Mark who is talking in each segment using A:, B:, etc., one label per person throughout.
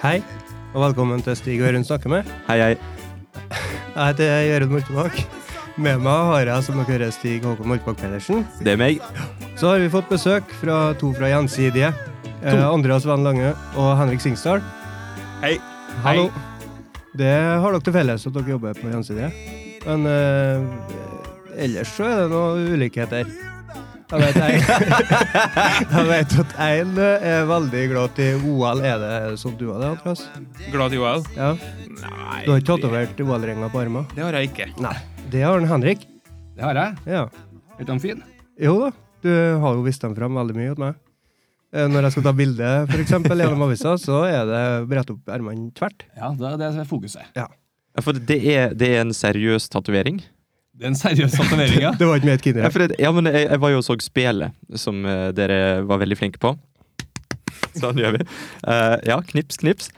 A: Hei, og velkommen til Stig og Jørund snakker med.
B: Hei, hei.
A: Jeg heter Jørund Moltebakk. Med meg har jeg, som dere hører, Stig Håkon Moltebakk Pedersen.
B: Det er meg.
A: Så har vi fått besøk fra to fra Gjensidige. Eh, Andreas Van Lange og Henrik Singsdal.
B: Hei.
A: Hallo. Det har dere til felles at dere jobber på Gjensidige. Men eh, ellers så er det noen ulikheter. Jeg vet, jeg, jeg vet at én er veldig glad til OL. Er det sånn du har det, Andreas?
C: Glad i OL?
A: Ja.
C: Nei,
A: Du har ikke tatovert OL-ringer på armen?
C: det har jeg ikke.
A: Nei. Det har den Henrik.
D: Det har jeg.
A: Ja.
D: Er ikke han fin?
A: Jo da, du har jo vist dem fram veldig mye hos meg. Eh, Når jeg skal ta bilde for eksempel, gjennom avisa, så er det brett opp ermene tvert.
D: Ja, det er det som er fokuset.
B: Ja, for det er, det er en seriøs tatovering.
D: Det er en seriøs tatovering, ja.
A: Det var ikke med et
B: Ja,
A: kinderegg.
B: for det, ja, men jeg, jeg var jo og så spelet, som eh, dere var veldig flinke på. Sånn gjør vi. Eh, ja, knips, knips.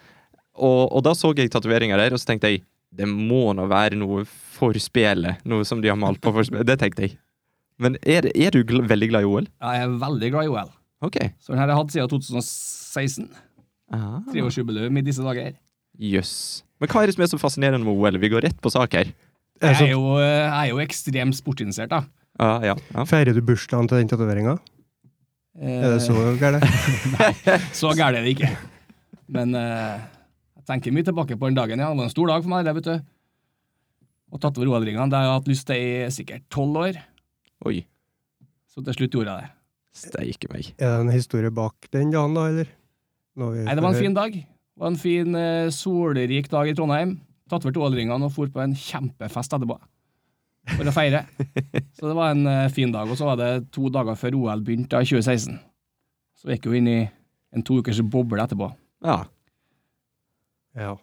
B: Og, og da så jeg tatoveringa der, og så tenkte jeg det må nå være noe for spelet. Noe som de har malt på for spelet. Det tenkte jeg. Men er, det- er du gl veldig glad i OL?
D: Ja, Jeg er veldig glad i OL.
B: OK.
D: Så den her har jeg hatt siden 2016.
B: Ah, Jøss.
D: Treårsjubileum i disse dager.
B: Men hva er det som er så fascinerende med OL? Vi går rett på sak her.
A: Er det sånn-
D: Jeg er jo, eh, jeg er jo ekstremt sportsinteressert, da.
B: Ah, ja, ja.
A: Feirer du bursdagen til den tatoveringa? Er det så
D: Eh.
A: gærent?
D: Så gærent er det ikke. Men eh, jeg tenker mye tilbake på den dagen. Ja. Det var en stor dag for meg. det, vet du. Å tatt over OL-ringene. Det har jeg hatt lyst til i sikkert tolv år.
B: Oi.
D: Så til slutt gjorde jeg det.
B: Steike meg.
A: Er det en historie bak den dagen, da, eller? Når vi-
D: Nei, Det var en fin dag. Det var En fin, eh, solrik dag i Trondheim. Tatt over til OL-ringene og for på en kjempefest etterpå. For å feire. Så det var en eh, fin dag. Og så var det to dager før OL begynte da, i 2016. Så gikk jo inn i en to ukers boble etterpå.
B: Ja.
A: Ja.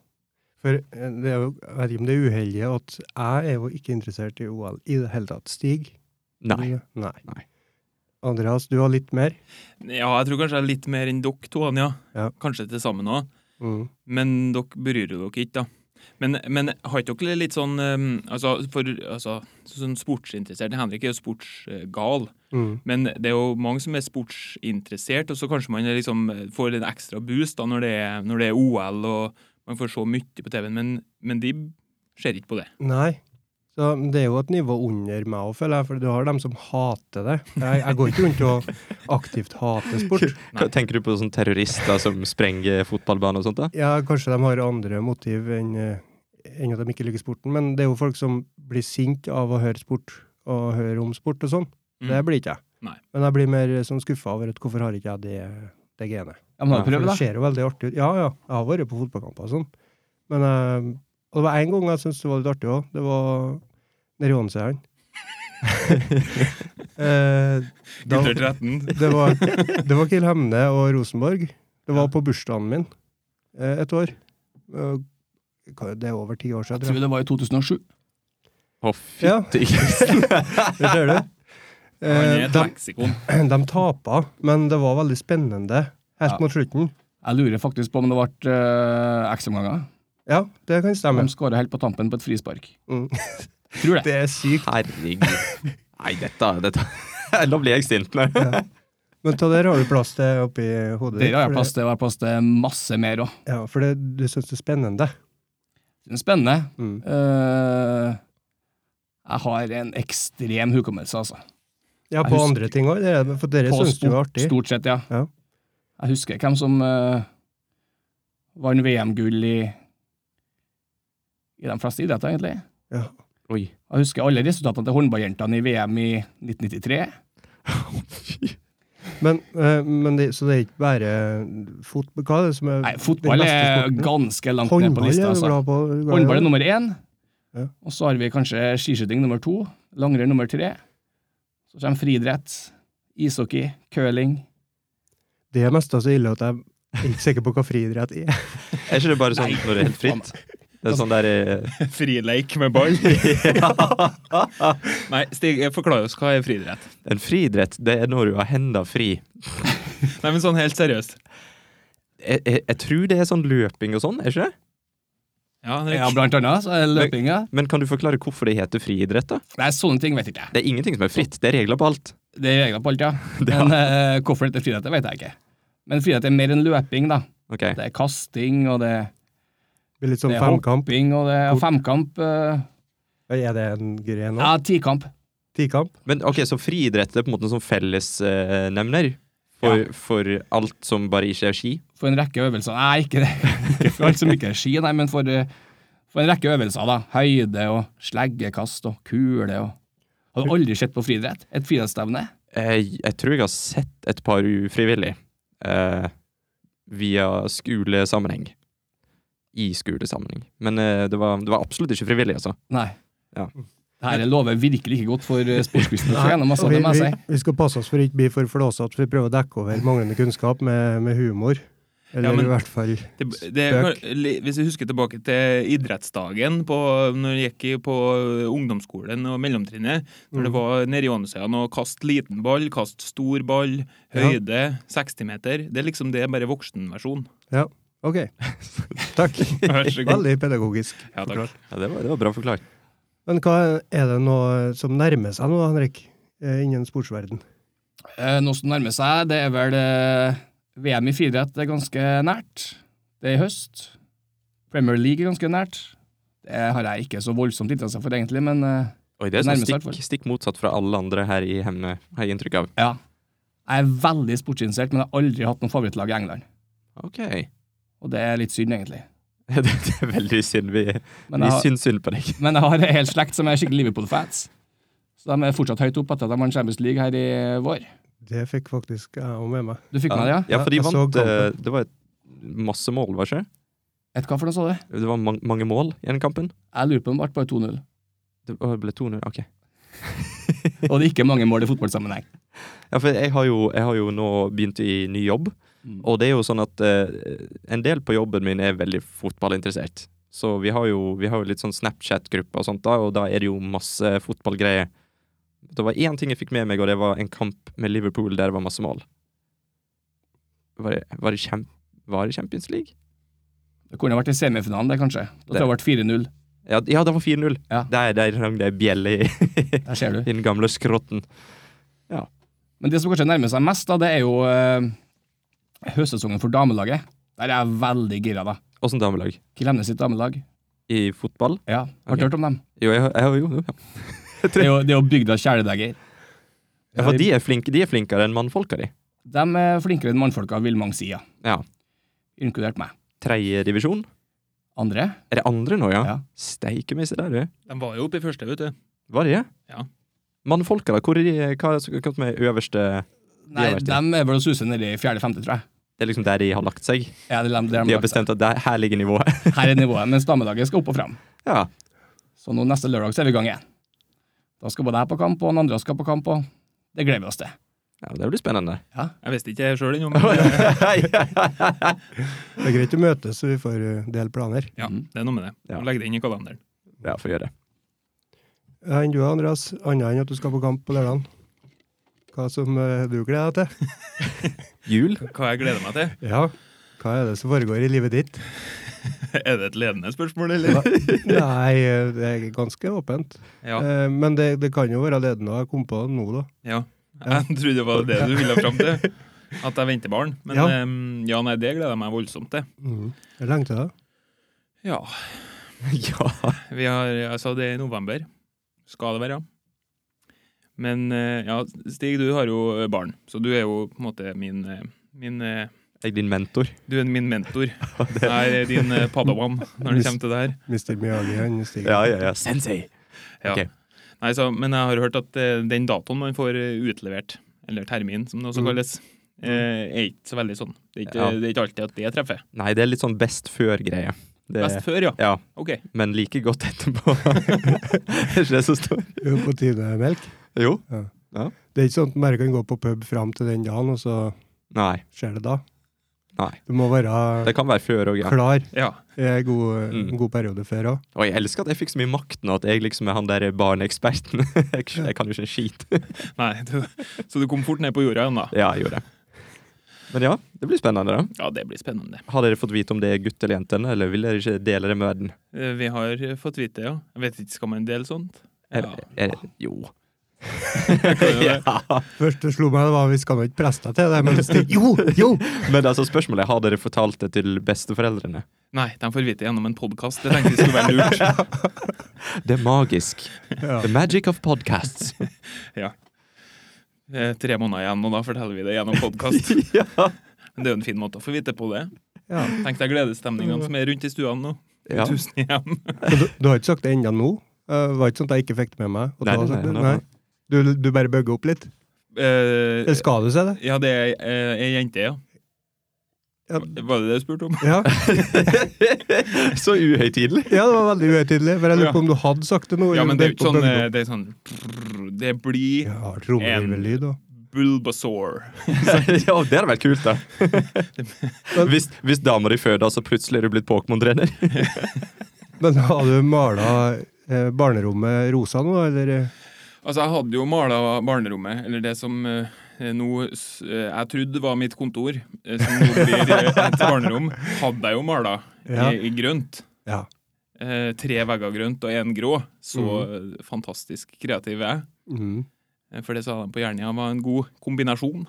A: For eh, det er jo, jeg vet ikke om det er uheldig at jeg er jo ikke interessert i OL i det hele tatt. Stig?
B: Nei.
A: du- Nei.
B: Nei.
A: Andreas, du har litt mer?
C: Ja, jeg tror kanskje jeg er litt mer enn dere to, Anja.
A: Ja.
C: Kanskje til sammen òg.
A: Mm.
C: Men dere bryr dere ikke, da. Men, men har ikke dere litt sånn eh, Altså, for, altså sånn sportsinteressert Henrik er jo sportsgal.
A: Mm.
C: Men det er jo mange som er sportsinteressert, og så kanskje man er liksom får en ekstra boost da når det er, når det er OL og man får se mye på TV-en, men, men de ser ikke på det.
A: Nei. Så det er jo et nivå under meg òg, føler jeg, for du har dem som hater det. Jeg, jeg går ikke rundt og aktivt hater sport.
B: Hva, tenker du på sånne terrorister som sprenger fotballbaner og sånt? da?
A: Ja, kanskje de har andre motiv enn eh, enn at de ikke liker sporten, men det er jo folk som blir sinte av å høre sport og høre om sport og sånn. Det
C: Mm.
A: blir ikke jeg.
C: Nei.
A: Men jeg blir mer sånn skuffa over at hvorfor har ikke jeg det, det genet.
D: Ja, men da
B: Ja,
D: prøv,
A: For
D: da.
A: Det ser jo veldig artig ut. Ja, ja. Jeg har vært på fotballkamper og sånn. Men eh, og det var én gang jeg syntes det var litt artig òg. Det var nede i Åndseieren. Eh, da-
C: Gutter 13.
A: det var, det var Kiel Hemne og Rosenborg. Det var på bursdagen min eh, et år. Eh, hva- Det er over ti år siden, tror
D: Jeg
A: jeg.
D: tror det var i 2007.
B: Å,
A: Ja.
B: fytti grisen.
A: Det ser du.
C: Han er
A: Eh,
C: et
A: de,
C: leksikon.
A: de tapa, men det var veldig spennende helt
D: Ja.
A: mot slutten.
D: Jeg lurer faktisk på om det ble uh, ekstraomganger.
A: Ja, det kan stemme.
D: De skåra helt på tampen på et frispark.
A: Mm.
D: Tror det.
A: Det er sykt.
B: Herregud. Nei, dette, dette. Nå blir jeg sint. Nei.
A: Men ta der har du plass til oppi hodet
D: Dere har
A: for
D: jeg plass til å være plass til masse mer òg.
A: Ja, for det, du syns det er spennende.
D: Spennende.
A: Mm.
D: Eh, jeg har en ekstrem hukommelse, altså.
A: Ja,
D: Jeg
A: på
D: husker-
A: andre ting òg. For dere
D: På
A: syns det var
D: stort,
A: artig.
D: stort sett, ja.
A: Ja.
D: Jeg husker hvem som eh, vant VM-gull i i de fleste idretter, egentlig.
A: Ja.
B: Oi.
D: Jeg husker alle resultatene til håndballjentene i VM i 1993.
A: Men, eh, men det, så det er ikke bare fotball Hva er det som er
D: Nei, fotball
A: den beste
D: er
A: sporten?
D: ganske langt ned på
A: Håndball
D: lista,
A: er du
D: altså.
A: glad på. du er glad i
D: Håndball er
A: det.
D: nummer én.
A: Ja.
D: Og så har vi kanskje skiskyting nummer to. Langrenn nummer tre. Så kommer friidrett, ishockey, curling.
A: Det er mest så ille at jeg er ikke sikker på hva friidrett er.
B: Er ikke det bare sånn
D: Nei.
B: når det er helt fritt? Det er sånn der eh,
C: Frileik med ball. Nei, Stig, forklar oss hva er friidrett.
B: En friidrett, det er når du har henda fri.
C: Nei, men sånn helt seriøst.
B: Jeg, jeg, jeg tror det er sånn løping og sånn, er ikke det?
C: Ja, Henrik.
D: Ja, blant annet. Så er det løpinga.
B: Men kan du forklare hvorfor det heter friidrett, da?
D: Nei, sånne ting vet jeg ikke.
B: Det er ingenting som er fritt, det er regler på alt.
D: Det er regler på alt, ja. Men eh, hvorfor dette friidrettet, vet jeg ikke. Men friidrett er mer enn løping, da.
B: Ok.
D: Det er kasting, og det,
A: Det blir litt sånn
D: det er
A: femkamp.
D: hopping, og det er femkamp. eh,
A: Er det en gren nå?
D: ja, tikamp.
A: Tikamp?
B: Men ok, så friidrett er på en måte en sånn fellesnemner for, for alt som bare ikke er ski?
D: For en rekke øvelser. Nei, ikke det. Ikke for alt som ikke er ski, nei, men for, eh, for en rekke øvelser, da. Høyde og sleggekast og kule og Har du aldri sett på friidrett? Et friidrettsstevne?
B: Jeg, Eh, jeg tror jeg har sett et par ufrivillig eh, via skolesammenheng. I skolesammenheng. Men eh, det, var, det var absolutt ikke frivillig, altså.
D: Nei.
B: Ja.
D: Det her lover virkelig ikke godt for eh, sportsquizen.
A: Nei,
D: Altså,
A: vi,
D: det må jeg
A: vi,
D: si.
A: vi skal passe oss for ikke å bli for flåsete, for vi prøver å dekke over manglende kunnskap med, med humor. Eller
C: Ja, men-
A: i hvert fall
C: Det, det, li- hvis jeg husker tilbake til idrettsdagen på, når jeg gikk i- på ungdomsskolen og mellomtrinnet, når det var nede i Åndsøyan å kaste liten ball, kaste stor ball, høyde, 60 meter. Det er liksom det, bare voksenversjon.
A: Ja, OK. Takk.
C: Vær så god.
A: Veldig pedagogisk.
C: Ja, takk.
B: Ja, det, var, det var bra forklart.
A: Men hva er det noe som nærmer seg nå, Henrik? eh, Innen sportsverden?
D: Eh, Noe som nærmer seg, det er vel eh, VM i friidrett det er ganske nært. Det er i høst. Premier League er ganske nært. Det har jeg ikke så voldsomt interesse for, egentlig, men eh,
B: Oi, det er sånn
D: Nærmest i hvert fall.
B: stikk, stikk motsatt fra alle andre her i Hemne, har jeg inntrykk av.
D: ja. Jeg er veldig sportsinteressert, men jeg har aldri hatt noe favorittlag i England.
B: Ok. Det,
D: Og det er litt synd, egentlig.
B: det er veldig synd. Vi,
D: Men
B: vi
D: jeg, har,
B: syns synd på deg.
D: men jeg har en hel slekt som er skikkelig Liverpool-fans. Så de er fortsatt høyt oppe etter at de vant Champions League her i vår.
A: Det fikk faktisk jeg òg med meg.
D: Du fikk med deg det, ja?
B: ja, for de
A: Jeg så
B: vant eh,
A: kampen.
B: Det var et masse mål, var det ikke?
D: Et hva for noe, sa du?
B: Det var mang- mange mål i den kampen.
D: Jeg lurer på om det ble bare 2-0.
B: Det ble 200. Ok.
D: Og det er ikke mange mål i fotballsammenheng.
B: Ja, for jeg har, jo, jeg har jo nå begynt i ny jobb,
D: Mm.
B: og det er jo sånn at eh, en del på jobben min er veldig fotballinteressert. Så vi har jo, vi har jo litt sånn Snapchat-gruppe og sånt, da, og da er det jo masse fotballgreier. Det var én ting jeg fikk med meg, og det var en kamp med Liverpool der det var masse mål. Var det, var det, kjem, var det Champions League?
D: Det kunne vært i semifinalen, det, kanskje. Da tror jeg det ble 4-0.
B: Ja, ja det var 4-0.
D: Ja.
B: Der, der rang det ei bjelle i,
D: Der ser
B: i
D: du.
B: den gamle skrotten.
D: Men det som kanskje nærmer seg mest, da, det er jo eh, høstsesongen for damelaget. Der er jeg veldig gira, da.
B: Åssen damelag?
D: Kiel Hemnes sitt damelag.
B: I fotball?
D: Ja, Har
B: Ok.
D: du hørt om dem?
B: Jo, jeg, jeg, jo, jo, ja.
D: Det er jo, det er jo bygda kjæledegger.
B: ja, for de er, flinke, de er flinkere enn mannfolka di.
D: De er flinkere enn mannfolka, vil mange si. Ja.
B: Ja.
D: Inkludert meg.
B: tredje divisjon.
D: Andre?
B: Er det andre nå, ja?
D: Ja.
B: Steike meg, se der, du.
C: De var jo oppe i første, vet du.
B: Var det det?
C: Ja.
B: Mannfolka, da? Hvor er de, hva er det som er øverste
D: Nei,
B: har vært i.
D: de er vel å suse nedi fjerde-femte, tror jeg.
B: Det er liksom der de har lagt seg?
D: Ja, det er dem- det er dem
B: De har
D: lagt seg.
B: bestemt at der, her ligger nivået?
D: Her er nivået, mens damelaget skal opp og fram.
B: ja.
D: Så nå neste lørdag så er vi i gang igjen. Da skal både jeg på kamp, og den andre skal på kamp, og det gleder vi oss til.
B: ja. Det blir spennende.
C: Jeg visste ikke sjøl ennå, men
A: Det er greit å møtes, så vi får eh, dele planer.
C: ja, det er noe med det.
B: Ja.
C: Legg det inn i kalenderen.
B: ja, får gjøre det.
A: Ja, Enn du, Andreas? Annet enn at du skal på kamp på lørdag? Hva som eh, du gleder deg til?
B: Jul?
C: Hva jeg gleder meg til?
A: Ja. Hva er det som foregår i livet ditt?
C: Er det et ledende spørsmål, eller?
A: Hva- Nei, eh, det er ganske åpent.
C: Ja.
A: Eh, Men det, det kan jo være ledende. Jeg kom på det nå, da.
C: ja. Jeg trodde det var det du ville fram til. At jeg venter barn. Men
A: Ja.
C: ja, ja nei, det gleder jeg meg voldsomt til.
A: Jeg lengter deg.
C: Ja.
B: ja.
C: Vi har, altså det er i november. Skal det være. Men eh, ja, Stig, du har jo eh, barn, så du er jo på en måte min, eh, min eh,
B: Jeg er din mentor.
C: Du er min mentor. Jeg er din eh, padawan når det kommer til det her.
A: Mr. Miyagi, han stiger.
B: ja, ja. Sensei.
C: Ja.
B: Ok.
C: Nei, så, men jeg har hørt at eh, den datoen man får eh, utlevert, eller termin som det også kalles, eh, er ikke så veldig sånn. Det er ikke,
B: Ja.
C: det er ikke alltid at det treffer.
B: Nei, det er litt sånn best før-greie. Det-
C: Best før, ja.
B: Ja,
C: Ok.
B: men like godt etterpå. er ikke det som står?
A: Jo, På tide melk.
B: Jo.
A: Det er ikke sånn at man bare kan gå på pub fram til den dagen, og så
B: Nei.
A: skjer det da.
B: Nei.
A: Du må være
B: Det kan være før òg, ja.
A: klar
C: Ja.
A: i en god,
B: Mm.
A: god periode før òg.
B: Og jeg elsker at jeg fikk så mye makt nå, at jeg liksom er han der barneeksperten. jeg, jeg kan jo ikke en skit.
C: Nei, du, så du kom fort ned på jorda igjen, da.
B: ja, jeg gjorde det. Men ja, det blir spennende, da.
C: Ja, det blir spennende.
B: Har dere fått vite om det er gutt eller jente, eller vil dere ikke dele det med verden?
C: sånn? Eh, Vi har eh, fått vite, ja. Jeg vet ikke, skal man dele sånt?
B: Er,
C: Ja.
B: er, jo. ja.
A: Først det slo meg, det var vi skal nå ikke preste til det, men det- jo, jo!
B: Men altså, spørsmålet er, har dere fortalt det til besteforeldrene?
C: Nei, de får vite det gjennom en podkast. Det tenkte jeg skulle være lurt.
B: Det er magisk.
A: Ja.
B: The magic of podcasts.
C: Ja. Eh, Tre måneder igjen, og da forteller vi det gjennom podkast.
B: ja.
C: Men det er jo en fin måte å få vite på det.
A: Ja.
C: Tenk deg gledesstemningene som er rundt i stuene nå.
B: Ja.
C: Tusen igjen.
A: Men Du, du har ikke sagt det enda nå? Eh, Det var ikke sånn at jeg ikke fikk det med meg? at
B: Nei,
A: du har
B: nei,
A: sagt
B: nei,
A: det?
B: nei.
A: Du, du bare bøgger opp litt?
C: Eh,
A: Eller skal du se det?
C: ja, det er eh, ei jente, ja.
A: Ja.
C: Var det det du spurte om?
A: Ja,
B: Så uhøytidelig.
A: ja det var veldig uhøytidelig, for jeg lurer på om du hadde sagt det nå?
C: Ja,
A: eller
C: men
A: om
C: det er
A: på
C: jo ikke sånn eh,
A: bøgge opp.
C: Det er sånn prrr, Det blir
A: Ja, trommevirvellyd og
C: Bulbasaur.
B: ja, det hadde vært kult, da. Hvis, hvis dama di før da, så altså, plutselig er du blitt Pokémon-trener.
A: Men har du mala eh, barnerommet rosa nå, eller? eh?
C: Altså, jeg hadde jo mala barnerommet, eller det som eh, nå s- eh, jeg trodde var mitt kontor, eh, som nå blir eh, et barnerom, hadde jeg jo mala
A: Ja.
C: i, i grønt.
A: Ja.
C: Eh, tre vegger grønt og én grå. Så
B: Mm.
C: eh, fantastisk kreativ jeg er.
A: Mm.
C: Eh, For det sa de på Jernia var en god kombinasjon.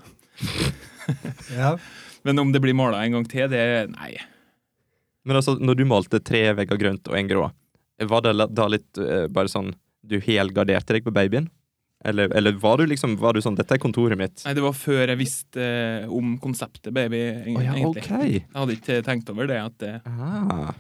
A: ja.
C: Men om det blir mala en gang til, det Nei.
B: Men altså, når du malte tre vegger grønt og en grå, var det la- da litt eh, bare sånn Du helgarderte deg på babyen? Eller, eller var du liksom var du sånn 'Dette er kontoret mitt'?
C: Nei, Det var før jeg visste eh, om konseptet, baby, eng-
B: Å ja,
C: egentlig.
B: ok.
C: Jeg hadde ikke tenkt over det. at det
B: Ah.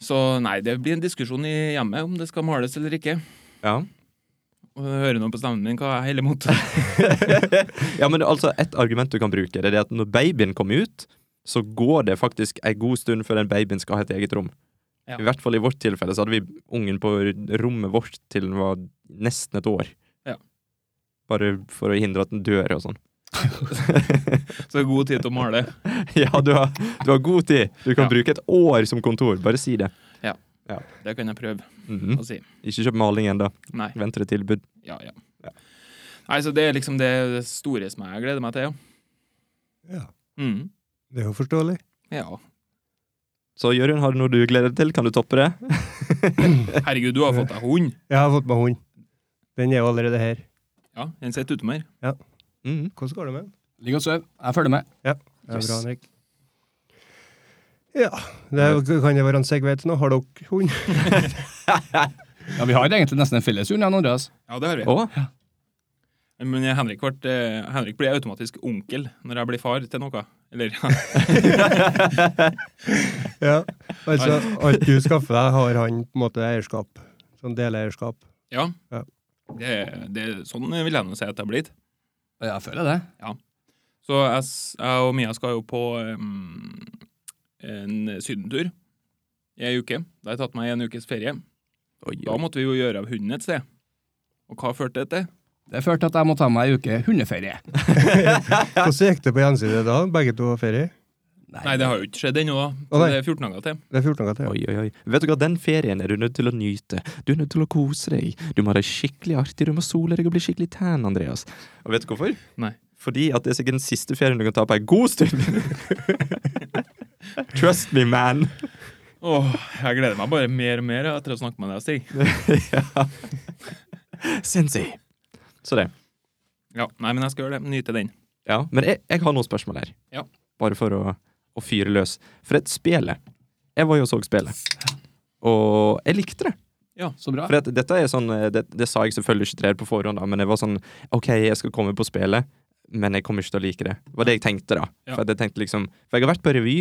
C: Så nei, det blir en diskusjon i hjemmet om det skal males eller ikke.
B: Ja.
C: Og jeg hører nå på stemmen min hva jeg heller mot.
B: ja, men altså, et argument du kan bruke, det er det at når babyen kommer ut, så går det faktisk en god stund før den babyen skal ha et eget rom.
C: Ja.
B: I hvert fall i vårt tilfelle så hadde vi ungen på rommet vårt til den var nesten et år.
C: Ja.
B: Bare for å hindre at den dør og sånn.
C: Så det er god tid til å male.
B: ja, du har, du har god tid! Du kan
C: Ja.
B: bruke et år som kontor, bare si det.
C: Det kan jeg prøve
B: Mhm.
C: å si.
B: Ikke kjøp maling ennå.
C: Nei.
B: Vent til et tilbud.
C: Ja, ja.
B: Ja.
C: Nei, så det er liksom det store som jeg gleder meg til, ja.
A: ja.
C: Mm.
A: Det er jo forståelig.
C: Ja.
B: Så Jørund, har du noe du gleder deg til? Kan du toppe det?
C: Herregud, du har fått deg hund!
A: Jeg har fått meg hund. Den er jo allerede her.
C: Ja, den sitter ute mer.
B: Mhm.
A: Hvordan går det med den?
D: Ligg og sov. Jeg følger med.
A: Det er
B: Yes.
A: bra, Henrik. Ja, det er, jo- kan det være en segway til noe? Har dere hund?
D: Ja, Vi har egentlig nesten en felles hund, jeg og Andreas.
C: Ja, det har vi.
B: Å?
C: Men Henrik, ble, eh, Henrik blir automatisk onkel når jeg blir far til noe. Eller
A: Ja. Altså, alt du skaffer deg, har han på en måte eierskap. Sånn deleierskap.
C: Ja.
A: Ja.
C: Det, det, sånn vil jeg nå si at det har blitt.
D: Ja, Jeg føler det.
C: Så jeg, s- jeg og Mia skal jo på um, en sydentur i ei uke. Da har jeg tatt meg en ukes ferie.
B: Oi,
C: Da
B: oi.
C: måtte vi jo gjøre av hunden et sted. Og hva førte det til?
D: Det førte til at jeg må ta meg ei uke hundeferie.
A: Hvordan gikk det på gjenside da? Begge to har ferie?
C: Nei, det har jo ikke skjedd ennå, da.
A: Å,
C: Så
A: nei.
C: det er 14 dager til.
A: Det er 14 dager til.
B: Oi, oi, oi. Vet du hva, den ferien er du nødt til å nyte. Du er nødt til å kose deg. Du må ha det skikkelig artig, du må sole deg og bli skikkelig tan, Andreas. Og vet du hvorfor?
C: Nei.
B: Fordi at det er sikkert den siste ferien du kan ta på en god stund. Trust me, man.
C: Åh, jeg gleder meg bare mer og mer ja, til å snakke med deg, Stig.
B: Sensi. Så det.
C: Ja, nei, men jeg skal gjøre det. Nyte den.
B: Ja, men jeg, jeg har noen spørsmål her.
C: Ja.
B: Bare for å, å fyre løs. For et spelet. Jeg var jo og så spelet. Og jeg likte det.
D: Så bra.
B: For at dette er sånn eh, det, det sa jeg selvfølgelig ikke til dere på forhånd, da, men jeg var sånn OK, jeg skal komme på spillet, men jeg kommer ikke til å like det. Det var det jeg tenkte, da.
C: Ja.
B: For, at jeg tenkte liksom, for jeg har vært på revy,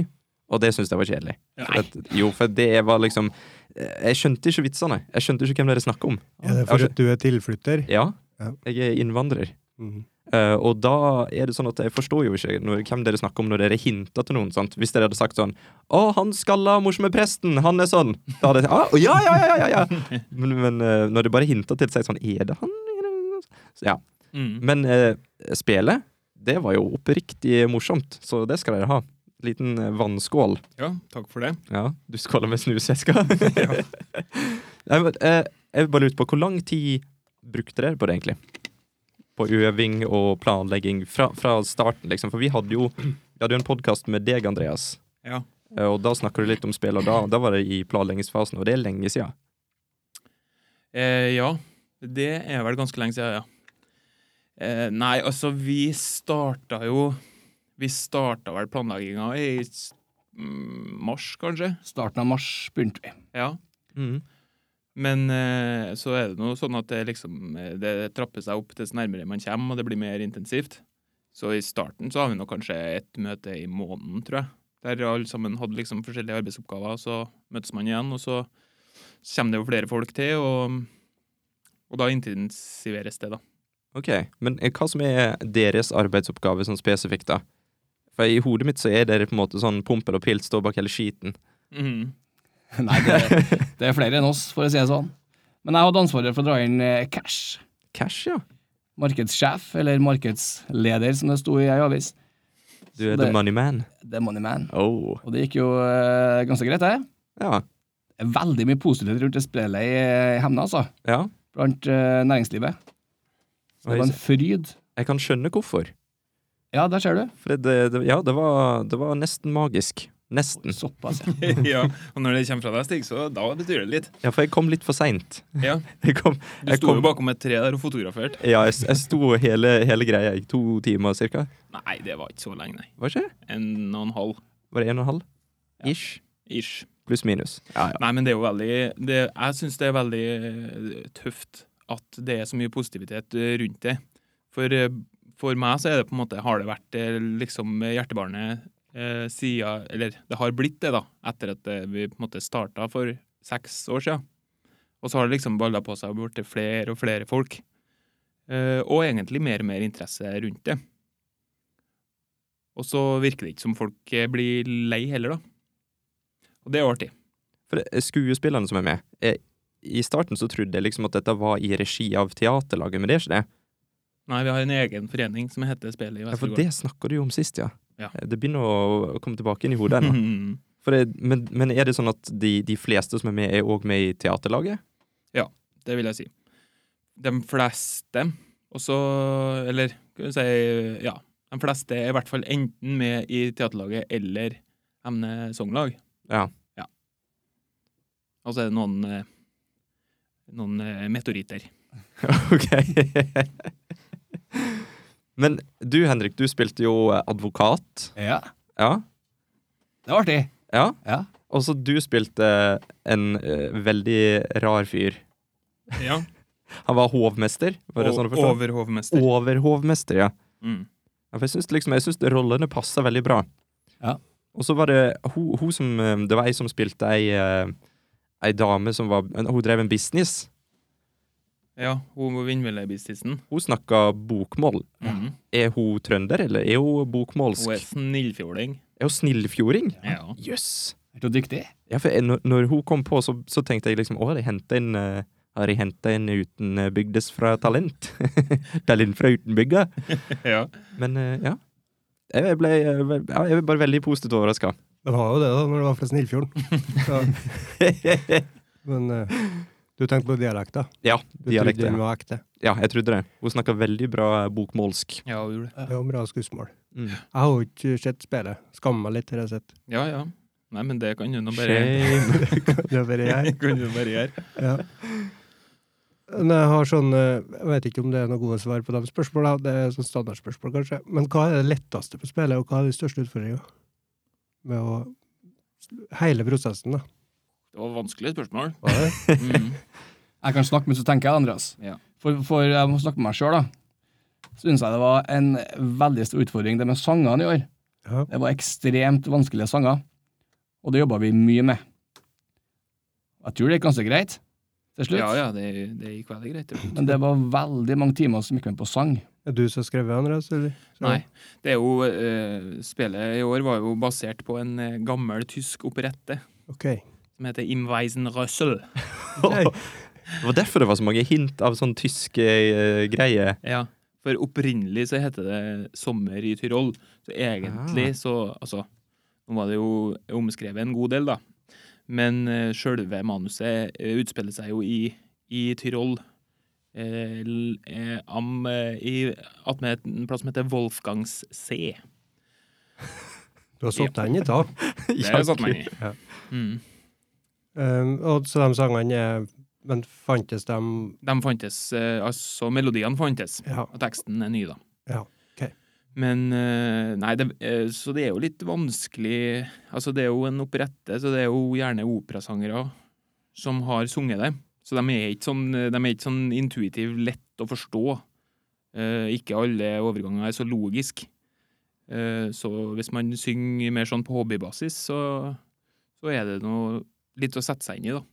B: og det syns jeg var kjedelig. For
C: Nei.
B: at, jo, for det var liksom eh, Jeg skjønte ikke vitsene. Jeg skjønte ikke hvem dere snakker om.
A: Er det for at du er tilflytter?
B: Ja,
A: Ja.
B: jeg er innvandrer.
A: Mhm.
B: Eh, og da er det sånn at jeg forstår jo ikke når, hvem dere snakker om når dere hinter til noen. sant? Hvis dere hadde sagt sånn 'Å, han skalla morsomme presten! Han er sånn!' Da hadde jeg ah, ja, ja, ja, ja, ja, ja. Men, men eh, når det bare hinter til seg sånn 'Er det han?' Er det-" Så, ja.
C: Mm.
B: Men eh, spelet, det var jo oppriktig morsomt, så det skal dere ha. Liten eh, vannskål.
C: Ja, takk for det.
B: Ja, du skåler med snusveska. Nei, men, eh, jeg vil bare lure på hvor lang tid brukte dere på det, egentlig? På øving og planlegging fra, fra starten, liksom. For vi hadde jo, vi hadde jo en podkast med deg, Andreas.
C: Ja.
B: Eh, Og da snakker du litt om spill, og da, da var det i planleggingsfasen, og det er lenge siden.
C: Eh, ja, Det er vel ganske lenge siden, ja. Eh, nei, altså, vi starta jo Vi starta vel planlegginga i s- mm, mars, kanskje.
D: Starten av mars begynte vi.
C: Ja.
B: Mm.
C: Men eh, så er det noe sånn at det liksom eh, Det trapper seg opp dess nærmere man kommer, og det blir mer intensivt. Så i starten så har vi nå kanskje ett møte i måneden, tror jeg. Der alle sammen hadde liksom forskjellige arbeidsoppgaver, og så møtes man igjen, og så kommer det jo flere folk til, og, og da intensiveres det, da.
B: Ok, men eh, hva som er deres arbeidsoppgave sånn spesifikt, da? For i hodet mitt så er dere på en måte sånn pumpel og pilt, står bak hele skiten.
C: Mhm.
D: Nei, det, det er flere enn oss, for å si det sånn. Men jeg hadde ansvaret for å dra inn eh, cash.
B: Cash, ja.
D: Markedssjef, eller markedsleder, som det sto i ei avis.
B: Du er
D: Så Sånn det-
B: the money man.
D: The Money Man.
B: Oh.
D: Og det gikk jo eh, ganske greit, det.
B: Ja.
D: Det er Veldig mye positivt rundt det spillet i, i Hemne, altså.
B: ja.
D: Blant eh, næringslivet. Så det var en fryd.
B: Jeg kan skjønne hvorfor.
D: Ja, der ser du.
B: For det, det, ja, det var, det var nesten magisk. Nesten.
D: Såpass, ja.
C: ja, og når det kommer fra deg, Stig, så da betyr det litt.
B: Ja, for jeg kom litt for seint.
C: Ja,
B: Jeg kom,
C: Du
B: Jeg
C: sto
B: kom-
C: jo bakom et tre der og fotograferte.
B: ja, jeg, jeg sto hele, hele greia i to timer cirka.
C: Nei, det var ikke så lenge, nei.
B: Var det ikke?
C: En og en halv
B: Var det en og en halv? Ish.
C: ish.
B: Pluss minus. Ja, ja.
C: Nei, men det er jo veldig det, Jeg syns det er veldig eh, tøft at det er så mye positivitet eh, rundt det. For, eh, for meg så er det på en måte Har det vært eh, liksom eh, hjertebarnet eh, siden Eller det har blitt det, da, etter at eh, vi på en måte starta for seks år siden. Og så har det liksom balla på seg og blitt flere og flere folk. Eh, og egentlig mer og mer interesse rundt det. Og så virker det ikke som folk eh, blir lei heller, da. Og det er jo artig.
B: For det- skuespillerne som er med jeg, I starten så trodde jeg liksom at dette var i regi av teaterlaget, men det er ikke det.
C: Nei, vi har en egen forening som heter Spelet i
B: Ja, for
C: Vestergård.
B: det snakka du jo om sist, ja. Eh,
C: Ja.
B: Det begynner å å komme tilbake inn i hodet ennå.
C: Mhm.
B: For det- Men, men er det sånn at de, de fleste som er med, er òg med i teaterlaget?
C: det vil jeg si. De fleste, og så Eller skal vi si Ja. De fleste er i hvert fall enten med i teaterlaget eller Emne Sognlag.
B: Ja.
C: ja. Og så er det noen eh, noen eh, meteoritter.
B: Ok. Men du, Henrik, du spilte jo eh, advokat.
D: ja.
B: Ja.
D: Det var artig.
B: ja.
D: Ja.
B: Og så du spilte en eh, veldig rar fyr.
C: Ja.
B: Han var hovmester? Var det sånn å forstå?
C: Overhovmester.
B: Overhovmester, ja.
C: Mm.
B: Ja, for jeg syns liksom, jeg syns rollene passer veldig bra.
D: Ja.
B: Og så var det hun, hun som eh, Det var ei som spilte ei, eh, ei dame som var en- Hun drev en business.
C: Ja, hun var vindmøllebistisen.
B: Hun snakka bokmål.
C: Mhm.
B: Er hun trønder, eller er hun bokmålsk?
C: Hun er snillfjording.
B: Er hun snillfjording?
C: Ja.
B: Jøss!
D: Er du dyktig?
B: Ja, for jeg, når, når hun kom på, så, så tenkte jeg liksom Å, har de henta inn eh, har de henta inn uten eh, bygdes fra talent? talent fra utenbygda?
C: ja.
B: Men eh, ja. Jeg ble, jeg ble, ja, jeg ble bare veldig positivt overraska.
A: De har jo det, da, når det var fra Snillfjorden. Ja. Men eh, du tenkte på dialekta.
B: ja,
A: Du
B: dialekt.
A: trodde
B: Ja.
A: den var ekte.
B: ja, jeg trodde det. Hun snakka veldig bra eh, bokmålsk.
C: ja, hun gjorde det.
A: Det var bra skussmål.
B: Mm.
A: Jeg har jo ikke sett spillet. Skammer meg litt til jeg har sett.
C: Ja, ja. Nei, men det kan hun nå bare
B: Shame.
A: Det er bare jeg.
C: kan du bare gjøre.
A: Ja. Men jeg har sånn eh, Jeg vet ikke om det er noen gode svar på de spørsmålene. Det er sånn standardspørsmål, kanskje. Men hva er det letteste på spillet, og hva er de største utfordringene med å Hele prosessen, da.
C: Det var vanskelige spørsmål.
A: Hva er det?
C: Mm.
D: Jeg kan snakke, men så tenker jeg, Andreas.
C: Ja.
D: For, for jeg må snakke med meg sjøl, da. Syns jeg det var en veldig stor utfordring, det med sangene i år.
A: Ja.
D: Det var ekstremt vanskelige sanger, og det jobba vi mye med. Jeg tror det gikk ganske greit til slutt,
C: Ja, ja, det, det gikk veldig greit. det.
D: men det var veldig mange timer som gikk med på sang.
A: Er du som har skrevet, Andreas? Eller? Så-
C: Nei, det er jo eh, Spillet i år var jo basert på en eh, gammel tysk operette
A: Ok.
C: som heter Im Weisen Røssel.
B: Det var derfor det var så mange hint av sånn tyske uh, greier.
C: Ja, for opprinnelig så heter det Sommer i Tyrol. Så egentlig
B: Ah.
C: så Altså, nå var det jo omskrevet en god del, da. Men uh, sjølve manuset eh, utspiller seg jo i, i Tyrol. Eh, l- eh, am, eh, i, attmed en plass som heter Wolfgangs C.
A: Du har satt den i da.
C: Det har jeg satt meg inn i.
A: Ja.
C: Mm.
A: Um, og så de sangene er Men fantes de
C: De fantes, eh, altså melodiene fantes,
A: Ja.
C: og teksten er ny, da.
A: Ja, ok.
C: Men eh, Nei, det, eh, så det er jo litt vanskelig Altså, det er jo en operette, så det er jo gjerne operasangere som har sunget det. Så de er ikke sånn, de er ikke sånn intuitivt lett å forstå. Eh, ikke alle overganger er så logisk. Eh, så hvis man synger mer sånn på hobbybasis, så, så er det noe litt å sette seg inn i, da.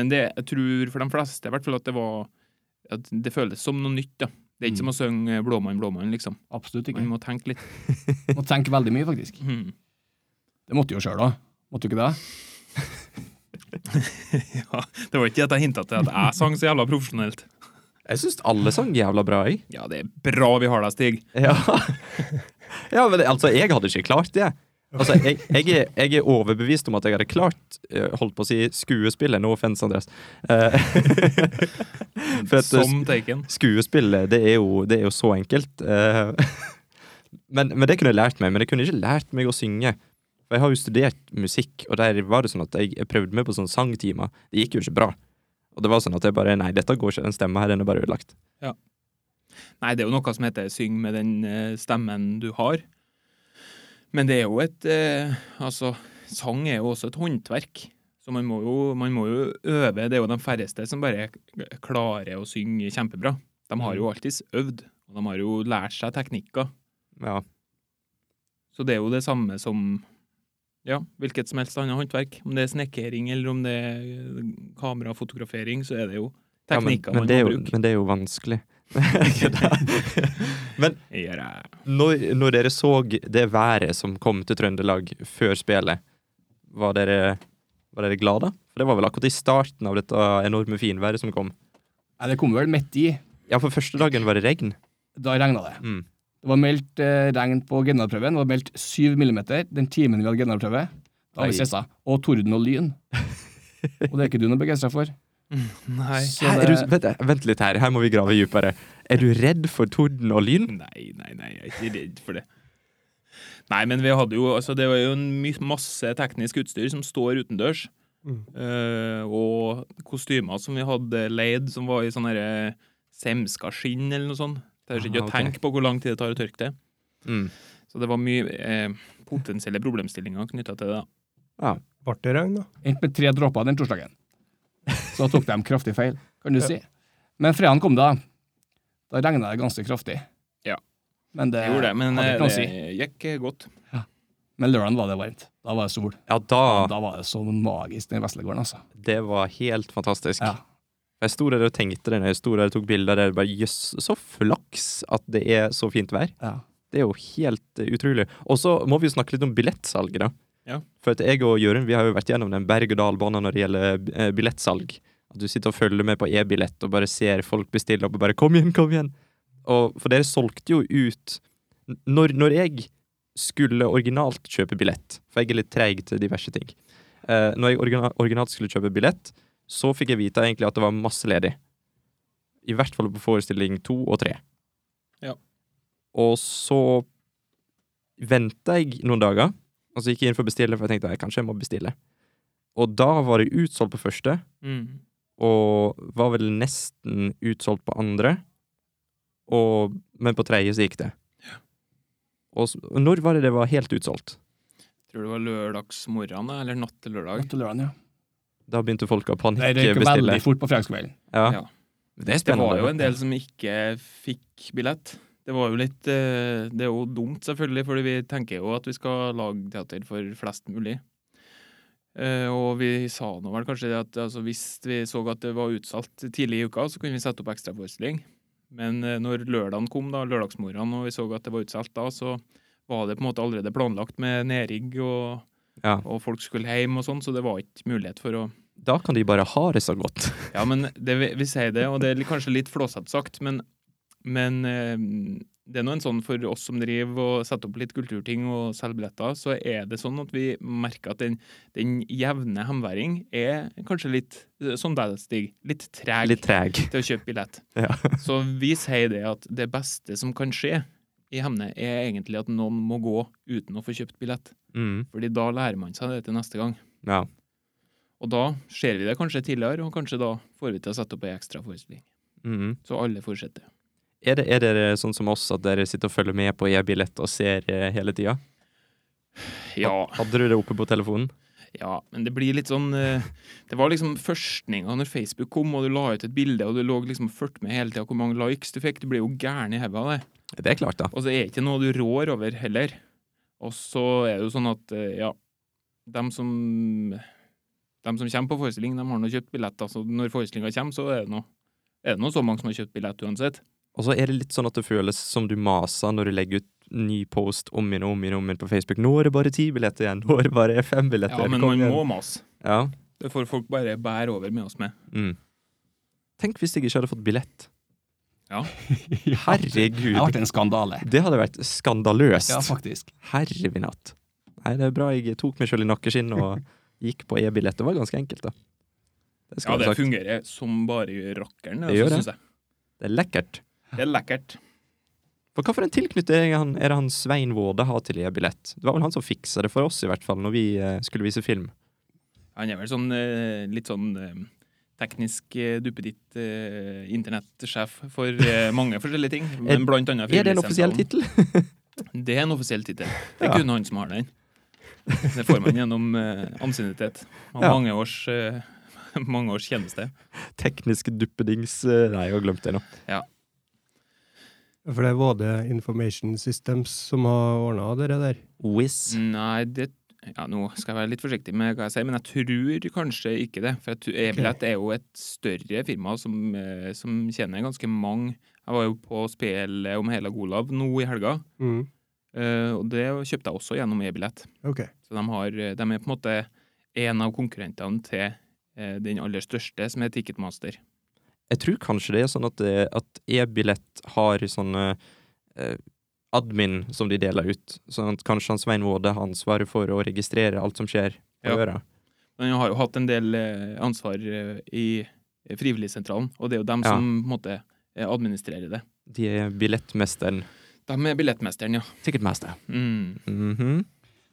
C: Men det, jeg tror for de fleste i hvert fall at det var at det føles som noe nytt, da. Det er ikke som å synge 'Blåmann, blåmann', liksom.
D: Absolutt ikke.
C: Man må tenke litt.
D: Må tenke veldig mye, faktisk.
C: Hmm.
D: Det måtte jo sjøl, da. Måtte du ikke det?
C: Ja, det var ikke at jeg hinta til at jeg sang så jævla profesjonelt.
B: Jeg syns alle sang jævla bra, jeg.
C: Ja, det er bra vi har deg, Stig.
B: Ja, ja men det, altså, jeg hadde ikke klart det. Altså, jeg, jeg, er, jeg er overbevist om at jeg hadde klart eh, Holdt på å si skuespillet. No offense, Andreas. Eh, For at,
C: Som taken.
B: skuespillet, det er jo, det er jo så enkelt. Eh, men, men det kunne jeg lært meg. Men jeg kunne ikke lært meg å synge. For jeg har jo studert musikk, og der var det sånn at jeg, jeg prøvde meg på sånne sangtimer. Det gikk jo ikke bra. Og det var sånn at jeg bare Nei, dette går ikke. Den stemma her, den er bare ødelagt.
C: Nei, det er jo noe som heter 'syng med den eh, stemmen du har'. Men det er jo et eh, Altså, sang er jo også et håndverk. Så man må, jo, man må jo øve. Det er jo de færreste som bare k- klarer å synge kjempebra. De har jo alltids øvd, og de har jo lært seg teknikker.
B: Ja.
C: Så det er jo det samme som ja, hvilket som helst annet håndverk. Om det er snekkering eller om det er kamerafotografering, så er det jo
B: Ja, men,
C: teknikker
B: men, det er
C: man
B: jo,
C: må bruke.
B: men det er jo vanskelig. men
C: Ja, det er-
B: når, når dere så det været som kom til Trøndelag før spillet, var dere, var dere glade? For det var vel akkurat i starten av dette enorme finværet som kom.
D: Nei, det kom vel midt i.
B: Ja, for første dagen var det regn.
D: Da regna det.
B: Mm.
D: Det var meldt eh, regn på generalprøven. Det var meldt 7 millimeter den timen vi hadde generalprøve. Da var
B: Oi.
D: vi stressa. Og torden og lyn. Og det er ikke du noe begeistra for.
C: Nei.
D: Så
B: Hæ, er du,
D: det,
B: vent, vent litt her, her må vi grave dypere. Er du redd for torden og lyn?
C: Nei, nei, nei, jeg er ikke redd for det. Nei, men vi hadde jo altså Det var jo en my- masse teknisk utstyr som står utendørs.
A: Mm.
C: eh, og kostymer som vi hadde leid, som var i sånn herre semska skinn eller noe sånt. Det er jo ikke
B: Ah,
C: å
B: ok.
C: tenke på hvor lang tid det tar å tørke det.
B: Mm.
C: Så det var mye eh, potensielle problemstillinger knytta til det. da.
A: Ble det regn, da?
D: endte med tre dråper den torsdagen. Så tok de kraftig feil, kan du si. Men fredagen kom, da. Da regna det ganske kraftig.
C: Ja.
D: Men det,
C: Jeg gjorde det, men
D: hadde
C: eh,
D: ikke noe å
C: det
D: si.
C: gikk godt.
D: Men lørdagen var det varmt. Da var det sol.
B: Ja, da
D: Da var det så magisk, den Vestlegården, altså.
B: Det var helt fantastisk.
D: Ja.
B: Jeg sto der og tenkte det når jeg sto der og tok bilder der. bare, Jøss, så flaks at det er så fint vær.
D: Ja.
B: Det er jo helt eh, utrolig. Og så må vi jo snakke litt om billettsalget, da.
C: Ja.
B: For at jeg og Jørund vi har jo vært gjennom den berg-og-dal-banen når det gjelder eh, billettsalg. At du sitter og følger med på e-billett og bare ser folk bestille opp og bare 'kom igjen, kom igjen'. Og For dere solgte jo ut N- Når, når jeg skulle originalt kjøpe billett, for jeg er litt treig til diverse ting eh, Når jeg origina- originalt skulle kjøpe billett, så fikk jeg vite egentlig at det var masse ledig. I hvert fall på forestilling to og tre. Og så venta jeg noen dager, og så gikk jeg inn for å bestille, for jeg tenkte «Nei, kanskje jeg må bestille. Og da var det utsolgt på første,
C: Mm.
B: og var vel nesten utsolgt på andre. Og, men på tredje så gikk det. Og s- og når var det det var helt utsolgt?
C: Tror det var lørdagsmorgen eller natt til lørdag.
D: Natt til lørdagen, ja.
B: Da begynte folk å
D: Det røyk
B: panikkbestille.
D: veldig fort på fredagskvelden.
B: Ja.
C: Ja.
B: Det er
C: Det
B: spennende.
C: var jo en del som ikke fikk billett. Det var jo litt eh, Det er jo dumt, selvfølgelig, fordi vi tenker jo at vi skal lage teater for flest mulig. Eh, og vi sa nå vel kanskje det at altså, hvis vi så at det var utsolgt tidlig i uka, så kunne vi sette opp ekstraforestilling. Men eh, når lørdagen kom, da, lørdagsmorgenen, og vi så at det var utsolgt da, så var det på en måte allerede planlagt med nedrigg, og,
B: Ja.
C: og folk skulle hjem og sånn, så det var ikke mulighet for å
B: Da kan de bare ha det så godt.
C: ja, men det, vi, vi sier det, og det er li- kanskje litt flåsete sagt, men, men eh, det er nå en sånn for oss som driver og setter opp litt kulturting og selger billetter, så er det sånn at vi merker at den, den jevne hemværing er kanskje litt, eh, som deg, Stig, litt treg
B: Litt treg.
C: til å kjøpe billett.
B: Ja.
C: Så vi sier det at det beste som kan skje i Hemne, er egentlig at noen må gå uten å få kjøpt billett.
B: Mm.
C: Fordi da lærer man seg det til neste gang.
B: Ja.
C: Og da ser vi det kanskje tidligere, og kanskje da får vi til å sette opp ei ekstra forestilling.
B: Mhm.
C: Så alle fortsetter.
B: Er, det, er dere sånn som oss at dere sitter og følger med på e-billett og ser eh, hele tida?
C: Ja,
B: Hadde du det oppe på telefonen?
C: Ja, men det blir litt sånn eh, Det var liksom førstninga når Facebook kom, og du la ut et bilde, og du lå liksom og fulgte med hele tida hvor mange likes du fikk. Du blir jo gæren i hodet av det.
B: Det er klart, da.
C: Og så er det ikke noe du rår over heller. Og så er det jo sånn at, eh, ja Dem som Dem som kommer på forestilling, de har nå kjøpt billetter, så når forestillinga kommer, så er det nå er det nå så mange som har kjøpt billett uansett.
B: Og så er det litt sånn at det føles som du maser når du legger ut ny post om igjen og om igjen og om igjen på Facebook. Nå er det bare ti billetter igjen! Nå er det bare fem
C: Ja,
B: billetter!
C: men
B: Kom
C: man
B: igjen.
C: må mase.
B: Ja.
C: Det får folk bare bære over med oss med.
B: Mm. Tenk hvis jeg ikke hadde fått billett.
D: Det har
B: Herregud!
D: vært en skandale.
B: Det hadde vært skandaløst.
D: Ja, faktisk.
B: Herre min hatt. Nei, det er bra jeg tok meg sjøl i nakkeskinn og gikk på e-billett. Det var ganske enkelt, da. Det,
C: Ja,
B: skal
C: det
B: det, sagt.
C: fungerer som bare rakkeren.
B: Det gjør
C: altså,
B: det.
C: synes jeg.
B: det er lekkert.
C: Det er lekkert.
B: For hva for en tilknytning er han- er det han Svein Våde har til e-billett? Det var vel han som fiksa det for oss, i hvert fall, når vi eh, skulle vise film.
C: Han er vel sånn eh, litt sånn eh, teknisk eh, duppeditt eh, internettsjef for eh, mange forskjellige ting, men blant annet
B: Er det en offisiell
C: frivilligsentralen.
B: tittel?
C: Det er en offisiell tittel. Det er
B: Ja.
C: kun han som har den. Det får man gjennom eh, ansiennitet. Og
B: Ja.
C: mange, års, eh, mange års tjeneste.
B: Teknisk duppedings eh, Nei, jeg har glemt det nå.
A: For det er Våde Information Systems som har ordna det der.
B: Wizz.
C: Nei, det ja, Nå skal jeg være litt forsiktig med hva jeg sier, men jeg tror kanskje ikke det. For jeg tror- Ebilett er jo et større firma som, eh, som tjener ganske mange. Jeg var jo på spelet om Hela Golav nå i helga.
A: Mm.
C: Eh, og det kjøpte jeg også gjennom e-billett.
A: Ok.
C: Så de, har, eh, de er på en måte en av konkurrentene til eh, den aller største, som er Ticketmaster.
B: Jeg tror kanskje det er sånn at, det- at e-billett har sånne eh, admin som de deler ut. Sånn at kanskje han Svein Våde har ansvaret for å registrere alt som skjer på
C: Ja.
B: øra.
C: Men jeg har jo hatt en del eh, ansvar eh, i Frivilligsentralen, og det er jo dem
B: Ja.
C: som på en måte eh, administrerer det.
B: De er billettmesteren.
C: De er billettmesteren, ja.
B: Ticketmaster.
C: Mm.
B: Mhm.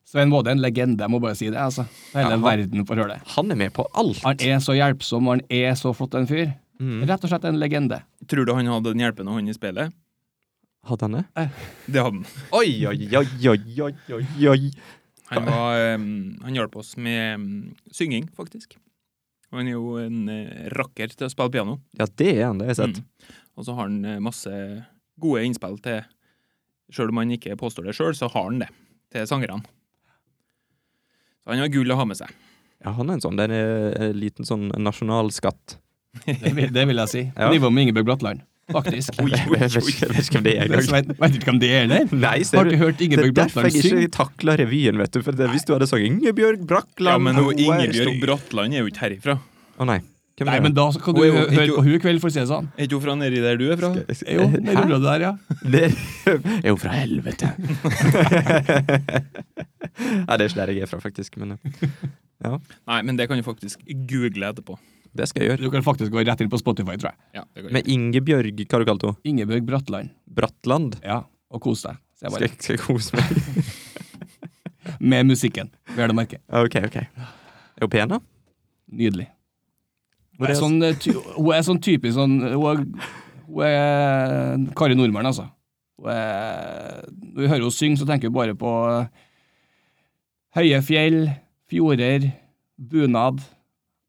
D: Svein Våde er en legende, jeg må bare si det. altså.
B: Ja,
D: Hele
B: han-
D: verden får høre det.
B: Han er med på alt!
D: Han er så hjelpsom, og han er så flott en fyr.
B: Mhm.
D: Rett og slett en legende.
C: Tror du han hadde den hjelpende hånden i spillet?
B: Hadde han det?
C: Det hadde han.
B: Oi, oi, oi, oi, oi, oi, oi.
C: Han, var, eh, han hjalp oss med eh, synging, faktisk. Og han er jo en eh, rakker til å spille piano.
B: Ja, det er han, det har jeg sett.
C: Mm. Og så har han eh, masse gode innspill til Sjøl om han ikke påstår det sjøl, så har han det til sangerne. Så han var gull å ha med seg.
B: Ja, han er en sånn, det er en eh, liten sånn nasjonalskatt.
D: Det vil, det vil jeg si.
B: Ja.
D: På nivå med Ingebjørg Bratland, faktisk.
C: Oi,
B: Jeg
C: oi,
B: vet
C: oi.
B: ikke jeg vet ikke om det er
D: Det er
B: engang.
D: Svein- Vet du ikke hvem det er, eller?
B: Nei,
D: Har
B: ser
D: du
B: du.
D: hørt
B: Det er
D: Ingebjørg
B: derfor
D: Bratland
B: jeg ikke
D: synge?
B: takla revyen, vet du. For det, hvis du hadde sunget Ingebjørg Brakland
C: Ja, men hun,
B: hun er
C: Ingebjørg
B: stor-
C: Bratland er jo ikke herifra.
B: Å nei. Hvem
D: Nei, men da kan du
C: Oi, oi,
D: hø- høre
C: ikke-
D: på hun i kveld, for å si det sånn.
C: Er ikke hun fra nedi der du er fra?
D: Jo, det
B: Eh, Hæ?
D: området der, ja.
B: Det er jo fra helvete. Nei, det er ikke der jeg er fra, faktisk. Men eh,
C: Nei, men det kan du faktisk google etterpå.
B: det skal jeg gjøre.
D: Du kan faktisk gå rett inn på Spotify, tror jeg.
C: Ja, det kan du.
B: Med Ingebjørg, hva har du kalte hun?
D: Ingebjørg Bratland.
B: Brattland?
D: Ja, og kos deg. sier jeg
B: Skal
D: bare.
B: jeg, skal jeg kose meg?
D: Med musikken, vel å merke.
B: OK, OK. Er hun pen, da?
D: Nydelig. Hun
B: Hvor er
D: er
B: jeg-
D: sånn, eh, ty hun er sånn typisk sånn Hun er, hun er Kari Nordmann, altså. Hun er, når vi hører henne synge, så tenker vi bare på eh, høye fjell, fjorder, bunad.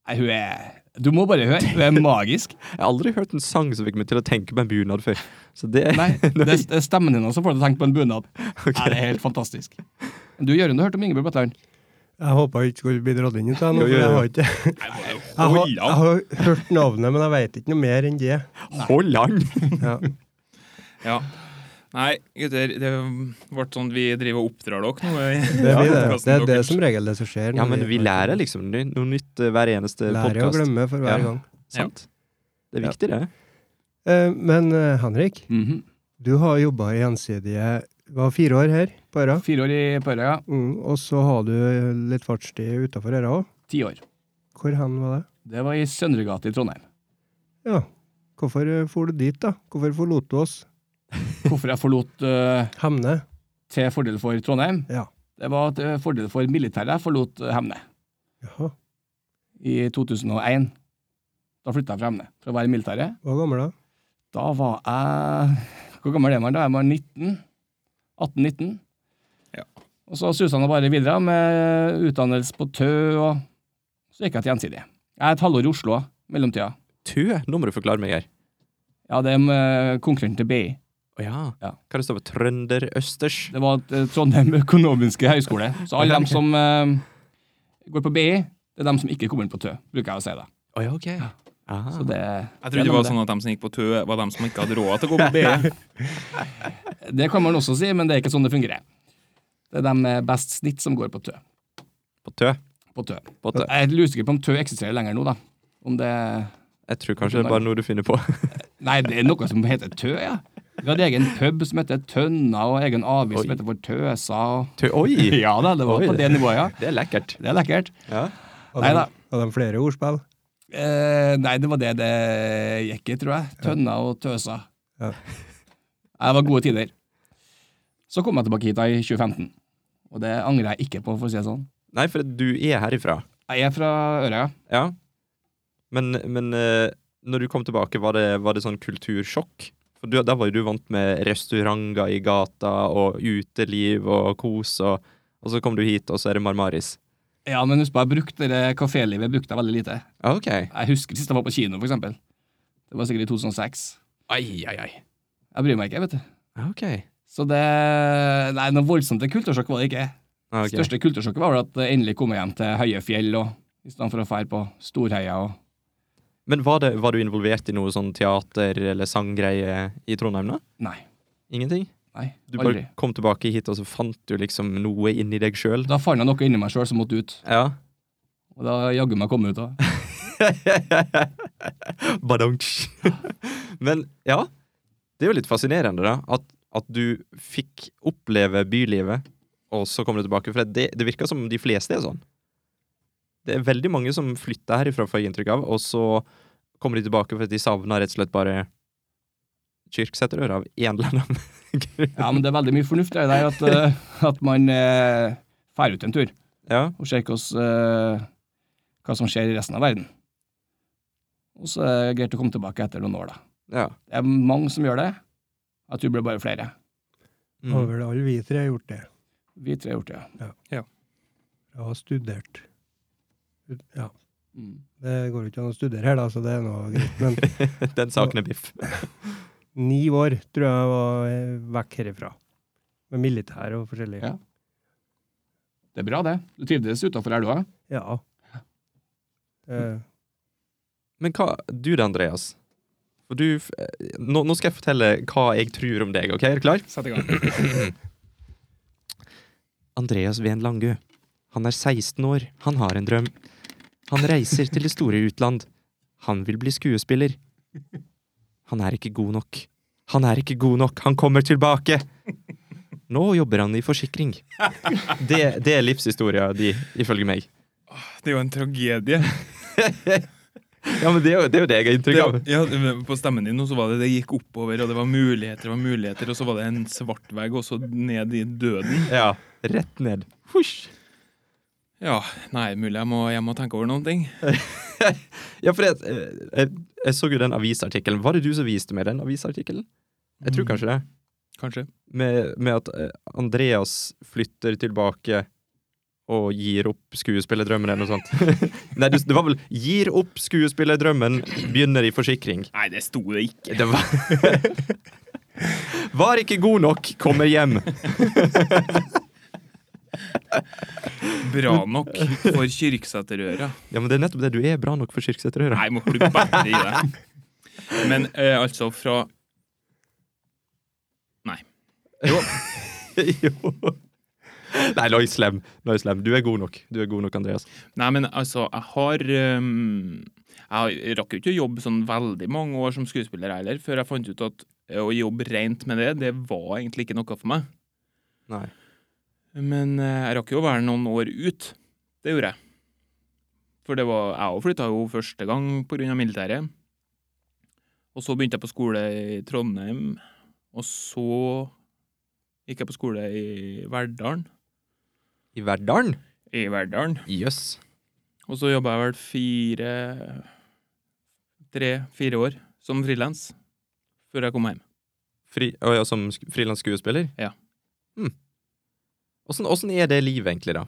D: Nei, hun er Du må bare høre. Hun er magisk.
B: Jeg har aldri hørt en sang som fikk meg til å tenke på en bunad før. Så det
D: Nei, det, det er stemmen hennes som får deg til å tenke på en bunad. Nei, det er helt fantastisk. Du, Jørund, du hørte om Ingebjørg Bratland?
A: Jeg håpa jeg ikke skulle bli dratt inn i det. nå,
B: Jo,
A: for
B: jo,
A: Jeg
B: jo.
A: har ikke
C: Jeg
A: Jeg har,
C: holder
A: jeg
C: av.
A: har hørt navnet, men jeg vet ikke noe mer enn det.
B: Hold an!
A: Ja.
C: Ja. Nei, gutter, det ble sånn at vi driver og oppdrar dere nå. i
A: Det blir det.
C: podcasten
A: Det er det
C: deres.
A: som regel det som skjer.
B: Ja,
A: når
B: men vi lærer liksom ny- noe nytt eh, hver eneste
A: Lærer å
B: podkast.
A: glemme for hver
B: Ja.
A: gang.
B: Sant? Det er viktig, det.
A: Eh, men eh, Henrik,
D: Mhm.
A: du har jobba i Gjensidige var fire år her på Øra.
D: Fire år i Pøra, ja.
A: Mm, og så har du litt fartstid utafor Øra òg.
D: Ti år.
A: Hvor hen var det?
D: Det var i Søndregata i Trondheim.
A: Ja. Hvorfor eh, for du dit, da? Hvorfor forlot du oss?
D: Hvorfor jeg forlot eh,
A: Hemne?
D: til fordel for Trondheim?
A: Ja.
D: Det var til fordel for militæret jeg forlot eh, Hemne.
A: Jaha.
D: i 2001. Da flytta jeg fra Emne for å være i militæret.
A: Hva gammel da?
D: Da var jeg Hvor gammel er man da? Er man 19? 18-19?
C: Ja.
D: Og så susa han bare videre med utdannelse på Tø, og så gikk jeg til Gjensidige. Jeg er et halvår i Oslo mellomtida.
B: Tø? Nå må du forklare meg her.
D: Ja, det er med konkurrenten til BI.
B: Å ja.
D: Ja.
B: Hva det står for Trønder Østers?
D: Det var et, eh, Trondheim økonomiske høgskole. Så alle dem som eh, går på BI, det er dem som ikke kommer inn på Tø, bruker jeg å si. da.
B: Å ja, ok. Ah.
D: Så det,
C: Jeg trodde det var sånn at de som gikk på Tø, var de som ikke hadde råd til å gå på BI.
D: det kan man også si, men det er ikke sånn det fungerer. Det er dem med best snitt som går på Tø.
B: På Tø.
D: På tø.
B: På tø.
D: Jeg er litt usikker på om Tø eksisterer lenger nå, da. Om det
B: Jeg tror kanskje det er bare noe du finner på.
D: Nei, det er noe som heter Tø, ja. Vi hadde egen pub som heter Tønna, og egen avis som
B: Oi.
D: heter For Tøsa. og-
B: Tø, oi!
D: Ja da, det var
B: Oi,
D: på
B: det-
D: det nivået, ja.
B: Det er lekkert.
D: Det er lekkert.
B: Ja.
A: Hadde
D: Neida.
A: de- Hadde de flere ordspill?
D: Eh, nei, det var det det gikk i, tror jeg. Tønna og Tøsa.
A: Ja.
D: Nei, Det var gode tider. Så kom jeg tilbake hit da i 2015, og det angrer jeg ikke på, for å si det sånn.
B: Nei, for du er herifra.
D: Jeg er fra Ørøya.
B: Ja. Men, men eh, når du kom tilbake, var det, var det sånn kultursjokk? For du, Da var jo du vant med restauranter i gata og uteliv og kos, og, og så kom du hit, og så er det Marmaris.
D: Ja, men husk på, jeg brukte det kafélivet brukte jeg veldig lite.
B: Ah, Ok.
D: Jeg husker sist jeg var på kino, for eksempel. Det var sikkert i 2006.
B: Ai, ai, ai.
D: Jeg bryr meg ikke, vet du.
B: Ah, Ok.
D: Så det Nei, noe voldsomt til kultursjokk var det ikke.
B: Ah, ok.
D: Største kultursjokket var vel at jeg endelig kom hjem til høye fjell, og, i stedet for å fære på Storheia og
B: Men var, det, var du involvert i noe sånn teater eller sanggreie i Trondheim da?
D: Nei.
B: Ingenting?
D: Nei,
B: Du
D: aldri.
B: bare kom tilbake hit, og så fant du liksom noe inni deg sjøl?
D: Da fant jeg noe inni meg sjøl som måtte ut,
B: Ja.
D: og da jaggu meg kom jeg ut av.
B: Badonk. Men ja, det er jo litt fascinerende, da. At, at du fikk oppleve bylivet, og så kommer du tilbake. For det, det virker som de fleste er sånn. Det er veldig mange som flytter herifra, får jeg inntrykk av, og så kommer de tilbake fordi de savner rett og slett bare Kyrksæterøra av en eller annen grunn.
D: Ja, men det er veldig mye fornuft i det der, at, eh, at man eh, fær ut en tur
B: Ja.
D: og ser hva, oss, eh, hva som skjer i resten av verden. Og så er det greit å komme tilbake etter noen år, da.
B: ja.
D: Det er mange som gjør det. Jeg tror det blir bare flere.
B: Mm.
A: Har vel alle vi tre gjort det?
D: Vi tre har gjort det, ja.
A: Jeg har studert. Ut- Ja.
D: Mm.
A: Det går jo ikke an å studere her, da, så det er nå greit. Men
B: Den saken er biff.
A: ni år tror jeg var eh, vekk herifra. Med militær og forskjellig.
D: Ja. Det er bra, det. Du trivdes utafor her, du òg?
A: Ja. Eh,
B: Men hva Du da, Andreas? For du f- nå, nå skal jeg fortelle hva jeg tror om deg, OK? Er du klar?
C: Sett i gang.
B: Andreas Ven Langu. Han er 16 år, han har en drøm. Han reiser til det store utland. Han vil bli skuespiller. Han er ikke god nok. Han er ikke god nok, han kommer tilbake! Nå jobber han i forsikring. Det, det er livshistoria di, ifølge meg.
C: Det er jo en tragedie.
B: Ja, men det er jo det, er jo det jeg har inntrykk av.
C: Det- ja, men på stemmen din nå så var det det gikk oppover, og det var muligheter og muligheter, og så var det en svart vegg, og så ned i døden.
B: Ja, rett ned. Husj.
C: Ja, nei, mulig jeg må, jeg må tenke over noen ting.
B: Ja, for jeg, jeg, jeg så jo den avisartikkelen. Var det du som viste meg den avisartikkelen? Jeg tror kanskje det.
C: Kanskje.
B: med, med at eh, Andreas flytter tilbake og gir opp skuespillerdrømmen eller noe sånt. Nei, det det var vel 'gir opp skuespillerdrømmen, begynner i forsikring'.
C: Nei, det sto det ikke.
B: Det var Var ikke god nok, kommer hjem.
C: Bra nok for Kyrksæterøra.
B: Ja, men Det er nettopp det. Du er bra nok for Kirksæterøra.
C: Nei, må du bare gi deg. Men eh, altså, fra Nei.
B: jo. Nei, nå er jeg slem. Nå er jeg slem. Du er god nok, Du er god nok, Andreas.
C: Nei, men altså, jeg har ehm, Jeg rakk jo ikke å jobbe sånn veldig mange år som skuespiller heller, før jeg fant ut at eh, å jobbe rent med det, det var egentlig ikke noe for meg.
B: Nei.
C: Men eh, jeg rakk jo å være noen år ut. Det gjorde jeg. For det var, jeg òg flytta jo første gang pga. militæret. Og så begynte jeg på skole i Trondheim. Og så gikk jeg på skole i Verdalen.
B: I Verdalen?
C: I Verdalen.
B: Jøss.
C: Og så jobba jeg vel fire Tre-fire år som frilans før jeg kom hjem.
B: Fri, å ja, som sk- frilans skuespiller?
C: Ja.
B: Hmm. Åssen åssen er det livet, egentlig, da?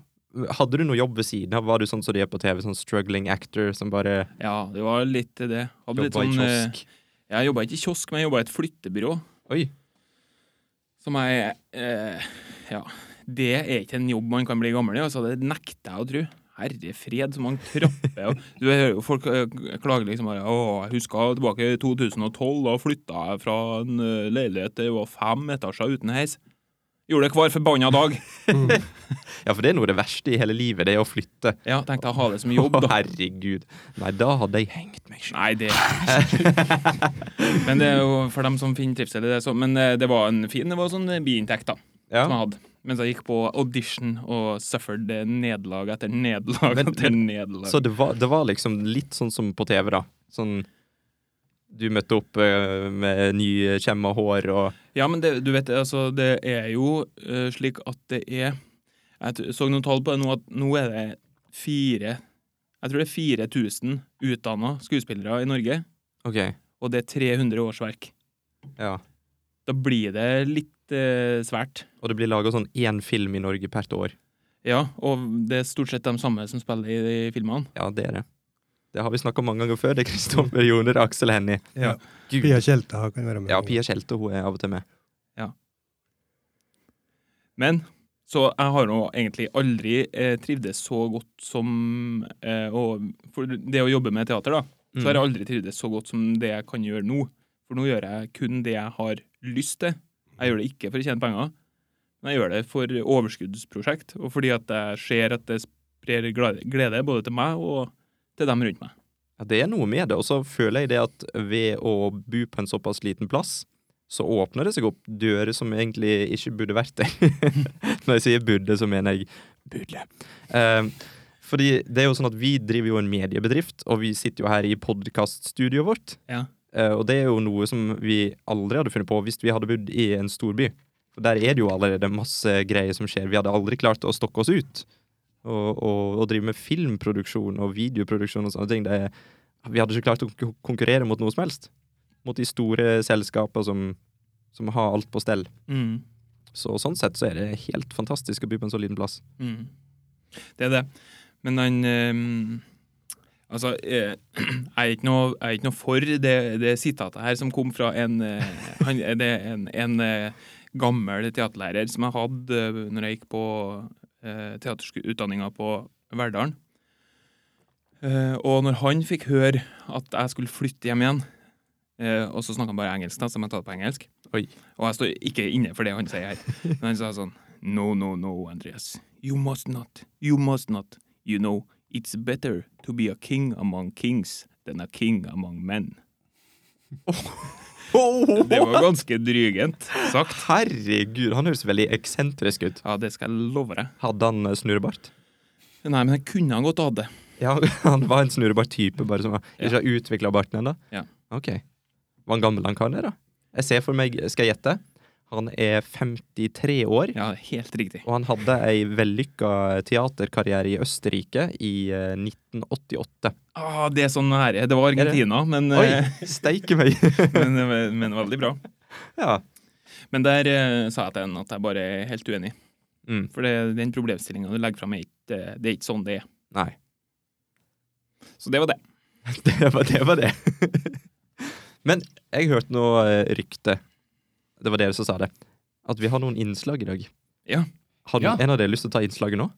B: Hadde du noe jobb ved siden av? Var du sånn som de er på TV, sånn struggling actor som bare
C: Ja, det var litt det. Hadde litt
B: jobba i
C: sånn, eh,
B: kiosk?
C: Jeg jobba ikke i kiosk, men jeg jobba i et flyttebyrå.
B: Oi.
C: Som jeg eh, Ja, det er ikke en jobb man kan bli gammel i. Altså, det nekter jeg å tro. Herre fred, så mange trapper og du hører jo Folk eh, klager liksom bare Å, jeg husker tilbake i 2012, da flytta jeg fra en eh, leilighet det var fem etasjer uten heis. Gjorde det hver forbanna dag.
B: Ja, for det er noe av det verste i hele livet, det er å flytte.
C: Ja, tenkte jeg ha det som jobb,
B: Å,
C: da.
B: herregud. Nei, da hadde jeg hengt meg sjøl.
C: Nei, det Men det er jo for dem som finner trivsel i det, så. Men eh, det var en fin Det var sånn eh, biinntekt, da. som
B: Ja.
C: jeg hadde. Mens jeg gikk på audition og suffered eh, nederlag etter nederlag
B: Men-
C: etter nederlag.
B: Så det var, det var liksom litt sånn som på TV, da. Sånn Du møtte opp eh, med nykjemma hår og
C: Ja, men det, du vet, altså, det er jo eh, slik at det er Jeg t- så noen tall på det nå, at nå er det fire Jeg tror det er 4000 utdanna skuespillere i Norge,
B: OK.
C: og det er 300 årsverk.
B: Ja.
C: Da blir det litt eh, svært.
B: Og det blir laga sånn én film i Norge hvert år.
C: Ja, og det er stort sett de samme som spiller i de filmene.
B: Ja, det er det. Det har vi snakka om mange ganger før. Det er Kristoffer Joner og Aksel Hennie.
A: Ja.
B: Gud.
A: Pia Tjelta kan være med.
B: Ja, Pia Kjelte hun er av og til med.
C: Men så jeg har nå egentlig aldri eh, trivdes så godt som eh, å, For det å jobbe med teater, da, så har jeg aldri trivdes så godt som det jeg kan gjøre nå. For nå gjør jeg kun det jeg har lyst til. Jeg gjør det ikke for å tjene penger, men jeg gjør det for overskuddsprosjekt, og fordi at jeg ser at det sprer glede glede både til meg og til dem rundt meg.
B: Ja, det er noe med det. Og så føler jeg det at ved å bo på en såpass liten plass, så åpner det seg opp dører som egentlig ikke burde vært der. Når jeg sier burde, så mener jeg burde. Eh, fordi det er jo sånn at vi driver jo en mediebedrift, og vi sitter jo her i podkaststudioet vårt.
C: Ja.
B: Eh, og det er jo noe som vi aldri hadde funnet på hvis vi hadde bodd i en storby. For der er det jo allerede masse greier som skjer. Vi hadde aldri klart å stokke oss ut. Og, og, og drive med filmproduksjon og videoproduksjon og sånne ting. Det, er- vi hadde ikke klart å kon- konkurrere mot noe som helst. Mot de store selskapene som, som har alt på stell.
C: Mm.
B: Så sånn sett så er det helt fantastisk å bo på en så liten plass.
C: Mm. Det er det. Men han ehm, Altså, eh, jeg er ikke noe, jeg er ikke noe for det, det sitatet her som kom fra en, eh, han, det er en, en eh, gammel teaterlærer som jeg hadde eh, når jeg gikk på eh, teaterutdanninga på Verdalen. Eh, og når han fikk høre at jeg skulle flytte hjem igjen, eh, og så snakka han bare engelsk, da, så jeg må ta det på engelsk.
B: Oi.
C: Og jeg står ikke inne for det han sier her. Men han sa sånn No, no, no, Andreas. You must not. You must not. You know, it's better to be a king among kings than a king among men. Det var ganske drygent sagt.
B: Herregud, han høres veldig eksentrisk ut.
C: Ja, det skal jeg love deg.
B: Hadde han eh, snurrebart?
C: Nei, men jeg kunne han godt hatt det.
B: Ja, han var en snurrebart-type, bare som ikke har utvikla barten ennå.
C: Ja.
B: Ok. Hvor gammel han kan er, da? Jeg ser for meg, skal jeg gjette, han er 53 år.
C: Ja, helt riktig.
B: Og han hadde ei vellykka teaterkarriere i Østerrike i eh, 1988.
C: Ah, det er sånn her. Det var
B: det?
C: Argentina, men,
B: Oi!
C: eh,
B: Steike meg!
C: men, men, men veldig bra.
B: ja.
C: Men der eh, sa jeg til henne at jeg bare er helt uenig.
B: Mm.
C: For det, den problemstillinga du legger fram, er ikke, eh, det er ikke sånn det er.
B: Nei.
C: Så det var det.
B: Det var det. Var det. Men jeg hørte noe eh, rykte. Det var dere som sa det. At vi har noen innslag i dag.
C: Ja.
B: Har noen,
D: Ja.
B: en av dere lyst til å ta innslaget nå?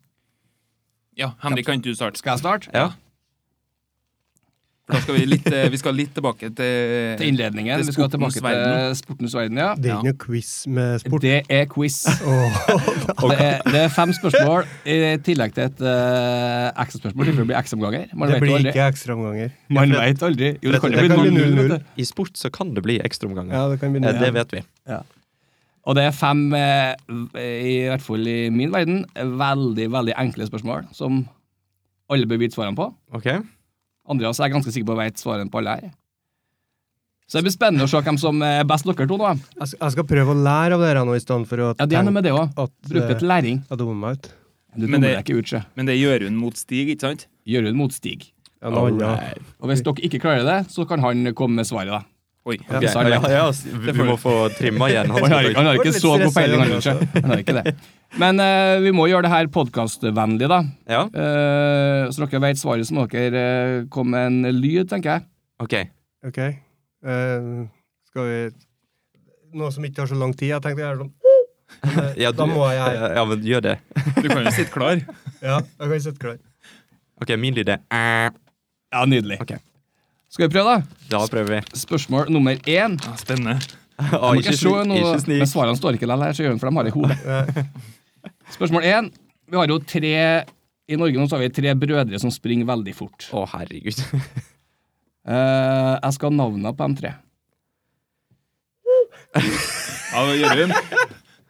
C: Ja, Henrik, kan ikke du starte?
D: Skal jeg starte?
B: Ja.
C: For da skal vi litt, eh, vi skal litt tilbake til
D: Til innledningen.
C: Til
D: Vi skal tilbake
C: sportens
D: til
C: verden.
D: sportens verden, ja.
A: Det er ikke noe quiz med sport.
D: Det er quiz.
A: Åh.
D: Det er, det er fem spørsmål i tillegg til et uh, ekstraspørsmål. Det blir ekstraomganger. Man
A: Det
D: vet jo
A: blir
D: aldri.
A: ikke ekstraomganger.
D: Man vet aldri. Jo, det kan jo
A: Det
D: bli
A: kan bli
D: 0-0. vet
A: 0-0.
D: du.
B: I sport så kan det bli ekstraomganger.
A: Ja, det kan bli
B: Eh, Det
A: null.
B: vet vi.
D: Og det er fem, eh, i hvert fall i min verden, veldig veldig enkle spørsmål som alle bør vite svarene på.
B: Ok?
D: Andreas er jeg ganske sikker på vet svarene på alle her. Så det blir spennende å se hvem som er best dere to. da.
A: Jeg skal- Jeg skal prøve å lære av dere nå, i stedet for å
D: Ja, Det er noe med det òg.
A: at
D: Bruke
A: eh,
D: til læring.
A: jeg dummer meg ut.
D: Du
C: Men
D: dummer deg
C: det-
D: ikke ut, sjø.
C: Men det er Jørund mot Stig, ikke sant?
D: Jørund mot Stig.
A: En annen.
D: Og hvis dere ikke klarer det, så kan han komme med svaret, da.
C: Oi.
B: Ok,
D: så er det
B: ja,
D: lett.
B: ja, s- vi må få trimma igjen. Han
D: Han har,
B: skal
D: ikke- han har ikke
A: Litt
D: så god
A: stressa,
D: peiling, han
A: Jørund,
D: ikke. Han har ikke det. Men eh, vi må gjøre det her podkastvennlig, da.
B: Ja,
D: Eh, så dere vet svaret, så må dere eh, komme med en lyd, tenker jeg.
B: ok.
A: Ok. Eh, skal vi Noe som ikke tar så lang tid. Jeg tenkte jeg gjør sånn. Men, eh,
B: Ja,
A: Da
B: du-
A: må jeg her.
B: Ja, men gjør det.
C: Du kan jo sitte klar.
A: Ja, jeg kan sitte klar.
B: Ok, min lyd er "Æ".
D: Ja, nydelig.
B: Ok.
D: Skal vi prøve, da?
B: Da prøver vi.
D: Spørsmål nummer én.
C: Ja, spennende.
B: Å,
D: Jeg må
B: ikke
D: ikke se
B: snik.
D: noe,
B: Ikke
D: men
B: snik.
D: svarene står ikke likevel her, så gjør den for de har det i hodet.
A: Eh,
D: Spørsmål én. Vi har jo tre I Norge nå så har vi tre brødre som springer veldig fort.
B: Å, herregud.
D: Eh, jeg skal ha navnene på de tre.
C: Ja, Jørund.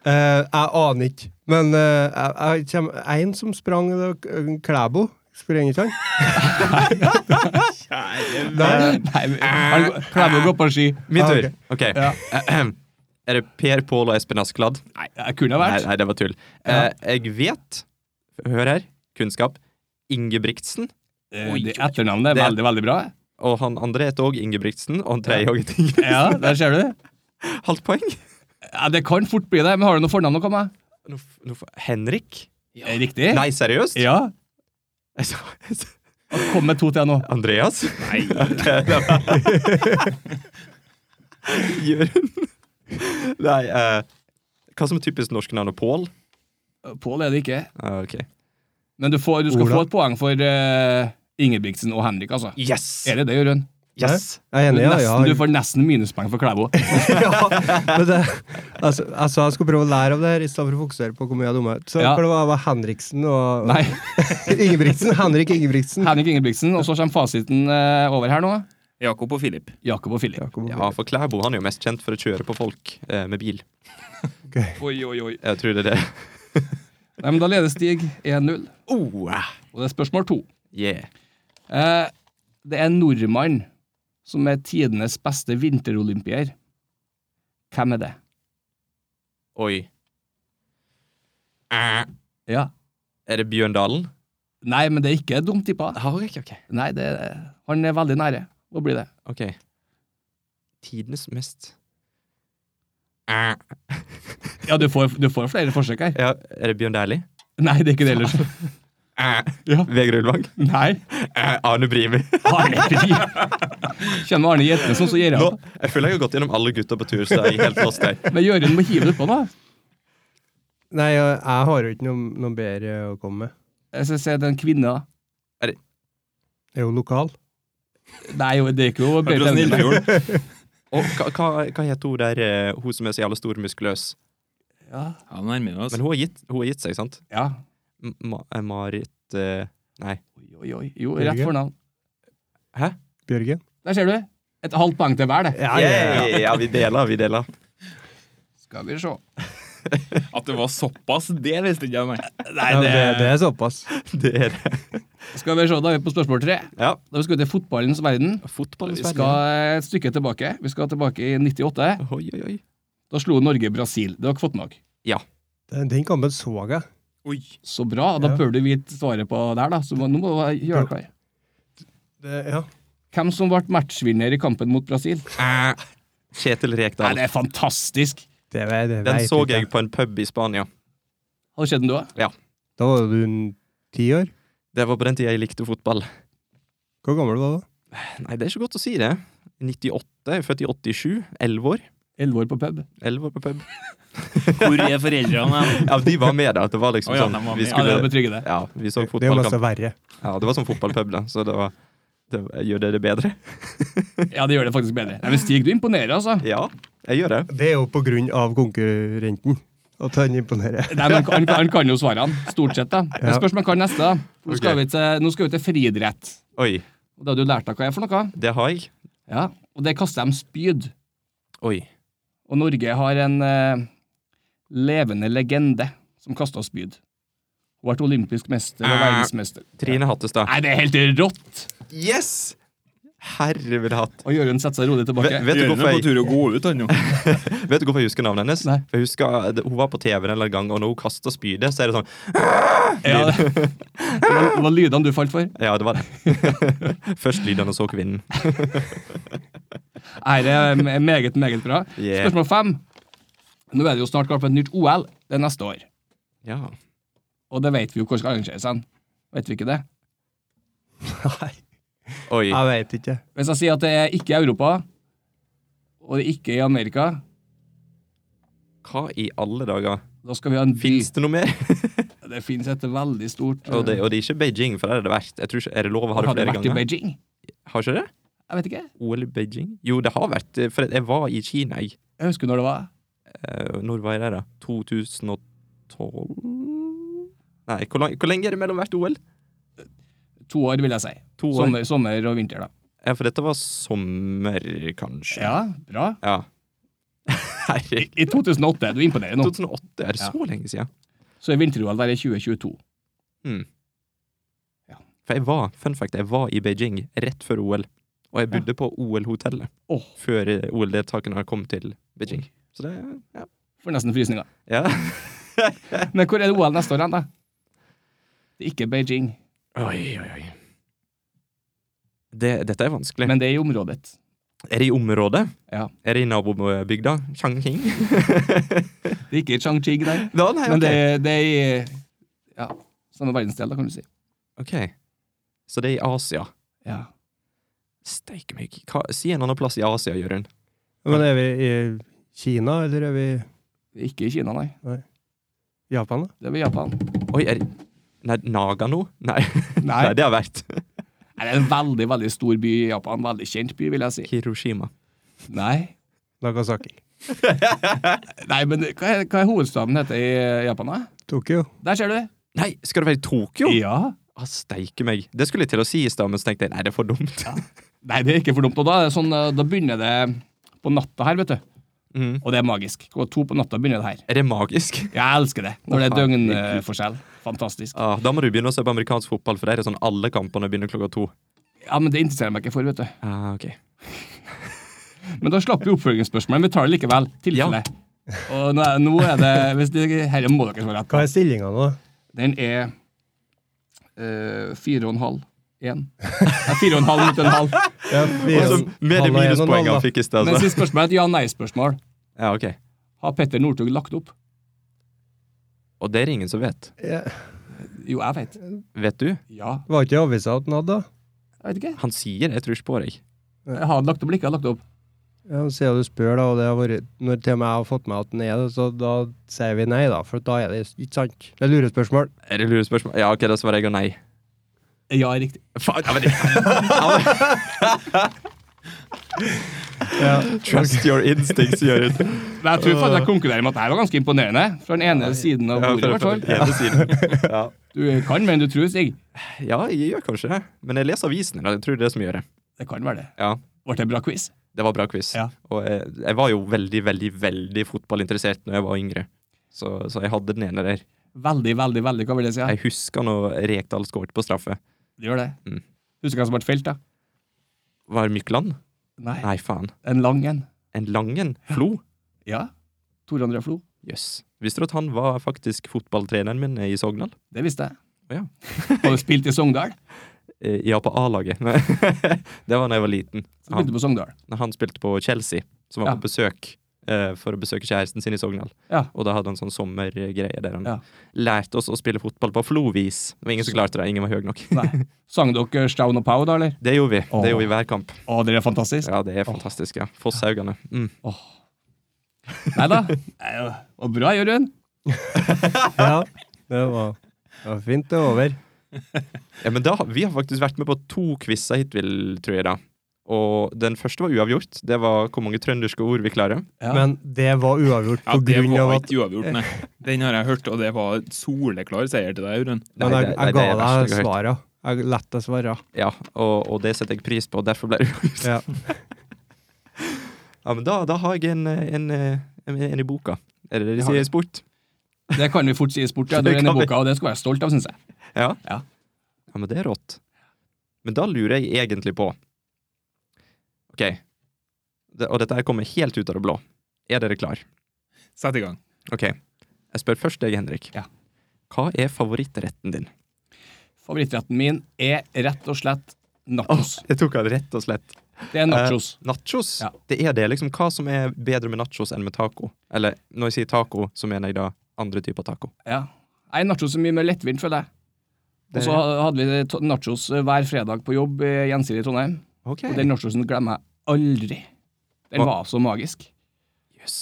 A: eh, jeg aner ikke. Men eh, jeg, jeg kommer en som sprang det var Klæbo. Springer ikke han? Der.
D: Nei, men- han Klæbo går på ski.
B: Min
A: Ah,
B: tur.
A: ok.
B: Ok.
D: Ja.
B: Ahem. Er det Per, Pål og Espen Askeladd?
D: Nei, jeg kunne ha
B: Nei,
D: vært.
B: nei, det var tull.
D: Ja.
B: Eh, jeg vet Hør her. Kunnskap. Ingebrigtsen.
D: Eh, det Etternavnet er veldig, veldig bra.
B: Og han andre heter òg Ingebrigtsen, og han tredje òg heter Ingebrigtsen.
D: Ja, der ser du.
B: Halvt poeng.
D: Ja, det kan fort bli det, men har du noe fornavn å komme med?
B: Nå f- nå f- Henrik?
D: Eh, Riktig?
B: Nei, seriøst?
D: Ja.
B: Jeg sa- jeg sa-
D: Kom med to til nå.
B: Andreas?
C: Nei.
B: Jørund? Nei, eh, hva som er typisk norske navn? Pål?
D: Pål er det ikke.
B: Ah, ok.
D: Men du, får, du skal
A: Ola.
D: få et poeng for eh, Ingebrigtsen og Henrik, altså.
B: Yes!
D: Er det det, Jørund?
B: Yes!
A: Jeg er enig, ja. ja.
D: Nesten, du får nesten minuspoeng for Klæbo.
A: ja, men det, altså, jeg sa jeg skulle prøve å lære av det her i stedet for å fokusere på hvor mye jeg er dumme. Så
D: Ja.
A: for det var, var Henriksen og
D: Nei,
A: Ingebrigtsen. Henrik Ingebrigtsen.
D: Henrik Ingebrigtsen, og så kommer fasiten eh, over her nå.
C: Jakob og Filip.
D: Jakob og Filip.
A: Jakob og
B: Ja, for Klæbo han er jo mest kjent for å kjøre på folk eh, med bil.
A: Ok.
D: Oi, oi, oi.
B: Jeg tror det er det.
D: Nei, men da leder Stig 1-0,
B: Oh,
D: og det er spørsmål to.
B: yeah.
D: Eh, det er en nordmann som er tidenes beste vinterolympier. Hvem er det?
B: Oi. Eh,
D: Ja.
B: Er det Bjørndalen?
D: Nei, men det er ikke dumt tippa.
B: Ah, ok, ok.
D: Nei, det, han er veldig nære å bli det.
B: Ok. Tidenes mest Eh,
D: Ja, du får, du får flere forsøk her.
B: ja, Er det Bjørn Dæhlie?
D: Nei, det er ikke det ellers.
B: Eh,
D: Ja.
B: Vegard Ulvang?
D: Nei.
B: Eh, Arne Brimi?
D: Arne Fri. Kjenner Arne Gjetnesen, så gir jeg
B: Nå,
D: opp.
B: jeg føler jeg har gått gjennom alle gutta på tur, så jeg er helt lost her.
D: Men Jørund må hive det utpå, da.
A: Nei, jeg, jeg har jo ikke noe, noe bedre å komme med.
D: Jeg skal si det er en kvinne, da.
A: Jeg er jo lokal.
D: Nei, jo, det er ikke jo
C: Fra
D: bedre enn det.
C: Snillfjord.
B: Og hva, hva, hva heter hun der, eh, hun som er så jævla stor og muskuløs?
D: Ja.
C: Ja, nå nærmer vi oss.
B: Men hun har gitt, hun har gitt seg, sant?
D: ja.
B: M- Ma, eh, Marit eh, Nei.
D: Oi, oi, oi. Jo, rett fornavn.
B: Hæ?
A: Bjørgen.
D: Der ser du. Et halvt poeng til hver, det.
A: Ja, ja, ja.
B: Yay! Ja, vi deler, vi deler.
D: Skal vi se.
C: At det var såpass, det visste ikke jeg, nei.
A: Ja, men det, det er såpass.
B: Det er det.
D: Skal vi se, da er vi på spørsmål tre.
B: Ja.
D: Da vi skal vi til fotballens verden.
B: Fotball i
D: Vi
B: Sverige.
D: skal et stykke tilbake. Vi skal tilbake i 98.
B: Oi, oi, oi.
D: Da slo Norge Brasil. Det har dere fått med dere.
A: Den, den kampen så jeg.
C: Oi.
D: Så bra. Da
A: Ja.
D: bør du vite svaret på det her, da. Så nå må du gjøre det klar.
A: Det, ja.
D: Hvem som ble matchvinner i kampen mot Brasil?
B: Eh, Kjetil
D: Nei,
B: Rekdal.
D: det er fantastisk!
A: det, vet- det
B: Den
A: vet
B: så
A: ikke
B: jeg på en pub i Spania.
D: Har du sett den, du òg?
A: Da var du en ti år.
B: Det var på den tida jeg likte fotball.
A: Hvor gammel var du da?
B: Nei, det er ikke godt å si det. 98. Jeg er født i 87. 11 år.
D: Elleve år på pub.
B: 11 år på pub.
C: Hvor er foreldrene?
B: Ja, de var med, da. Det var liksom
C: Å ja,
B: sånn
C: de var
B: vi
D: Ja,
C: med.
D: det
B: skulle,
D: betrygger det.
B: ja, vi så
A: Det er jo nesten
B: fotballkamp.
A: verre.
B: Ja, det var sånn fotballpub, da. Så det var det, Gjør det det bedre?
D: Ja, det gjør det faktisk bedre. Nei, men Stig, du imponerer, altså.
B: Ja, jeg gjør det.
A: Det er jo på grunn av konkurrenten at han imponerer.
D: Nei, men han, han, han kan jo svarene, stort sett. da. Det
A: Ja.
D: spørs om han kan neste. da. Nå skal,
B: Ok.
D: vi til, nå skal vi til friidrett.
B: Oi.
D: Og Det har du lært deg hva er for noe.
B: Det har jeg.
D: Ja, Og det kaster de spyd.
B: Oi.
D: Og Norge har en eh, levende legende som kaster spyd. Hun har vært olympisk mester og
B: Ah.
D: verdensmester.
B: Trine Hattestad.
D: Nei, det er helt rått!
B: Yes! Herre vil hatt.
D: Og Jørund setter seg rolig tilbake.
B: Ve- Vet du
C: Jørgen
B: hvorfor
C: er
B: jeg-
C: på tur å gå ut, han nå.
B: Vet du hvorfor jeg husker navnet hennes?
D: Nei.
B: For jeg husker, eh, det- Hun var på TV en eller annen gang, og når hun kasta spydet, så er det sånn
D: Ja, det, det var, det var lydene du falt for.
B: Ja, det var det. Først lydene, og så kvinnen.
D: Nei, det er me- meget, meget bra.
B: Yeah.
D: Spørsmål fem. Nå er det jo snart klart for et nytt OL det er neste år.
B: Ja.
D: Og det vet vi jo hvor skal arrangeres hen. Vet vi ikke det?
A: Nei,
B: Oi.
A: jeg vet ikke.
D: Hvis jeg sier at det er ikke i Europa, og det er ikke i Amerika,
B: Hva i alle dager?
D: da skal vi ha en by.
B: Fins det noe mer?
D: Det finnes et veldig stort
B: Og det, og det er ikke Beijing, for der er det verst. Jeg tror ikke, er det lov å ha det
D: Har det
B: flere
D: vært i
B: ganger?
D: Beijing?
B: Har ikke det?
D: Jeg vet ikke.
B: OL i Beijing? Jo, det har vært. eh, For jeg var i Kina, jeg.
D: Jeg husker når det var.
B: Eh, Når var jeg der, da? 2012? Nei, hvor, lang, hvor lenge er det mellom hvert OL?
D: To år, vil jeg si.
B: To år?
D: Sommer, sommer og vinter, da.
B: Ja, for dette var sommer, kanskje.
D: Ja, bra.
B: ja. Herregud.
D: I 2008, du imponerer nå,
B: 2008, er det
D: Ja.
B: så lenge siden?
D: så er vinter-OL der i 2022.
B: For jeg var, fun fact, jeg var i Beijing rett før OL. Og jeg bodde på OL-hotellet
D: Åh,
B: før eh, OL-deltakerne kom til Beijing. Så det Ja.
D: får nesten frysninger.
B: ja.
D: Men hvor er det OL neste år hen, da? Det er ikke Beijing,
B: Oi, oi, oi. Det, dette er vanskelig.
D: men det er i området.
B: er det i området?
D: Ja.
B: Er det i nabobygda? Changqing?
D: Det er ikke i Changchig der,
B: da, nei,
D: men
B: ok.
D: det, er- det er i ja, samme verdensdel, da, kan du si.
B: ok. Så det er i Asia.
D: Ja.
B: Steike meg. Hva- Si en annen plass i Asia, Jørund.
A: Men er vi i Kina, eller er vi i
D: Det er ikke i Kina, nei.
A: Japan, da?
D: Det er i Japan.
B: Oi, er det Nei, Nagano? Nei,
D: Nei,
B: nei det har vært
D: det er en veldig, veldig stor by i Japan. Veldig kjent by, vil jeg si.
B: Hiroshima.
D: Nei,
A: Nagasaki.
D: nei men hva er, hva er hovedstaden heter i Japan, da?
A: Tokyo.
D: Der ser du.
B: Nei, skal det være i Tokyo?
D: Ja.
B: Ah, steike meg. Det skulle jeg til å si i stad, men så tenkte jeg nei, det er for dumt.
D: Nei, det er ikke for dumt. Og da, er det sånn, eh, da begynner det på natta her, vet du.
B: Mm.
D: Og det er magisk. Klokka to på natta begynner det her.
B: Er det magisk?
D: Jeg elsker det. Når det er
B: Å, herregud.
D: døgnforskjell. Fantastisk.
B: Ah, da må du begynne å se på amerikansk fotball, for der er sånn alle kampene begynner klokka to.
D: Ja, men Det interesserer jeg meg ikke for. vet du
B: Ah, ok.
D: Men da slapp vi oppfølgingsspørsmålet. Vi tar det likevel. Tilfelle. Og nå er, nå er det hvis det, Herre må dere svare rett.
A: Hva
D: på.
A: er stillinga nå?
D: Den er øh, fire og en halv. Én. Ja, fire og en halv mot en halv.
A: Ja, vi er
B: Og så
A: jo-
B: Altså, med
A: halv
B: de
A: og en og en halv,
B: minuspoengene
A: da.
B: han fikk i sted,
D: Men
B: så.
D: siste spørsmål er et ja-nei-spørsmål.
B: Ja, ok.
D: Har Petter Northug lagt opp?
B: Og det er det ingen som vet.
A: Ja.
D: Jo, jeg vet.
B: Vet du?
D: Ja.
A: Var ikke i avisa at han hadde, da?
D: Jeg vet ikke.
B: Han sier det, jeg tror ikke på deg.
D: Jeg har han lagt opp eller ikke. Jeg har lagt opp.
A: Ja, Siden du spør, da, og det har vært, når til og med jeg har fått med at den er det, så da sier vi nei, da. For da er det ikke sant. Det er lurespørsmål.
B: Er det lurespørsmål? Ja, ok, da svarer jeg og nei.
D: Ja, riktig.
B: Faen, ja, men det-
A: Ja.
B: Trust your instincts, Jørund.
D: Men jeg tror faktisk jeg konkluderer med at det her var ganske imponerende. Fra den ene siden av
B: Ja,
D: bordet, i hvert
B: for-
D: fall.
B: for- ene siden. Ja.
D: Du kan, men du tror, Stig.
B: ja, jeg gjør kanskje det. Men jeg leser avisene. da. Jeg tror det er det som gjør det.
D: Det kan være det.
B: Ja,
D: Ble det en bra quiz?
B: Det var bra quiz.
D: Ja.
B: Og jeg, jeg var jo veldig, veldig veldig fotballinteressert når jeg var yngre. Så, så jeg hadde den ene der.
D: Veldig, veldig, veldig, hva vil det si?
B: Jeg husker når Rekdal skåret på straffe.
D: Det gjør det.
B: Mm.
D: Husker du hva som ble felt, da?
B: Var det Mykland?
D: Nei,
B: Nei, faen.
D: en lang en.
B: En Langen? Flo?
D: Ja. Tor André Flo.
B: Jøss. Yes. Visste du at han var faktisk fotballtreneren min i Sogndal?
D: Det visste jeg.
B: Å, ja.
D: Hadde spilt i Sogndal.
B: Eh, Ja, på A-laget. Nei, det var da jeg var liten.
D: Så spilte du på Sogndal.
B: Når han spilte på Chelsea, som var
D: Ja.
B: på besøk eh, for å besøke kjæresten sin i Sogndal.
D: Ja.
B: Og da hadde han sånn sommergreie der han
D: Ja.
B: lærte oss å spille fotball på Flo-vis. Det var ingen som klarte det. Ingen var høy nok.
D: Nei. Sang dere Staun og Pau, da, eller?
B: Det gjorde vi.
D: Åh.
B: Det gjorde vi hver kamp.
D: Å, det er fantastisk.
B: Ja, det er fantastisk. ja. Fosshaugane. Mm.
D: Nei da. Nei, ja. Og bra, Jørund.
A: ja. Det var, det var fint, det er over.
B: Ja, men da, vi har faktisk vært med på to quizer hittil, tror jeg. da. Og den første var uavgjort. Det var hvor mange trønderske ord vi klarer.
D: Ja.
A: Men det var uavgjort på
C: Ja, det
A: grunn av
C: var
A: at
C: ikke uavgjort, nei. Den har jeg hørt, og det var et soleklar seier til deg, Jørund.
B: Nei,
A: Men jeg,
B: det- nei,
A: jeg
B: det er det
A: ga deg
B: verste jeg har hørt.
A: svara. Jeg lot deg svare.
B: Ja, og, og det setter jeg pris på, og derfor ble det uavgjort.
A: Ja.
B: Ja, men da, da har jeg en, en, en, en i boka. Er det det de
D: Ja.
B: sier i sport?
D: Det kan vi fort si i sport. Ja, du er
B: Det
D: inne
B: kan
D: i
B: vi.
D: boka, og det skal jeg være stolt av, syns jeg.
B: Ja.
D: Ja.
B: ja, men det er rått. Men da lurer jeg egentlig på OK, det, og dette her kommer helt ut av det blå. Er dere klar?
C: Sett i gang.
B: OK, jeg spør først deg, Henrik.
D: Ja.
B: Hva er favorittretten din?
D: Favorittretten min er rett og slett nachos.
B: Jeg tok den rett og slett.
D: Det er nachos.
B: Eh, nachos?
D: Ja.
B: Det er det. liksom Hva som er bedre med nachos enn med taco? Eller når jeg sier taco, så mener jeg da andre typer taco.
D: Ja. Nei, nachos er mye mer lettvint, føler jeg. Og
B: Eh. Det-
D: så hadde vi to- nachos eh, hver fredag på jobb i Gjensidige i Trondheim.
B: Ok,
D: Og den nachosen glemmer jeg aldri. Den
B: Hva?
D: var så magisk.
B: yes.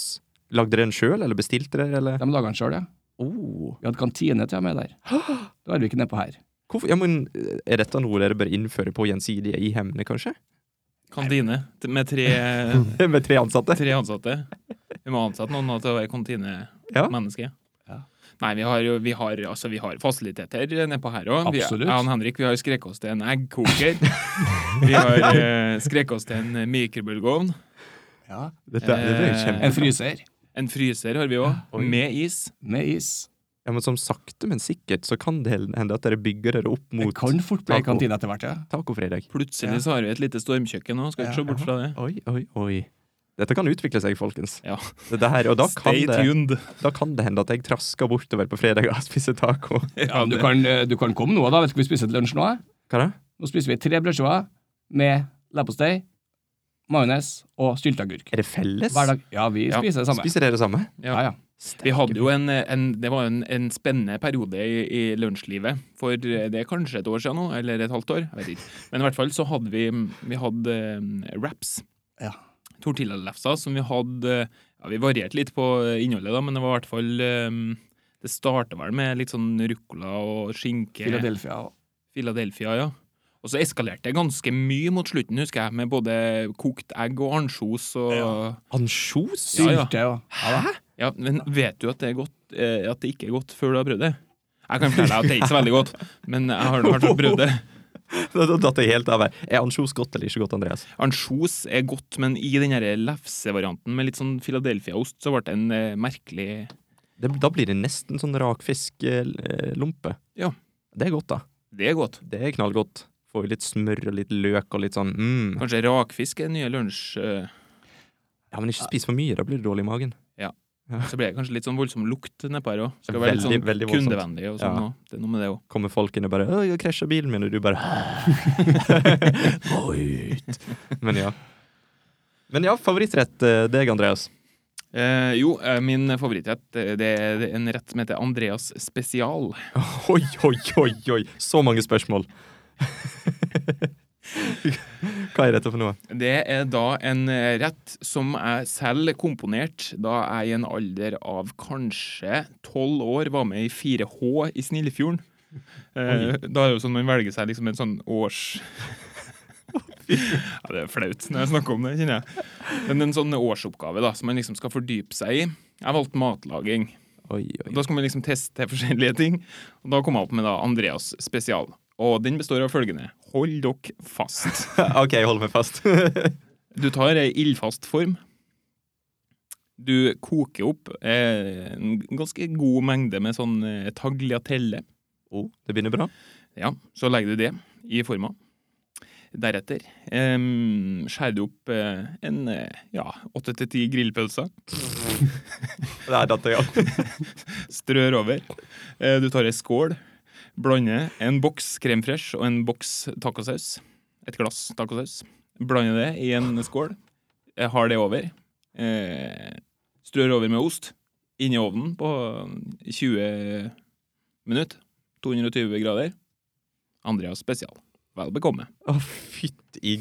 B: Lagde dere den sjøl, eller bestilte dere, eller?
D: De laga den sjøl, ja.
B: Oh.
D: Vi hadde kantine til og med der. Det har vi ikke nedpå her.
B: Hvorfor? Ja, men eh, Er dette noe dere bør innføre på Gjensidige i Hemne, kanskje?
C: Kantine t- med tre,
B: Med tre ansatte?
C: tre ansatte. Vi må ansette noen nå til å være
B: Ja.
C: kantinemenneske.
D: Ja.
C: Nei, vi har jo vi har, altså, vi har fasiliteter nedpå her òg.
D: Absolutt.
C: Jeg og Henrik vi har skreket oss til en eggkoker. vi har eh, skreket oss til en mikrobølgeovn.
B: Dette, dette er jo
C: Eh,
B: kjempe...
D: En fryser
C: En fryser har vi òg,
B: Oi.
C: med is.
D: med is.
B: Ja, men som Sakte, men sikkert så kan det hende at dere bygger dere opp
D: Det
B: mot
D: kan fort bli
B: taco.
D: kantine etter hvert, ja.
B: tacofredag.
C: Plutselig så har vi et lite stormkjøkken òg, skal ikke se bort fra det.
B: Oi, oi, oi. Dette kan utvikle seg, folkens.
C: Ja.
B: Dette her, og da kan,
C: Stay
B: det,
C: tuned.
B: da kan det hende at jeg trasker bortover på fredag og spiser taco.
D: ja men du, kan, eh, du kan komme nå, da. Vet du hva vi spiser til lunsj nå? eh?
B: Hva da?
D: Nå spiser vi tre brødskiver med leverpostei, majones og sylteagurk.
B: Er det felles?
D: Hver dag. Ja, vi
C: Ja,
D: spiser det samme.
B: Spiser dere det samme?
C: Ja.
D: Ja, ja.
C: Vi hadde jo en, en Det var jo en, en spennende periode i, i lunsjlivet. For det er kanskje et år siden nå, eller et halvt år. Jeg vet ikke. Men i hvert fall så hadde vi Vi hadde eh, wraps.
D: Ja.
C: Tortillalefser som vi hadde ja, Vi varierte litt på innholdet, da, men det var i hvert fall eh, Det starta vel med litt sånn ruccola og skinke.
D: Philadelphia og
C: Philadelphia, ja. Og så eskalerte det ganske mye mot slutten, husker jeg, med både kokt egg og ansjos og
B: Ansjos?
C: Ja, ja.
D: sylte og Hæ?
C: Ja, men vet du at det er godt eh, At det ikke er godt før du har prøvd det? Jeg kan fortelle deg at det er ikke så veldig godt, men jeg har har fått prøvd det.
B: Da da datt jeg helt av her. Er ansjos godt eller ikke godt, Andreas?
C: Ansjos er godt, men i den her lefsevarianten med litt sånn Philadelphia-ost, så ble det en eh, merkelig
B: Det, da blir det nesten sånn rakfisklompe.
C: Ja.
B: eh, Det er godt, da.
C: Det er godt.
B: Det er knallgodt. Får litt smør og litt løk og litt sånn mm.
C: Kanskje rakfisk er den nye lunsj... eh,
B: Ja, men ikke spis for mye, da blir du dårlig i magen.
C: Så blir det kanskje litt sånn voldsom lukt nedpå her òg. Skal være litt
B: Veldig,
C: sånn
B: veldig voldsomt.
C: kundevennlig og sånn
B: Ja.
C: også. Det er noe med det òg.
B: Kommer folkene bare 'Å, jeg krasja bilen min', og du bare Må ut. Men ja. Men ja, favorittrett eh, deg, Andreas.
C: Eh, jo, eh, min favorittrett eh, det er en rett som heter Andreas spesial.
B: Oi, oi, oi, oi! Så mange spørsmål. Hva er dette for noe?
C: Det er da en eh, rett som jeg selv komponerte da jeg i en alder av kanskje tolv år var med i 4H i Snillefjorden. Eh, da er det jo sånn man velger seg liksom en sånn års... ja, det er flaut når jeg snakker om det, kjenner jeg. Men en sånn årsoppgave da, som man liksom skal fordype seg i. Jeg valgte matlaging.
B: Oi,
C: Og
B: oi.
C: Da skal man liksom teste forskjellige ting. Og da kom jeg opp med da Andreas spesial. Og den består av følgende. Hold dere fast.
B: OK, hold meg fast.
C: Du tar ei ildfast form. Du koker opp eh, en ganske god mengde med sånn eh, tagliatelle.
B: oh, det begynner bra.
C: Ja, så legger du det i forma. Deretter eh, skjærer du opp eh, en eh, ja, åtte til ti grillpølser.
B: Der datt jeg av.
C: Strør over. Eh, du tar ei skål. Blander en boks krem fresh og en boks tacosaus. Et glass tacosaus. Blander det i en skål. Jeg har det over. Eh, strør over med ost. Inn i ovnen på 20 minutter. 220 grader. Andreas spesial. Vel bekomme.
B: Å, fytt i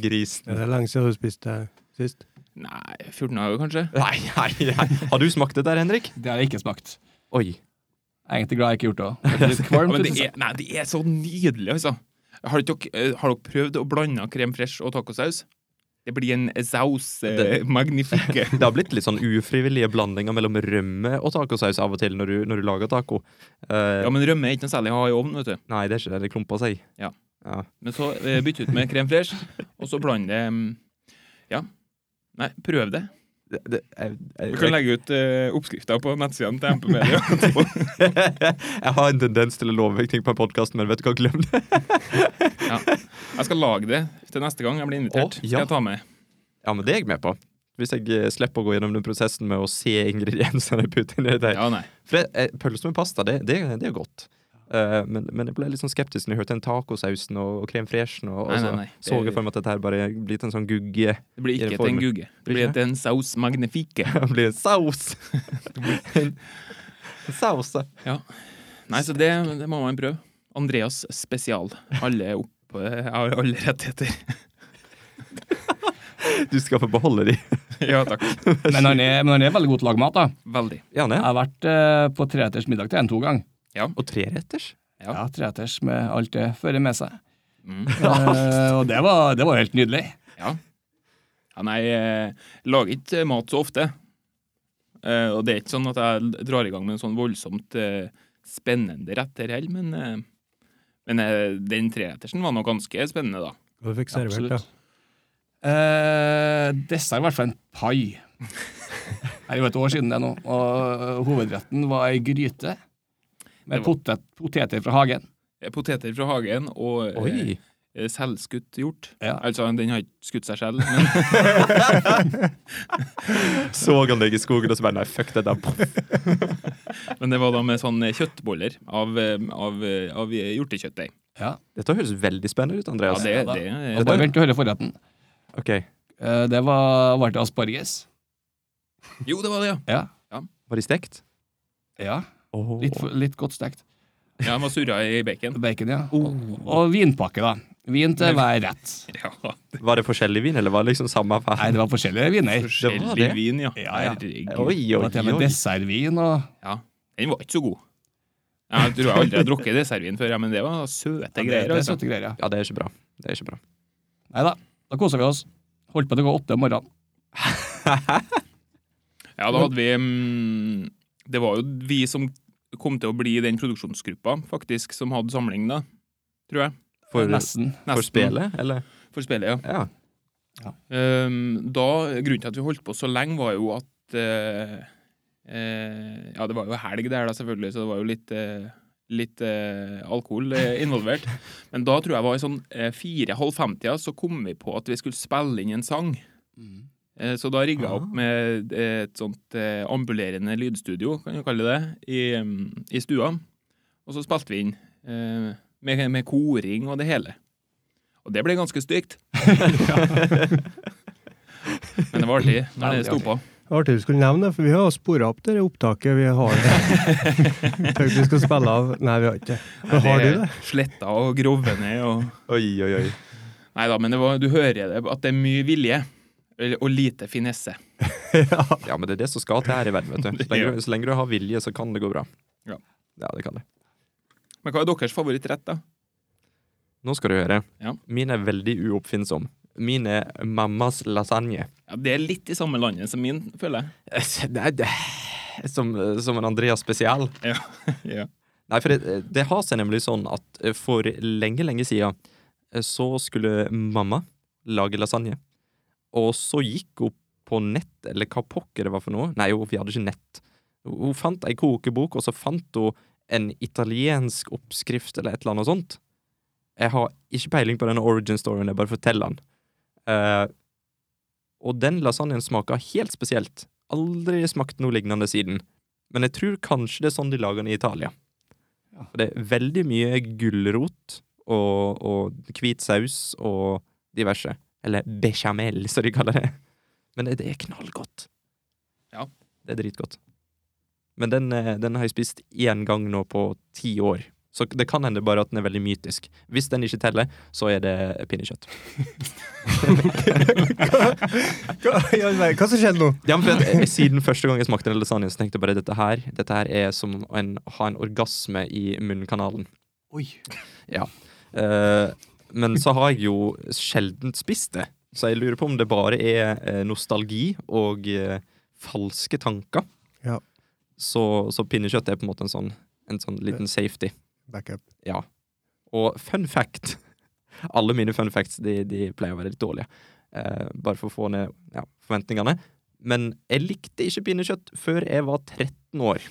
B: grisen.
A: Er det lenge siden du spiste sist?
C: Nei, 14 dager kanskje?
B: Nei, nei, nei. Har du smakt det der, Henrik?
D: Det har jeg ikke smakt.
B: Oi.
D: Jeg er egentlig glad jeg ikke har gjort det. Det er litt
C: Ja,
D: kvalmt,
C: men det
D: synes jeg.
C: er, nei, det er så nydelig, altså. Har dere, eh, har dere prøvd å blande krem fresh og tacosaus? Det blir en saus eh,
B: Det-
C: magnifique.
B: Det har blitt litt sånn ufrivillige blandinger mellom rømme og tacosaus av og til når du, når du lager taco. Eh,
C: Ja, men rømme er ikke noe særlig å ha i ovnen, vet du.
B: Nei, det er ikke det. Det klumper seg.
C: Ja.
B: Ja.
C: Men så eh, bytt ut med krem fresh, og så bland det mm, Ja. Nei, prøv det.
B: Det, det, jeg,
C: Vi
B: jeg,
C: kan
B: jeg,
C: legge ut eh, oppskrifter på nettsidene til MP Media.
B: jeg har en tendens til å love meg ting på en podkast, men vet du hva, glem det.
C: Jeg skal lage det til neste gang jeg blir invitert.
B: Å, ja.
C: Skal jeg ta med.
B: Ja, men det er jeg med på. Hvis jeg eh, slipper å gå gjennom den prosessen med å se ingrediensene jeg putter inn i det.
C: Ja, nei.
B: For det, eh, pølse med pasta, det, det, det er godt. Eh, men, men jeg ble litt sånn skeptisk når jeg hørte den tacosausen og, og krem freshen. Og, og
C: Nei,
B: så
C: nei, nei.
B: så jeg for meg at dette her bare blitt en sånn gugge.
C: Det
B: I
C: blir ikke
B: den
C: til
B: formen.
C: en gugge. Det
B: Blir
C: blir
B: ikke
C: til en saus magnifique.
B: Det blir en saus! en saus, ja.
C: Nei, så det, det må man prøve. Andreas spesial. Alle er oppe, jeg har alle rettigheter.
B: Du skal få beholde de.
C: Ja takk.
D: Men han er, men han er veldig god til å lage mat, da.
C: Veldig.
B: Jan,
D: Jeg
B: ja.
D: har vært eh, på treretters middag til en to ganger.
B: Og treretters?
C: Ja.
D: Ja, treretters med alt det fører med seg.
C: Mm.
D: Eh, og det var, det var helt nydelig.
C: Ja. ja nei, jeg lager ikke mat så ofte. Eh, og det er ikke sånn at jeg drar i gang med en sånn voldsomt eh, spennende rett her heller, men, eh, men eh, den trerettersen var nå ganske spennende, da.
A: Hva du fikk servert,
D: Absolutt.
A: da?
D: Eh, dessert i hvert fall en pai. Det er jo et år siden det nå. Og eh, hovedretten var ei gryte med
C: Det
D: potet, poteter fra hagen.
C: Eh, Poteter fra hagen og eh,
B: Oi!
C: eh, selvskutt hjort.
D: Ja.
C: Altså, den har ikke skutt seg selv, men
B: Så han deg i skogen og så bare nei, fuck det der.
C: Men det var da med sånn kjøttboller av, eh, av, eh, av hjortekjøttdeig.
D: Ja.
B: Dette høres veldig spennende ut,
C: Ja,
B: Andreas.
C: det,
D: da.
C: det,
D: Og bare vent til du hører forretten.
B: Ok,
D: Eh, det var var det asparges.
C: Jo, det var det, ja.
D: Ja.
B: Var de stekt?
D: ja.
B: Oh.
D: Litt, for- litt godt stekt.
C: Ja, Den var surra i bacon.
D: Bacon, ja. Og, og vinpakke, da. Vin til hver rett.
C: Ja,
B: Var det forskjellig vin, eller var det liksom samme affære?
D: Nei, det var forskjellige viner.
B: var
C: Forskjellig
B: det.
C: vin, ja.
D: Ja, ja.
C: Herregud.
B: Oi,
D: Det
B: oi,
D: var til og med
B: oi.
D: dessertvin og
C: Ja. Den var ikke så god. Jeg tror jeg aldri har drukket dessertvin før, ja, men det var søte
D: det,
C: greier.
D: det er
C: altså.
D: søte greier, ja.
B: Ja, det er ikke bra. Det er ikke bra.
D: Nei da, da kosa vi oss. Holdt på til å gå åtte om morgenen.
C: Ja, da hadde vi mm, Det var jo vi som kom til å bli den produksjonsgruppa, faktisk, som hadde samling, da. Tror jeg.
B: For,
D: Nesten.
B: for
C: Nesten.
B: spelet, eller?
C: For spillet, ja.
B: Ja.
C: Ehm, da, grunnen til at vi holdt på så lenge, var jo at eh, eh, Ja, det var jo helg der, da, selvfølgelig, så det var jo litt, eh, litt eh, alkohol eh, involvert. Men da tror jeg var i sånn eh, fire-halv femtida, så kom vi på at vi skulle spille inn en sang.
D: Mm.
C: Eh, Så da rigga jeg
B: Ah.
C: opp med eh, et sånt eh, ambulerende lydstudio, kan du kalle det, i, mm, i stua. Og så spilte vi inn eh, med, med koring og det hele. Og det ble ganske stygt. Men det var artig når det
D: Veldig
C: sto på.
A: Det var Artig du skulle nevne det, for vi har spora opp det opptaket vi har. Tenkte vi skal spille av. Nei, vi har ikke det. Men har du det?
C: Sletta og grove ned og
B: Oi, oi, oi.
C: Nei da, men det var, du hører det, at det er mye vilje eller- og lite finesse.
B: Ja, men det er det som skal til her i verden, vet du. Så lenge, du- så lenge du har vilje, så kan det gå bra.
C: Ja.
B: Ja, det kan det.
C: Men hva er deres favorittrett, da?
B: Nå skal du høre.
C: Ja.
B: Min er veldig uoppfinnsom. Min er mammas lasagne.
C: Ja, det er litt i samme landet som min, føler
B: Eh, Nei, det Som, som en Andreas spesial.
C: jeg. Ja.
B: Nei, for det, det har seg nemlig sånn at eh, for lenge, lenge siden eh, så skulle mamma lage lasagne. Og så gikk hun på nett, eller hva pokker det var for noe. Nei, hun- vi hadde ikke nett. Hun hun fant ei kokebok, og så fant hun en italiensk oppskrift eller et eller annet sånt. Jeg har ikke peiling på denne origin storyen, jeg bare forteller den. Eh, og den lasagnen smaker helt spesielt. Aldri smakt noe lignende siden. Men jeg tror kanskje det er sånn de lager den i Italia. For Det er veldig mye gulrot og, og hvit saus og diverse. Eller bechamel, som de kaller det. Men det, det er knallgodt.
C: Ja.
B: Det er dritgodt. Men den, eh, den har jeg spist én gang nå på ti år. Så det kan hende bare at den er veldig mytisk. Hvis den ikke teller, så er det pinnekjøtt.
A: Hva, i all verden? hva som skjedde nå?
B: Ja, men for at, eh, Siden første gang jeg smakte den lasagnen, så tenkte jeg bare dette her Dette her er som en, å ha en orgasme i munnkanalen.
A: Oi.
B: Eh, men så har jeg jo sjelden spist det. Så jeg lurer på om det bare er eh, nostalgi og eh, falske tanker.
A: Ja.
B: Så, så pinnekjøtt er på en måte en sånn, en sånn liten safety.
A: Backup.
B: Ja. Og fun fact Alle mine fun facts de, de pleier å være litt dårlige. Eh, bare for å få ned ja, forventningene. Men jeg likte ikke pinnekjøtt før jeg var 13 år.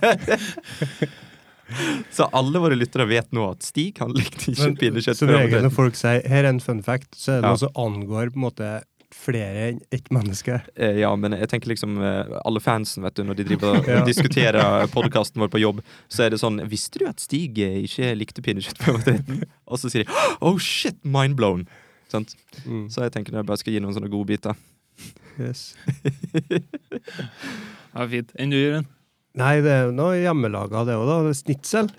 B: Så alle våre lyttere vet nå at Stig han likte ikke
A: Men
B: pinnekjøtt.
A: som
B: før han var
A: regel
B: 13.
A: når folk sier 'her er en fun fact', så er det
B: Ja.
A: noe som angår på en måte vært flere enn ett menneske.
B: Eh, Ja, men jeg tenker liksom eh, alle fansen, vet du, når de driver og
A: Ja.
B: diskuterer podkasten vår på jobb, så er det sånn Visste du at Stig eh, ikke likte pinnekjøtt på matreten? Og så sier de Oh shit, mind blown! Sant? Så jeg tenker når jeg bare skal gi noen sånne godbiter.
A: Yes.
C: Ja, fint. Enn du, Jørund?
A: Nei, det er jo noe hjemmelaga, det òg, da. Det er Snitsel.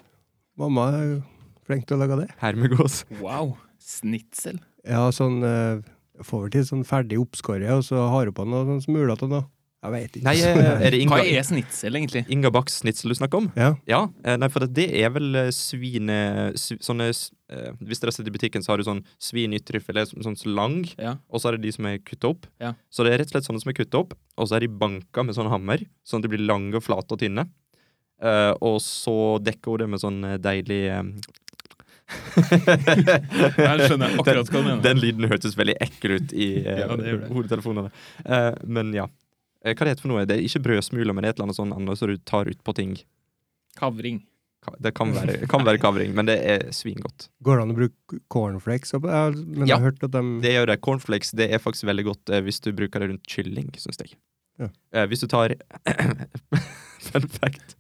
A: Mamma er jo flink til å lage det.
B: Hermegås.
C: Wow. Snitsel.
A: Ja, sånn eh, Får vel til sånn ferdig oppskåret, og så har hun på noe sånn smuler til noe. Jeg veit ikke.
B: Nei, eh, er det
C: Hva
B: Inga,
C: er snitsel, egentlig?
B: Inga Bachs snitsel du snakker om?
A: Ja.
B: Ja, eh, nei, for det er vel eh, svine sv- Sånne s- eh, Hvis dere sitter i butikken, så har du sånn svin ytrefilet, sånn så lang,
C: Ja.
B: og så er det de som er kutta opp.
C: Ja.
B: Så det er rett og slett sånne som er kutta opp, og så er de banka med sånn hammer, sånn at de blir lange og flate og tynne. Eh, og så dekker hun det med sånn eh, deilig eh,
C: Jeg skjønner akkurat hva du
B: den,
C: mener.
B: den lyden hørtes veldig ekkel ut i eh,
C: Ja, det gjør det.
B: hodetelefonene. Eh, men ja. Eh, Hva det heter for noe? Det er ikke brødsmuler, men det er et eller annet sånn annet som du tar utpå ting.
C: Kavring.
B: Ka- Det kan være, det kan være kavring, men det er svingodt.
A: Går det an å bruke cornflakes? opp- Ja, men
B: Ja.
A: jeg har hørt at de
B: Det gjør det. Cornflakes det er faktisk veldig godt eh, hvis du bruker det rundt kylling, syns jeg.
A: Ja.
B: Eh, hvis du tar Fun fact.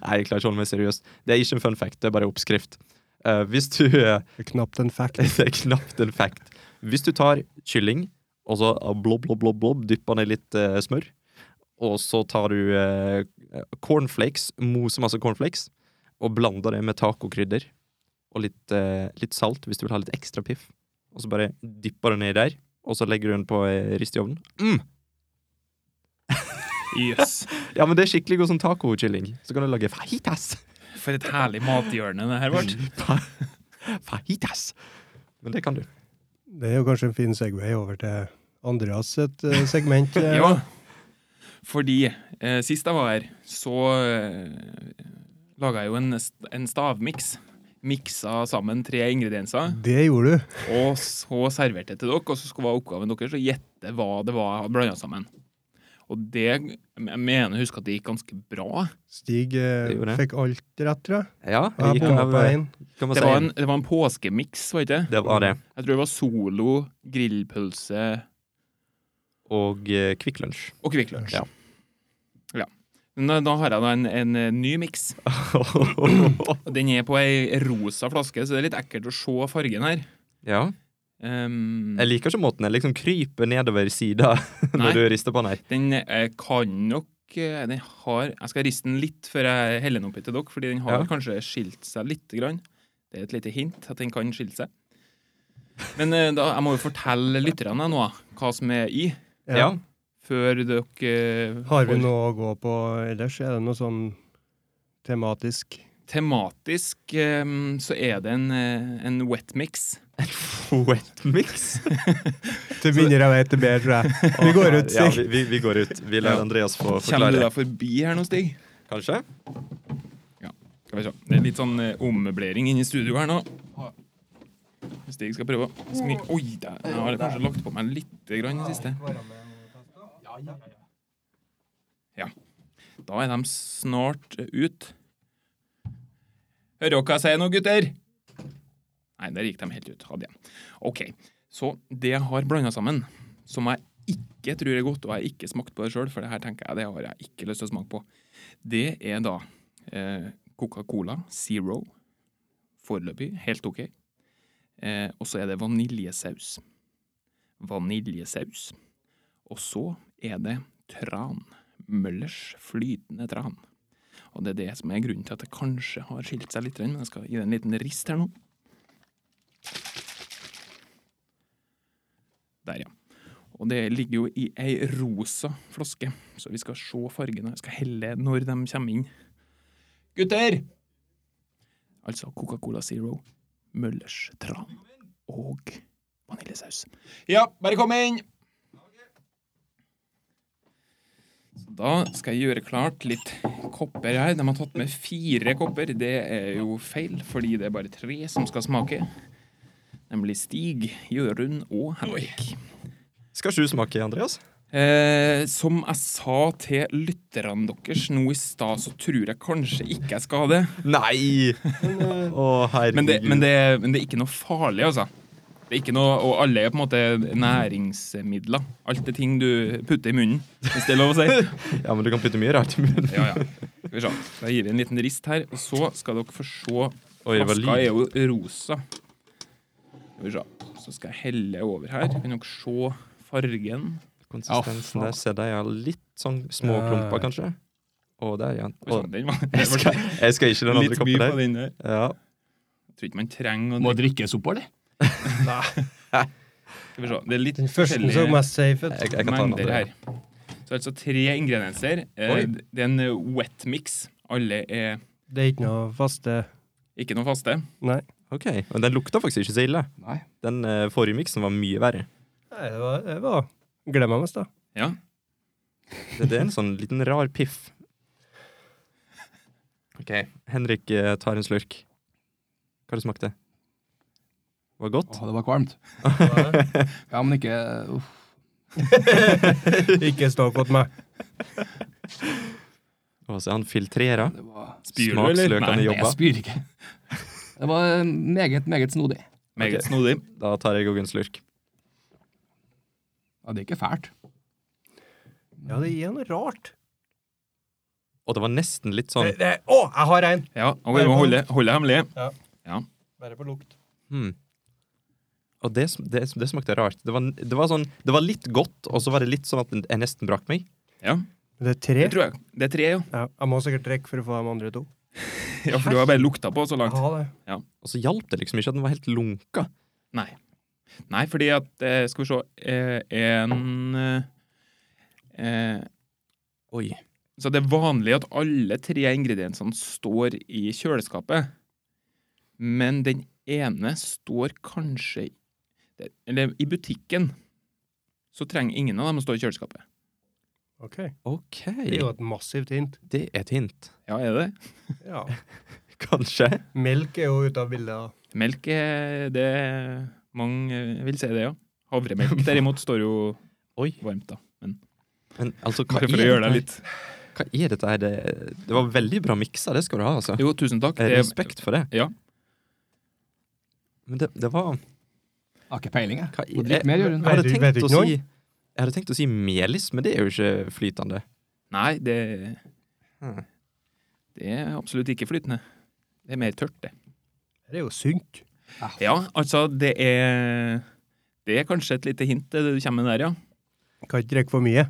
B: Nei, jeg klarer ikke å holde meg seriøs. Det er ikke en fun fact, det er bare oppskrift. Eh, hvis du eh,
A: er knapt en fact.
B: Det er knapt en fact. Hvis du tar kylling, og så ah, blob, blob, blob, blob, dypper ned litt eh, smør, og så tar du eh, cornflakes, moser masse cornflakes, og blander det med tacokrydder, og litt, eh, litt salt hvis du vil ha litt ekstra piff, og så bare dypper du ned der, og så legger du den på eh, rist i ovnen. Mm.
C: Jøss.
B: Ja, men det er skikkelig god sånn tacokylling. Så kan du lage fajitas.
C: For et herlig mathjørne det her ble.
B: Fa fajitas. Men det kan du.
A: Det er jo kanskje en fin segway over til Andreas sitt eh, segment. eh.
C: Ja. Fordi eh, sist jeg var her, så eh, laga jeg jo en, st- en stavmiks. Miksa sammen tre ingredienser,
A: Det gjorde du.
C: og så serverte jeg til dere. Og så skulle være oppgaven deres å gjette hva det var jeg hadde blanda sammen. Og det jeg mener jeg husker at det gikk ganske bra.
A: Stig eh,
B: Det gjorde jeg.
A: fikk alt rett, tror jeg.
B: Ja,
A: Og
B: vi
A: jeg
B: kan
A: bomma
B: ha-
A: på én.
B: kan man
C: Det
B: si
C: var en, det var en påskemiks, var det ikke?
B: det var det.
C: Jeg tror det var Solo, grillpølse
B: og eh, Kvikk Lunsj.
C: og Kvikk Lunsj.
B: Ja.
C: Ja. Men Da, da har jeg da en, en eh, ny miks. Den er på ei rosa flaske, så det er litt ekkelt å se fargen her.
B: ja.
C: Ehm,
B: Jeg liker ikke måten den liksom kryper nedover sida
C: Nei.
B: når du rister på den her.
C: den eh, kan nok eh, den har, Jeg skal riste den litt før jeg heller den oppi til dere, fordi den har
B: Ja.
C: kanskje skilt seg litt. Grann. Det er et lite hint at den kan skille seg. Men eh, da, jeg må jo fortelle lytterne nå hva som er i,
B: Ja.
C: før dere eh,
A: Har vi
C: får-
A: noe å gå på ellers? Er det noe sånn tematisk
C: Tematisk ehm, så er det en, eh, en wet mix.
B: Wet mix.
A: Til mindre jeg vet, til bedre, tror jeg. Vi går ut,
B: Ja,
A: Stig.
B: vi, vi, vi går ut. Vi lar
C: Ja.
B: Andreas få
C: Kommer
B: forklare.
C: du deg forbi her nå, Stig?
B: Kanskje?
C: Skal vi se. Det er litt sånn eh, ommøblering inne i studio her nå. Stig skal prøve å smi... Oi, der. Jeg har kanskje lagt på meg litt grann i det siste. Ja. Da er de snart eh, ut. Hører dere hva jeg sier nå, gutter? Nei, der gikk de helt ut. Hadde jeg. OK. Så det jeg har blanda sammen, som jeg ikke tror er godt, og jeg har ikke smakt på det sjøl, for det her tenker jeg det har jeg ikke lyst til å smake på, det er da Eh, Coca-Cola Zero. Foreløpig helt OK. Eh, og så er det vaniljesaus. Vaniljesaus. Og så er det tran. Møllers flytende tran. Og det er det som er grunnen til at det kanskje har skilt seg litt, men jeg skal gi det en liten rist her nå. Der, ja. Og det ligger jo i ei rosa flaske, så vi skal se fargene. Jeg skal helle når de kommer inn. Gutter! Altså Coca-Cola Zero, Møllers tran og vaniljesaus. Ja, bare kom inn! Så da skal jeg gjøre klart litt kopper her. De har tatt med fire kopper. Det er jo feil, fordi det er bare tre som skal smake. Nemlig Stig, Jørund og Henrik.
B: Skal ikke du smake, Andreas?
C: Eh, som jeg sa til lytterne deres nå i stad, så tror jeg kanskje ikke jeg skal ha det.
B: Nei! Å, herregud.
C: Men det, men, det, men det er ikke noe farlig, altså. Det er ikke noe, og alle er på en måte næringsmidler. Alt er ting du putter i munnen, hvis det er lov å si.
B: Ja, men du kan putte mye rart i munnen.
C: Ja, ja. Skal vi se. Da gir vi en liten rist her, og så skal dere få se.
B: Oi, det var
C: Flaska er
B: lyd.
C: jo rosa. Skal vi se. Så skal jeg helle over her. Kan dere se fargen?
B: Konsistensen
D: Ja, faen.
B: der ser de har litt sånn små
A: Ja.
B: klumper, kanskje. Å, der, ja.
C: Eh. Oi,
B: Å,
C: sånn, den var,
B: jeg, skal, jeg skal ikke den andre
C: litt mye
B: koppen
C: på
B: der.
C: den der.
B: Ja.
C: Jeg tror ikke man trenger å
D: Må
C: drikke.
D: drikkes opp, eller?
C: Skal vi se. Det er litt
A: Den første
C: forskjellige-
A: så mest safe ut.
B: Jeg, jeg kan ta den
C: mengder
B: andre.
C: her. Så altså tre ingredienser. Eh,
B: Oi.
C: Det er en eh, wet mix. Alle er
A: Det er ikke noe faste
C: ikke noe faste.
A: Nei.
B: Ok, Men den lukta faktisk ikke så ille.
D: Nei.
B: Den eh, forrige miksen var mye verre.
A: Nei, det var, det var glemmende, da.
C: Ja.
B: Det, det er en sånn liten rar piff. Ok, Henrik eh, tar en slurk. Hva det smakte? Var det godt?
D: Åh, det var kvalmt. Ja, men ikke uff.
A: Ikke snakk mot meg.
B: Og så han filtrerer.
D: Det var
C: Spyr du,
B: Smaksløkene
C: eller? Nei.
D: Nei, jeg
B: jobba.
D: spyr ikke. Det var eh, meget, meget snodig.
C: Meget
B: Ok.
C: snodig.
B: Da tar jeg òg en slurk.
D: Ja, det er ikke fælt.
A: Ja, det er noe rart.
B: Og det var nesten litt
A: Å,
B: sånn
A: jeg har en!
C: Ja, og vi må holde, holde hemmelig.
A: Bare på lukt.
B: hmm. Og det, sm- det, sm- det smakte rart. Det var, det, var sånn, det var litt godt, og så var det litt sånn at jeg nesten brakk meg.
C: Ja,
A: Det er tre.
C: det tror jeg. Det er tre, jo.
A: Ja, jeg må sikkert drikke for å få de andre to.
C: Ja, for du har bare lukta på så langt.
A: Ja, det.
B: Og så hjalp det liksom ikke at den var helt lunka.
C: Nei. Nei, fordi at eh, Skal vi se eh, En eh, eh,
B: Oi.
C: Så det er vanlig at alle tre ingrediensene står i kjøleskapet, men den ene står kanskje i- Eller i butikken så trenger ingen av dem å stå i kjøleskapet.
A: Ok.
B: OK.
A: Det er jo et massivt hint.
B: Det er et hint.
C: Ja, er det det?
A: Ja.
B: Kanskje.
A: Melk er jo ute av bildet.
C: Melk er det Mange eh, vil si det, ja. Havremelk derimot står jo
B: Oi.
C: varmt, da. Men
B: Men altså, hva
C: bare for å
B: er
C: gjøre
B: dette
C: deg
B: her?
C: litt
B: Hva er dette her? Det, det var veldig bra miksa, det skal du ha, altså.
C: Jo, tusen takk.
B: Eh,
C: Det-
B: Respekt for det.
C: Ja.
B: Men det, det var
D: Jeg har ikke peiling, jeg.
B: hva,
D: Må drikke mer,
B: jeg,
D: Jørund.
A: Nei,
B: hadde
A: du vet
B: tenkt å
A: ikke noe.
B: si, jeg hadde tenkt å si melis, men det er jo ikke flytende.
C: Nei, det,
B: Hmm.
C: det er absolutt ikke flytende. Det er mer tørt, det.
A: Det er jo sunt.
C: Ja, altså, det er Det er kanskje et lite hint, det du kommer med der, ja.
A: Kan ikke drikke for mye.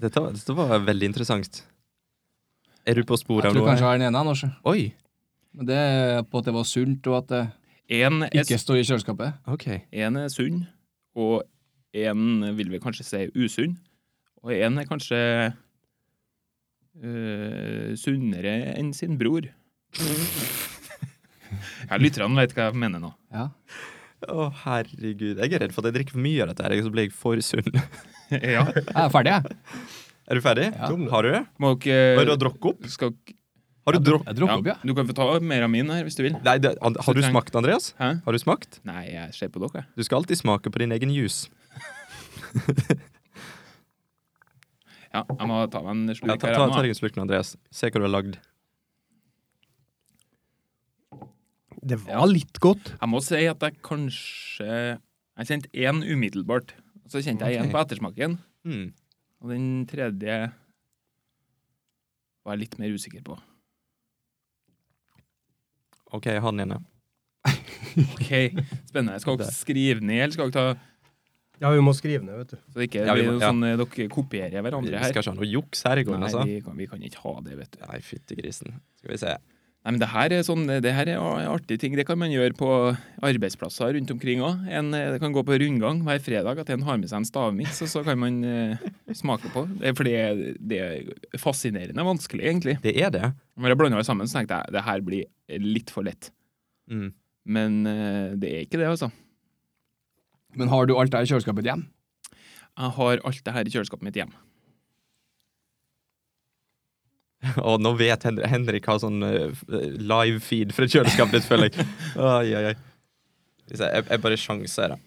B: Dette, var- dette var veldig interessant. Er du på sporet
D: Jeg
B: av
D: tror
B: noe?
D: kanskje jeg har den ene, Anders.
B: Oi,
D: Men det er på at det var sunt, og at det
C: En er,
D: ikke står i kjøleskapet.
B: ok.
C: en er sunn, og en vil vi kanskje si usunn. Og en er kanskje øh, sunnere enn sin bror. Ja, Lytterne vet hva jeg mener nå.
D: Ja.
B: Å, herregud. Jeg er redd for at jeg drikker for mye av dette, her, så blir jeg for sunn.
C: Ja,
D: Jeg er ferdig, jeg.
B: Er du ferdig?
D: Ja.
B: Har du det?
C: må
B: Hva er det
C: dere
B: du har drukket opp?
C: skal,
B: Har du drukket?
D: Jeg drukket opp, ja.
C: Du kan få ta mer av min her, hvis du vil.
B: Nei, det, har du
C: Så treng-
B: smakt, Andreas?
C: Hæ?
B: Har du smakt?
C: Nei, jeg ser på dere.
B: Du skal alltid smake på din egen juice.
C: Ja, jeg må ta meg en
B: Ja, ta,
C: slurk her.
B: ta,
C: jeg
B: ta
C: nå.
B: deg en slurk nå, Andreas. Se hva du har lagd.
A: Det var litt godt.
C: Jeg må si at jeg kanskje Jeg kjente én umiddelbart. og Så kjente jeg én
B: Ok.
C: på ettersmaken.
B: Hmm.
C: Og den tredje var jeg litt mer usikker på.
B: OK, jeg har den ene.
C: Ok, Spennende. Skal dere
B: Der.
C: skrive ned, eller skal dere ta
A: Ja, vi må skrive ned, vet du.
C: Så det ikke
B: Ja, vi
C: blir
B: må-
C: noe
B: ja.
C: sånn eh, dere kopierer
B: Vi
C: hverandre her?
B: skal ikke ha noe juks her i gården,
C: Nei,
B: altså.
C: vi kan, vi kan ikke ha det, vet du.
B: Nei, fytti grisen. Skal vi se.
C: Nei, men det her er sånn, det her er a- artige ting. Det kan man gjøre på arbeidsplasser rundt omkring òg. Det kan gå på rundgang hver fredag at en har med seg en stavmiks, og så kan man eh, smake på. Det, er- for det, er- det er fascinerende vanskelig, egentlig.
B: Det er det.
C: Når jeg blanda det sammen, så tenkte jeg det her blir litt for lett.
B: Mm.
C: Men eh, det er ikke det, altså.
D: Men har du alt det her i kjøleskapet hjem?
C: Jeg har alt det her i kjøleskapet mitt hjemme.
B: Og nå vet Hen- Henrik har sånn eh, f- eh, live feed fra kjøleskapet ditt, føler jeg. Oi, oi, oi. Skal vi se, Jeg, jeg bare sjanser her, da.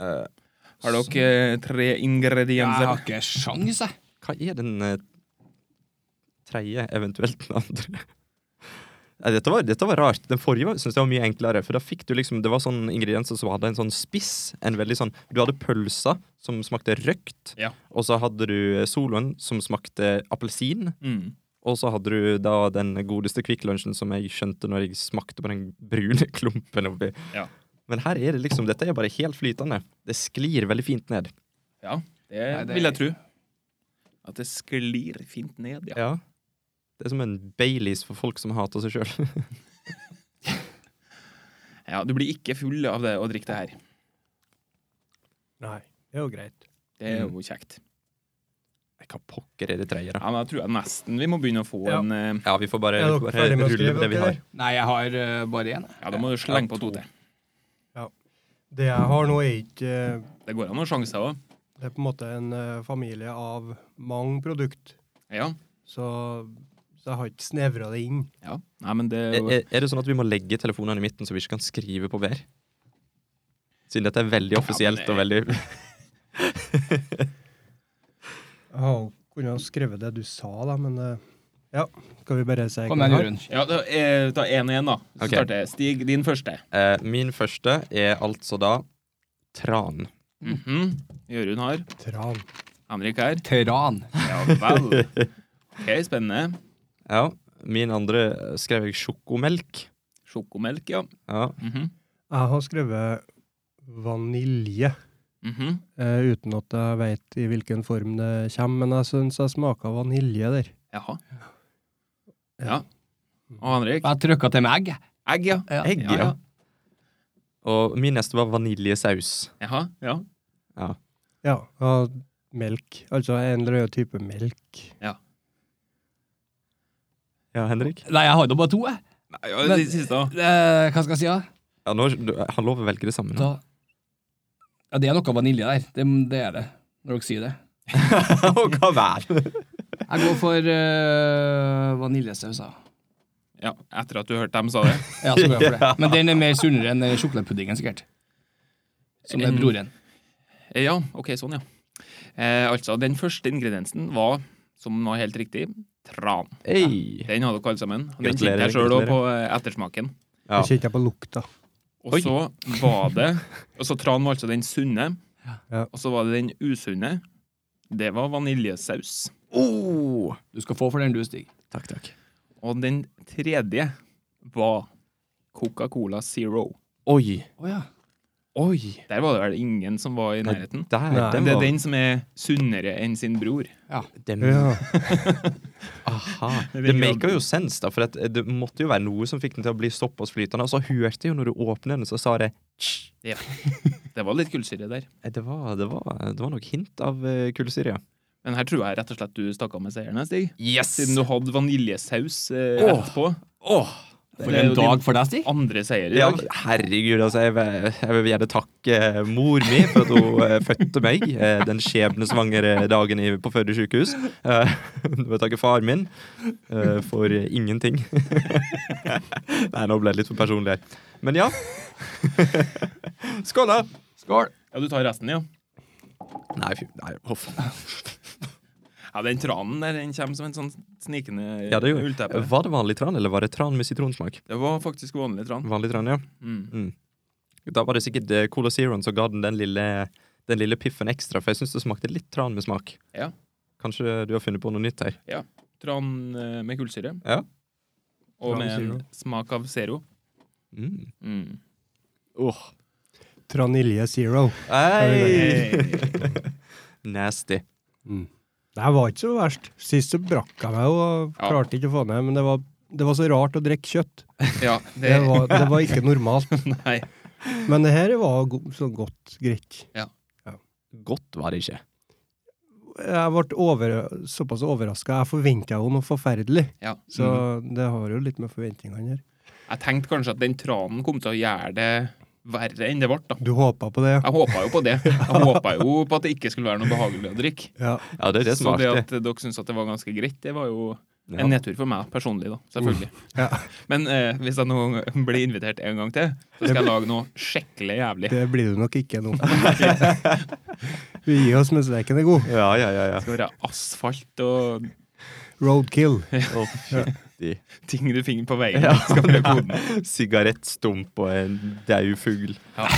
B: Eh,
C: Har dere eh, tre
D: Jeg
C: ingredienser?
D: har ikke sjans, jeg.
B: hva er den eh, tredje, eventuelt den andre? Nei, Dette var, dette var rart. Den forrige synes jeg var mye enklere. For da fikk du liksom, Det var sånn ingredienser som hadde en sånn spiss. en veldig sånn, Du hadde pølsa som smakte røkt.
C: Ja.
B: Og så hadde du soloen som smakte appelsin.
C: Mm.
B: Og så hadde du da den godeste Kvikk Lunsjen som jeg skjønte når jeg smakte på den brune klumpen oppi.
C: Ja.
B: Men her er det liksom, dette er bare helt flytende. Det sklir veldig fint ned.
C: ja det,
D: Nei, det-
C: vil jeg tro. At det sklir fint ned, ja.
B: Ja. Det er som en Baileys for folk som hater seg sjøl.
C: ja. Du blir ikke full av det å drikke det her.
A: Nei, det er jo greit.
C: Det er jo kjekt.
B: Hva pokker er det tredje, da?
C: Ja, men jeg tror jeg nesten vi må begynne å få
A: Ja.
C: en eh,
B: Ja, vi får bare,
A: Er dere
B: vi får
A: ferdig
B: bare
A: med å
B: rulle
A: skrive,
B: med det vi
A: dere?
B: har.
D: Nei, jeg har eh, bare én.
C: Ja, da må du slenge på to til.
A: Det jeg har nå, er ikke eh,
C: Det går an noen sjanser òg.
A: Det er på en måte en eh, familie av mange produkt,
C: Ja.
A: så, så jeg har ikke snevra det inn.
C: ja. Nei, men det er
B: Er,
C: jo
B: er- er det sånn at vi må legge telefonene i midten, så vi ikke kan skrive på hver? Siden dette er veldig offisielt og veldig
A: Jeg har jo kunnet ha skrevet det du sa, da, men eh, ja. Skal vi bare si
D: Kom igjen, Jørund.
C: Ja, da, eh, ta én igjen, da. Så
B: Ok.
C: starter jeg. Stig, din første.
B: eh, Min første er altså da tran.
C: Mhm. Jørund har.
A: Tran.
C: Henrik her.
D: Tran.
C: Ja vel. OK, spennende.
B: Ja. Min andre eh, skrev jeg sjokomelk.
C: Sjokomelk, ja.
B: Ja.
C: Mhm.
A: Jeg har skrevet vanilje.
C: Mhm.
A: eh, uten at jeg veit i hvilken form det kommer, men jeg syns jeg smaka vanilje der.
C: Jaha. Ja. Og Henrik?
D: Jeg trykka til med egg.
C: Egg, ja.
D: Ja.
B: Egg,
C: Ja, ja.
B: ja. Og min neste var vaniljesaus.
C: Jaha, ja.
A: Ja, ja melk. Altså en eller annen type melk.
B: Ja, Henrik?
D: Nei, jeg har da bare to, jeg.
C: Nei, ja
D: Men-
C: det siste, da.
D: Eh, hva skal jeg si, da?
B: Ja, nå, du, han lover å velge det samme. nå.
D: da ja, det er noe vanilje der. Det, det er det, når dere sier det.
B: Og hva vær?
D: Jeg går for uh, vaniljesaus. da.
C: Ja, Etter at du hørte dem sa det.
D: Ja, så går jeg for det. Men den er mer sunnere enn eh, sjokoladepuddingen, sikkert. Som er
C: Mm.
D: broren.
C: Eh, Ja, OK, sånn, ja. Eh, altså, den første ingrediensen var, som var helt riktig, tran.
B: Hey.
C: Den hadde dere alle sammen. Og Den kjente
B: Gratulerer,
C: jeg sjøl
B: gratulerer.
C: òg på eh, ettersmaken.
B: Ja.
A: Det kjente jeg på lukta.
C: Og
B: Oi.
C: så var det Og så tran var altså den sunne.
A: Ja.
C: Og så var det den usunne. Det var vaniljesaus.
B: Oh.
D: Du skal få for den du, Stig.
B: Takk, takk.
C: Og den tredje var Coca-Cola Zero.
B: Oi.
D: Å ja.
B: Oi.
C: Der var det vel ingen som var i nærheten.
B: Der,
A: Nei,
B: den
C: Men det
B: var
C: er den som er sunnere enn sin bror.
B: den-
A: Ja.
B: Aha. Det
C: Jeg vil jo-
B: maker jo sens, da, for at eh, det måtte jo være noe som fikk den til å bli såpass flytende. Og så hørte jeg jo når du åpner den, så sa det «Tsj».
C: Det var litt kullsyre der.
B: Eh, det var, det var, det var nok hint av eh, kullsyre. ja.
C: Men her tror jeg rett og slett du stakk av med seieren, her, Stig.
B: Yes!
C: Siden du hadde vaniljesaus eh,
B: Åh.
C: rett på.
B: Åh.
D: For
C: Det er
D: en
C: jo din-
D: dag for deg, Stig.
C: Andre seier i
B: Ja,
C: dag.
B: herregud, altså. Jeg vil, jeg vil gjerne takke eh, mor mi for at hun eh, fødte meg eh, den skjebnesvangre dagen i, på Førde sykehus. Eh, Jeg vil takke far min eh, for eh, ingenting. Nei, nå ble jeg litt for personlig her. Men ja. Skål, da!
D: Skål.
C: Ja, du tar resten, ja.
B: Nei, fy Nei, huff.
C: Ja, Den tranen der den kommer som en sånn snikende
B: Ja, det gjorde-
C: ullteppe.
B: Var det vanlig tran, eller var det tran med sitronsmak?
C: Det var faktisk vanlig tran.
B: Vanlig tran, ja.
C: Mm.
B: Da var det sikkert eh, Cola Zeroen som ga den den lille, den lille piffen ekstra, for jeg syns det smakte litt tran med smak.
C: Ja.
B: Kanskje du har funnet på noe nytt her?
C: Tran eh, med kullsyre.
B: Ja.
C: Og
A: Tran
C: med en
A: zero.
C: smak av zero.
B: Mm.
C: Mm.
A: Tranilje Zero.
B: Ei!
C: Hey.
B: Nasty.
A: Det var ikke så verst. Sist så brakk jeg meg jo og
C: Ja.
A: klarte ikke å få ned, men det var, det var så rart å drikke kjøtt.
C: ja, det
A: Det var, det var ikke normalt.
C: Nei.
A: Men det her var go så godt greit.
B: Godt var det ikke.
A: Jeg ble over, såpass overraska. Jeg forventa jo noe forferdelig,
C: Ja.
A: så det har jo litt med forventningene her.
C: Jeg tenkte kanskje at den tranen kom til å gjøre det verre enn det ble, da.
A: Du håpa på det, ja?
C: Jeg håpa jo på det. Jeg håpa jo på at det ikke skulle være noe behagelig å drikke.
A: ja.
B: Ja, det er det som er
C: Så Sånn det
B: artig.
C: at dere syntes at det var ganske greit, det var jo
B: Ja.
C: en nedtur for meg personlig, da. Selvfølgelig.
A: Ja.
C: Men eh, hvis jeg noen gang blir invitert en gang til, så skal jeg lage noe skikkelig jævlig.
A: Det blir du nok ikke nå. Vi gir oss mens leken er god.
B: Ja, ja, ja, ja.
C: Det skal være asfalt og
A: Roadkill.
B: Å, fytti.
C: Ting du finner på veien.
B: Ja.
C: Skal prøve koden.
B: Sigarettstump og en daud fugl.
C: Ja.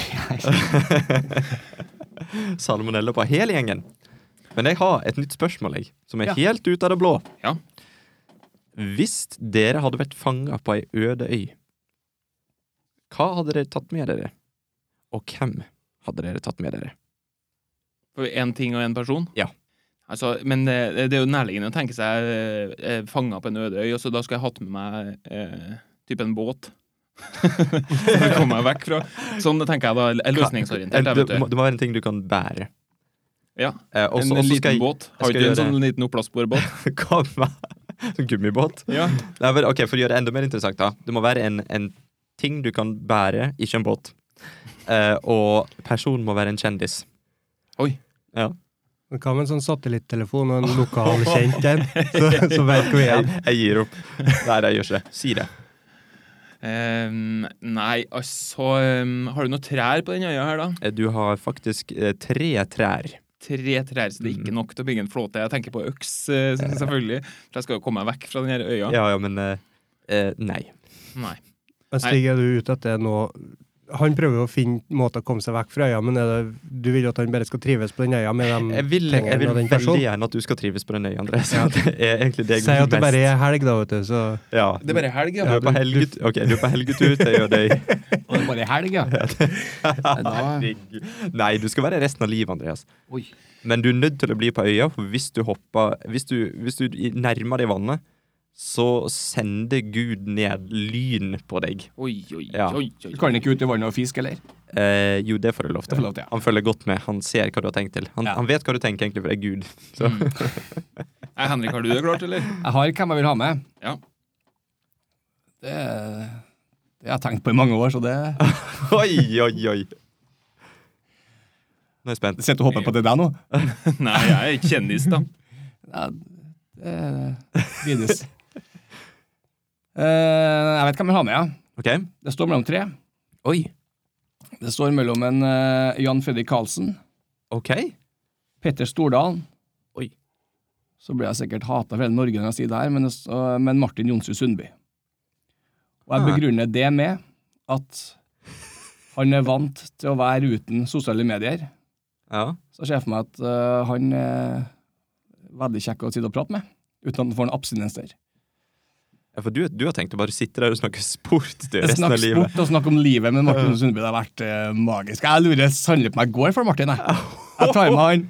B: Salmonella på hele gjengen. Men jeg har et nytt spørsmål, jeg, som er
D: Ja.
B: helt ut av det blå.
C: Ja.
B: Hvis dere hadde vært fanga på ei øde øy, hva hadde dere tatt med dere? Og hvem hadde dere tatt med dere?
C: For én ting og én person?
B: Ja.
C: Altså, men det, det er jo nærliggende å tenke seg eh, fanga på en øde øy, og så da skal jeg hatt med meg eh, type en båt. Så jeg kommer meg vekk fra. Sånn tenker jeg da. jeg er Løsningsorientert.
B: Eh,
C: Jeg,
B: Det, må-
C: vet du.
B: det må være en ting du kan bære.
C: Ja,
B: Eh, også,
C: en, en
B: også skal
C: liten
B: jeg-
C: båt. Har
B: skal
C: du ikke en
B: gjøre-
C: sånn liten oppblåsbårbåt?
B: Hva med- Sånn gummibåt?
C: Ja.
B: Nei, men, ok, For å gjøre det enda mer interessant, da. Det må være en, en ting du kan bære, ikke en båt. Eh, og personen må være en kjendis.
C: Oi.
B: Ja.
A: Men hva med en sånn satellittelefon og en lokal kjent en, så, så vet hvor vi er?
B: Jeg, jeg gir opp. Nei, nei, jeg gjør ikke det. Si det.
C: Ehm, nei, altså ehm, Har du noen trær på den øya her, da?
B: Eh, Du har faktisk eh, tre trær.
C: Tre trær, så det er
D: Mhm.
C: ikke nok til å bygge en flåte. Jeg tenker på øks, eh, selvfølgelig. For jeg skal jo komme meg vekk fra den her øya.
B: Ja, ja, men eh, eh, Nei.
C: Nei.
A: Men Stig, er du ute etter noe Han prøver jo å finne måter å komme seg vekk fra øya, men er det, du vil jo at han bare skal trives på den øya med dem
B: Jeg vil, jeg
A: og
B: vil
A: den
B: veldig
A: personen?
B: gjerne at du skal trives på den øya, André. Så det er egentlig det jeg
A: Si at det
B: vil
A: bare er helg, da, vet du, så
B: Ja.
C: Det er bare helg,
B: Du
C: ja.
B: er på helgetur, ok, du er på helgetur til øya di.
D: Og det er bare i helg, ja. Da-
B: Herregud. Nei, du skal være her resten av livet, Andreas.
D: Oi.
B: Men du er nødt til å bli på øya, for hvis du hopper Hvis du, hvis du i- nærmer deg vannet, så sender Gud ned lyn på deg.
C: Oi, oi,
B: Ja.
C: oi, oi.
D: Du kan ikke ut i vannet og fiske, eller?
B: Eh, jo, det får du lov
D: Det
B: til.
D: får du lov til, ja.
B: Han følger godt med. Han ser hva du har tenkt til. Han,
D: Ja.
B: han vet hva du tenker, egentlig, for det er Gud. Så.
C: Nei, Henrik, har du det klart, eller?
D: Jeg har hvem jeg vil ha med.
C: Ja.
D: Det, det har jeg tenkt på i mange år, så det
B: Oi, oi, oi. Nå er jeg spent.
D: Sitter du og håper på det der nå?
C: Nei, jeg er ikke kjendis, da.
D: Ja, det vides. Eh, jeg vet hvem jeg har med, ja.
B: OK?
D: Det står mellom tre.
B: Oi.
D: Det står mellom en eh, Jan Fredrik Karlsen,
B: OK.
D: Petter Stordalen
B: Oi.
D: Så blir jeg sikkert hata for hele Norge når jeg sier det her, men, det s- og- men Martin Jonsrud Sundby. Og jeg
B: Ah.
D: begrunner det med at han er vant til å være uten sosiale medier.
B: Ja.
D: Så ser jeg for meg at eh, han er veldig kjekk å sitte og prate med, uten at han får en abstinens der.
B: Ja, For du, du har tenkt å bare sitte der og snakke sport du,
D: Jeg
B: resten av
D: snakker
B: livet.
D: sport og snakker om livet, men Martin Sundby det har vært eh, magisk. Jeg lurer sannelig på om jeg går for Martin, jeg. Jeg tar med han.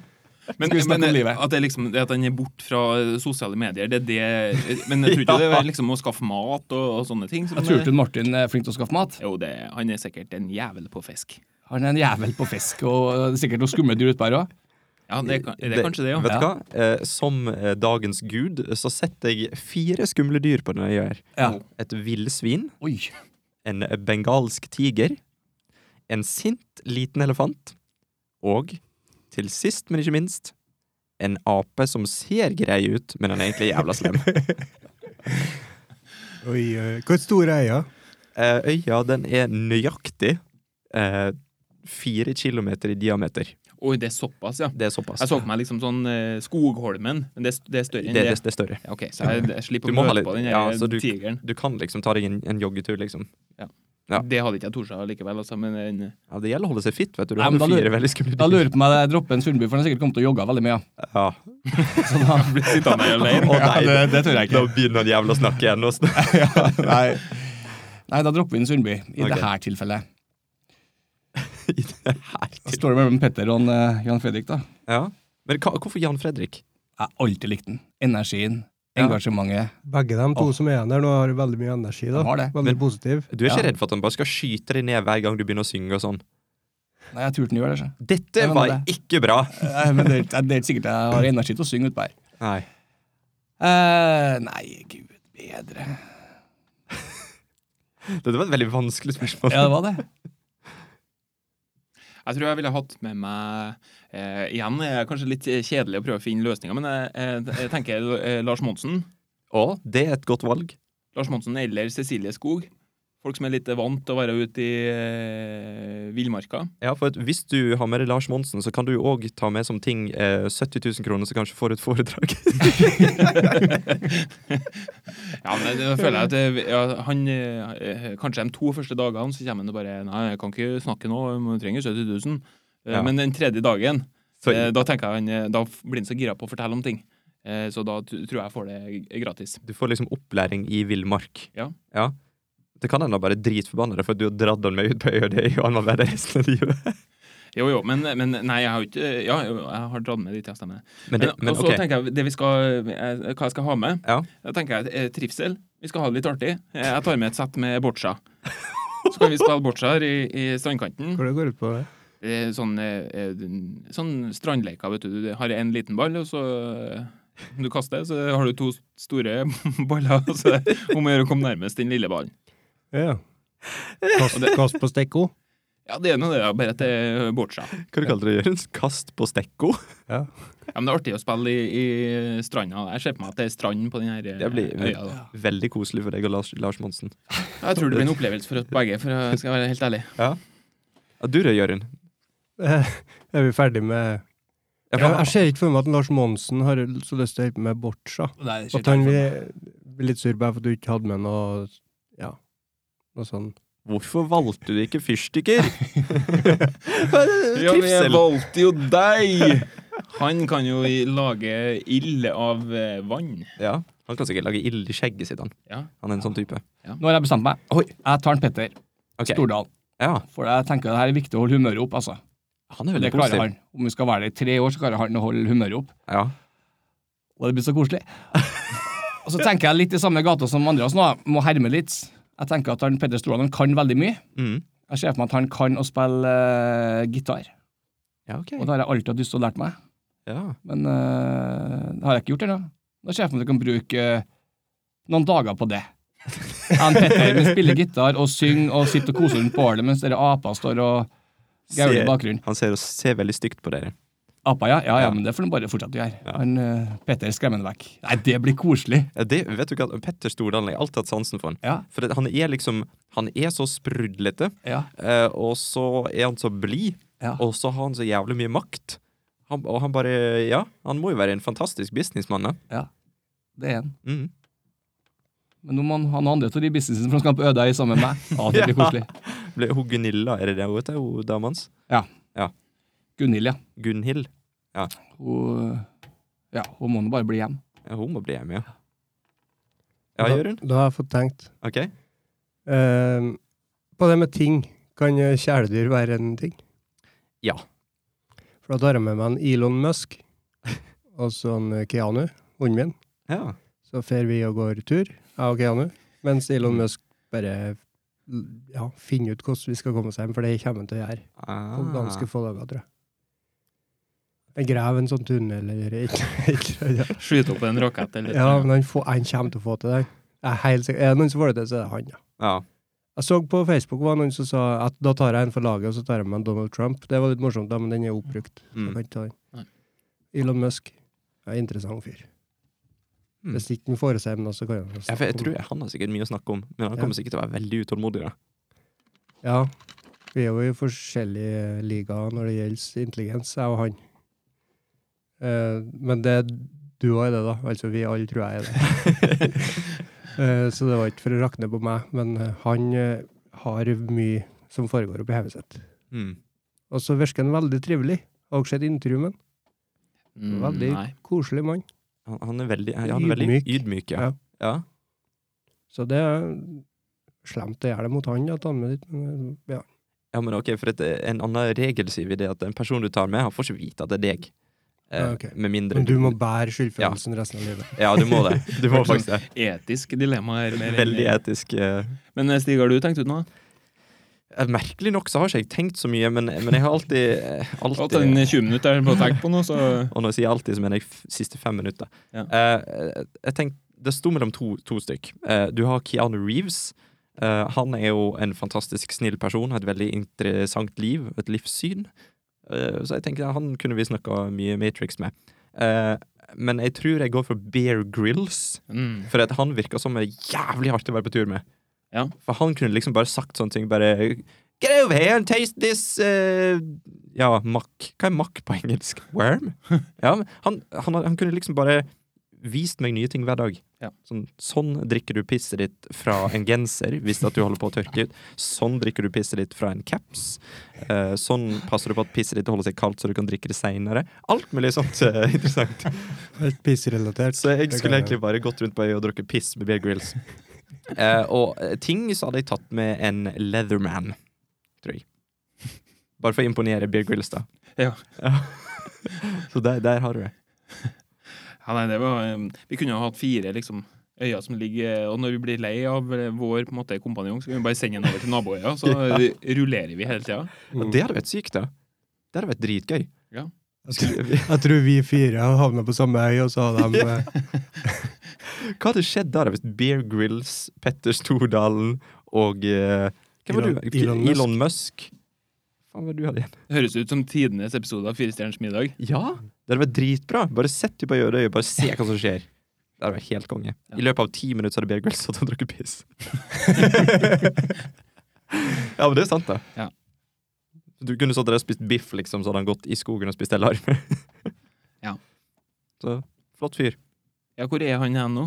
C: Men,
D: Skal vi snakke
C: men,
D: om livet?
C: At, det er liksom, det at den er bort fra eh, sosiale medier, det er det Men jeg tror ikke det er liksom å skaffe mat og, og sånne ting. som- eh,
D: Jeg tror ikke Martin er flink til å skaffe mat.
C: Jo, det, han er sikkert en jævel på fisk.
D: Han er en jævel på fisk, og sikkert noe skumle dyr utpå her òg.
C: Ja, det, kan- det er kanskje det, ja.
B: Vet du hva? Eh, som eh, dagens gud så setter jeg fire skumle dyr på denne øya. her.
D: Ja.
B: Et villsvin,
D: Oi.
B: en bengalsk tiger, en sint liten elefant og, til sist, men ikke minst, en ape som ser grei ut, men han er egentlig jævla slem.
A: Oi, oi. Hvor store er øya?
B: Eh, øya den er nøyaktig eh, fire kilometer i diameter.
C: Oi, det er såpass, ja.
B: Det er såpass.
C: Jeg så for meg liksom sånn eh, Skogholmen, men det, er st- det er større
B: det,
C: enn
B: det,
C: det.
B: det er større.
C: Ja, OK, så jeg, jeg slipper
B: Du
C: å
B: må ha
C: møte
B: litt-
C: på den
B: ja,
C: her
B: så du-
C: tigeren.
B: Du kan liksom ta deg en, en joggetur, liksom. ja.
C: Det hadde ikke jeg tort seg likevel, altså, men den-
B: Ja, det gjelder å holde seg fit, vet du. Du
D: Nei,
B: har
D: men da
B: fire
D: lurer-
B: veldig skumle
D: Da
B: dyr.
D: lurer jeg på meg jeg dropper en Sundby, for han har sikkert kommet til å jogge veldig mye.
B: Ja.
D: Så da,
C: blir sittende her alene.
B: Å nei,
D: Ja, det- det tror jeg ikke.
B: Da begynner han jævla å snakke igjen. Og snak-
D: nei. nei, da dropper vi en Sundby, i
B: Ok.
D: det her tilfellet.
B: i det her.
D: Da står det mellom Petter og en, eh, Jan Fredrik, da.
B: Ja. Men hva, hvorfor Jan Fredrik?
D: Jeg har alltid likt den. Energien,
B: Ja.
D: engasjementet.
A: Begge de to som er igjen der nå, har veldig mye energi. da.
D: De har det.
A: Veldig positiv.
B: Du er ikke
D: Ja.
B: redd for at han bare skal skyte deg ned hver gang du begynner å synge og sånn?
D: Nei, jeg tror ikke den gjør det. så.
B: Dette
D: Ja, men
B: var ikke bra!
D: Eh, Men det, er- det er ikke sikkert jeg har energi til å synge utpå her.
B: Nei.
D: Eh, nei, gud bedre
B: Dette var et veldig vanskelig spørsmål.
D: Ja, det var det.
C: Jeg tror jeg ville hatt med meg eh, Igjen er jeg kanskje litt eh, kjedelig å prøve å finne løsninger, men jeg, jeg, jeg tenker eh, Lars Monsen.
B: Å, det er et godt valg.
C: Lars Monsen eller Cecilie Skog. Folk som er litt vant til å være ute i eh, villmarka.
B: Ja, for at hvis du har med deg Lars Monsen, så kan du jo òg ta med som ting eh, 70 000 kroner, så kanskje får et foredrag.
C: Ja, men det føler jeg at eh, ja, han eh, Kanskje de to første dagene så kommer han og bare Nei, jeg kan ikke snakke nå, jeg trenger 70 000. Eh,
B: Ja.
C: Men den tredje dagen,
B: Så,
C: eh, da tenker jeg han eh, Da blir han så gira på å fortelle om ting. Eh, Så da t- tror jeg jeg får det g- gratis.
B: Du får liksom opplæring i villmark.
C: Ja.
B: Det kan hende han bare er dritforbanna deg for at du har dratt han med ut på øya di, og han var med deg resten av livet.
C: Jo, jo, men, men nei, jeg har jo ikke Ja, jo, jeg har dratt med dit, ja, stemmer.
B: Men,
C: Men,
B: det, men
C: og så
B: ok,
C: tenker jeg det vi skal, eh, hva jeg skal ha med.
B: Ja.
C: Da tenker jeg eh, trivsel. Vi skal ha det litt artig. Eh, Jeg tar med et sett med boccia. Så kan vi spille boccia her i, i strandkanten.
A: Hva det går ut på? det?
C: Det er sånn, eh, eh, sånn strandleker, vet du. Du har en liten ball, og så eh, du kaster, så har du to store baller. og Så det er om å gjøre å komme nærmest den lille ballen.
A: Ja. Kast, kast på stekko?
C: Ja, det er nå det, da, bare at det er boccia.
B: hva du kalte du det? Jørgen? Kast på stekko?
A: Ja.
C: Ja, men det er artig å spille i, i stranda. Jeg ser på meg at det er strand på den her eh,
B: Det blir
C: øya. Da.
B: veldig koselig for deg og Lars, Lars Monsen.
C: Jeg tror det blir en opplevelse for oss begge, for jeg skal være helt ærlig.
B: Ja, du da, Jørund?
A: Eh, Er vi ferdig med
B: Ja,
A: Jeg,
B: for-
A: jeg ser ikke for meg at Lars Monsen har så lyst til å hjelpe med boccia.
D: Nei, det er
A: At
D: ikke
A: han
D: derfor.
A: blir blir litt sur på deg for at du ikke hadde med noe Ja, noe sånn.
B: Hvorfor valgte du ikke fyrstikker?
C: Ja, men jeg
B: Trivsel.
C: valgte jo deg! Han kan jo i- lage ild av eh, vann.
B: Ja, han kan sikkert lage ild i skjegget sitt, han.
C: Ja.
B: Han er en sånn type.
D: Nå har jeg bestemt meg.
B: Oi.
D: Jeg tar en Petter
B: Ok.
D: Stordal.
B: Ja,
D: For jeg tenker det her er viktig å holde humøret opp, altså.
B: han er
D: Det
B: veldig
D: klarer
B: positiv.
D: han. Om vi skal være der i tre år, så klarer han å holde humøret opp.
B: Ja.
D: Og det blir så koselig. Og så tenker jeg litt i samme gata som Andreas nå, må herme litt. Jeg tenker at han Petter Stordalen kan veldig mye.
B: Mm.
D: Jeg ser for meg at han kan å spille eh, gitar,
B: Ja, ok.
D: og det har jeg alltid hatt lyst til å lære meg.
B: Ja.
D: Men eh, det har jeg ikke gjort ennå. Da ser jeg for meg at jeg kan bruke eh, noen dager på det. Han Petter men spiller gitar og synger og sitter og koser rundt bålet mens dere aper står og gauler i
B: Ser-
D: bakgrunnen.
B: Han ser, ser veldig stygt på dere.
D: Apa, ja. Ja, ja,
B: Ja.
D: men det får han bare fortsette å gjøre.
B: Ja.
D: Han, eh, Petter skremmer han vekk. Nei, det blir koselig.
B: Ja, Det, vet du hva, Petter Stordalen jeg har alltid hatt sansen for. han.
D: Ja.
B: For at han er liksom Han er så sprudlete,
D: Ja.
B: eh, og så er han så blid,
D: Ja.
B: og så har han så jævlig mye makt. Han, og han bare Ja, han må jo være en fantastisk businessmann, da.
D: Det er han.
B: Mm.
D: Men nå må han ha noen andre til de businessene for han skal på Ødøy sammen med meg. Ja, det blir
B: Ja.
D: koselig.
B: Ble, hun Gunilla, er det det hun heter? Hun dama hans?
D: Gunhild, ja.
B: Gunhild?
D: Hun, ja, hun må nå bare bli hjem.
B: Ja, hun må bli hjemme, ja. Ja,
A: Da-
B: Jørund?
A: Da har jeg fått tenkt.
B: OK.
A: Eh, på det med ting, kan eh, kjæledyr være en ting?
B: Ja.
A: For da tar jeg med meg en Elon Musk og så en eh, Keanu, hunden min.
B: Ja.
A: Så fer vi og går tur, jeg og Keanu, mens
B: Mm.
A: Elon Musk bare l- ja, finner ut hvordan vi skal komme oss hjem, for det kommer han til å gjøre
B: Ah.
A: på ganske få dager, tror jeg. Jeg graver en sånn tunnel eller et et eller annet.
C: Skyte opp en rakett eller
A: Ja, men han, får, han kommer til å få til det. Jeg er helt sikker. Er det noen som får det til, så er det han, ja.
B: Ja.
A: Jeg så på Facebook var det noen som sa at da tar jeg en for laget, og så tar jeg med en Donald Trump. Det var litt morsomt, da, men den er oppbrukt. Så jeg
B: Mm.
A: kan ikke ta
C: Nei.
A: den. Elon Musk. Ja, interessant fyr.
B: Mm.
A: Hvis ikke han får seg noe, så kan han
B: Ja, for jeg tror han har sikkert mye å snakke om, men han
A: Ja.
B: kommer sikkert til å være veldig utålmodig. da.
A: Ja, vi er jo i forskjellige ligaer når det gjelder intelligens, jeg og han. Eh, men det er du òg er det, da. Altså vi alle tror jeg er det. Eh, så det var ikke for å rakne på meg, men eh, han eh, har mye som foregår oppi hodet sitt.
B: Mm.
A: Og så virker han veldig trivelig. Jeg har også sett intervju med han.
C: Mm,
A: Veldig
C: Nei.
A: koselig mann.
B: Han, han er veldig, han er veldig
A: Ydmyk.
B: ydmyk. ja.
A: Ja.
B: ja.
A: Så det er slemt å gjøre det mot han, at han med dit, men eh, ja.
B: Ja, men ok, for et, En annen regel sier vi det at en person du tar med, han får ikke vite at det er deg. Eh,
A: Ja, Ah, ok.
B: Med mindre
A: Men du må bære skyldfølelsen resten av livet.
B: Ja, du må det. Du må faktisk det.
C: Etisk dilemma her. mer enn-
B: Veldig etisk. Eh.
C: Men eh, Stig, har du tenkt ut noe?
B: Eh, Merkelig nok så har ikke jeg tenkt så mye, men, men jeg har alltid, eh,
C: Du har hatt en
B: alltid
C: 20 minutter på å tenke på noe, så
B: Og når jeg sier alltid, så mener jeg f- siste fem minutter.
C: Ja.
B: Eh, jeg tenkte, Det sto mellom to, to stykk. Eh, du har Keanu Reeves. Eh, han er jo en fantastisk snill person, har et veldig interessant liv, et livssyn. Eh, så jeg tenker han kunne vi snakka mye Matrix med. Eh, men jeg tror jeg går for Bear Grills,
C: mm.
B: for at han virker som en jævlig hardt å være på tur med.
C: Ja.
B: For han kunne liksom bare sagt sånne ting. Bare Get over here and taste this eh, Ja, makk. Hva er makk på engelsk? Worm? Ja, men han, han, han kunne liksom bare vist meg nye ting hver dag.
C: Ja.
B: Sånn, sånn drikker du pisset ditt fra en genser hvis at du holder på å tørke ut. Sånn drikker du pisset ditt fra en caps. Eh, sånn passer du på at pisset ditt holder seg kaldt så du kan drikke det seinere. Alt mulig sånt eh, interessant.
A: Helt pissrelatert.
B: Så jeg
A: Det
B: skulle
A: kan
B: egentlig bare gått rundt på øya og drukket piss med Bear Grylls. Eh, og eh, ting så hadde jeg tatt med en leatherman, tror jeg. Bare for å imponere Bear Grylls, da.
C: Ja.
B: så der, der har du det.
C: Ja, nei, det var, eh, vi kunne ha hatt fire liksom, øyer som ligger eh, Og når vi blir lei av eh, vår på en måte, kompanjong, så kan vi bare sende den over til naboøya, så eh, rullerer vi hele tida.
B: Ja,
A: Mm.
B: det hadde vært sykt, da. Det hadde vært dritgøy.
A: Jeg tror- Jeg tror vi fire har havna på samme øy, og så har de eh,
B: Hva hadde skjedd da da, hvis Bear Grylls, Petter Stordalen og eh, hvem var
A: Elon-
B: du?
A: Elon Musk.
B: Elon Musk. Faen, hva var det du hadde igjen?
C: Det høres ut som tidenes episode av Firestjerners middag.
B: Ja, det hadde vært dritbra. Bare sett de på øret og bare se hva som skjer. Det hadde vært helt konge. I løpet av ti minutter så hadde Bear Grylls satt og drukket piss. ja, men det er sant, da.
C: Ja.
B: Du kunne stått der og spist biff, liksom, så hadde han gått i skogen og spist alarm.
C: Ja.
B: Så flott fyr.
C: Ja, hvor er han hen nå?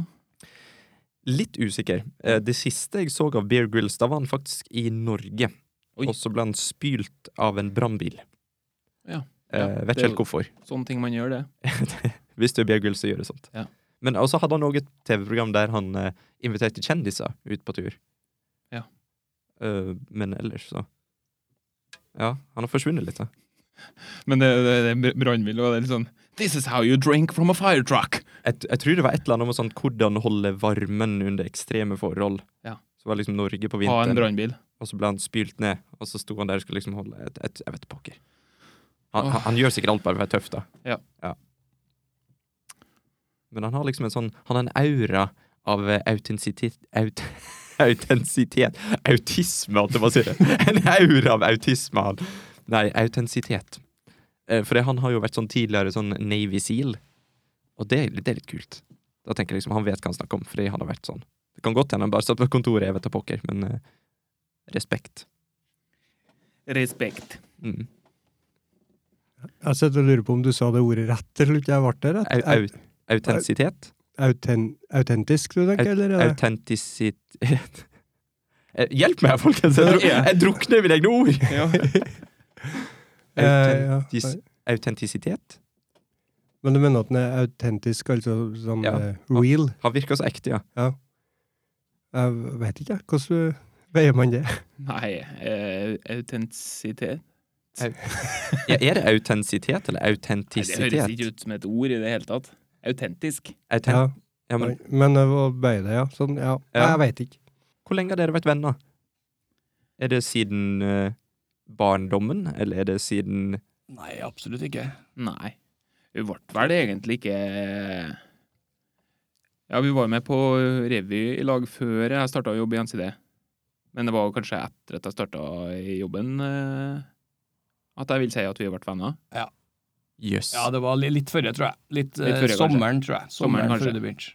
B: Litt usikker. Eh, Det siste jeg så av Bear Grylls, da var han faktisk i Norge.
C: Oi.
B: Og så ble han spylt av en brannbil.
C: Ja.
B: Eh,
C: Ja,
B: vet
C: det-
B: ikke helt hvorfor.
C: Sånne ting man gjør, det.
B: Hvis du er Bear Grylls, så gjør det sånt.
C: Ja.
B: Men også hadde han òg et TV-program der han eh, inviterte kjendiser ut på tur.
C: Ja.
B: Eh, men ellers, så Ja, han har forsvunnet litt, da.
C: Men det, det, det er brannbil, og det er litt sånn This is how you drink from a fire truck!
B: Jeg, jeg tror det var et eller annet om sånn, hvordan holde varmen under ekstreme forhold.
C: Ja.
B: Så var liksom Norge på
C: Ha en
B: vinteren,
C: brannbil.
B: og så ble han spylt ned. Og så sto han der og skulle liksom holde et, et, Jeg vet pokker. Han,
C: Åh.
B: han, han gjør sikkert alt bare for å være tøff, da.
C: Ja.
B: Men han har liksom en sånn Han har en aura av eh, autentisitet aut, Autentisitet Autisme, holdt jeg på å si. det. En aura av autisme, han. Nei, autentisitet. Eh, For det, han har jo vært sånn tidligere sånn Navy Seal, og det, er litt- det er litt kult. Da tenker jeg liksom Han vet hva han snakker om, fordi han har vært sånn. Det kan godt hende han bare satt på kontoret, jeg vet da pokker, men eh, respekt.
C: Respekt.
B: Mm.
A: Jeg sitter og lurer på om du sa det ordet rett til slutt. Jeg ble det
B: Au,
A: rett.
B: au, autentisitet?
A: Auten- autentisk, du tenker? Eller? er det-
B: Autentisitet Eh, Hjelp meg, folkens! Jeg, dru- jeg drukner i mine egne ord!
C: Ja.
A: Eh, ja.
B: Autentis autentisitet?
A: Men du mener at den er autentisk, altså sånn
B: Ja.
A: eh, real?
B: Han virker så ekte, ja.
A: Jeg vet ikke, jeg. hvordan veier man det?
C: Nei, eh, autentisitet
B: ja. Er det autentisitet eller
C: Nei, Det høres
B: autentisitet?
C: ikke ut som et ord i det hele tatt. Autentisk.
B: Autent...
A: Ja,
B: Ja, men
A: men, men eh, å bøye det, ja. Sånn, ja. Nei,
B: Ja.
A: Jeg veit ikke.
B: hvor lenge har dere vært venner? Er det siden eh, barndommen, eller er det siden
D: Nei, absolutt ikke.
C: Nei. Vi ble vel egentlig ikke Ja, vi var med på revy i lag før jeg starta å jobbe i NCD. Men det var kanskje etter at jeg starta i jobben eh, at jeg vil si at vi ble venner.
B: Jøss.
D: Ja, det var li- litt før, tror jeg. Litt,
C: Litt
D: eh,
C: førre, kanskje.
D: sommeren, tror jeg.
C: Sommeren,
D: Sommeren,
C: kanskje.
D: før det begynte.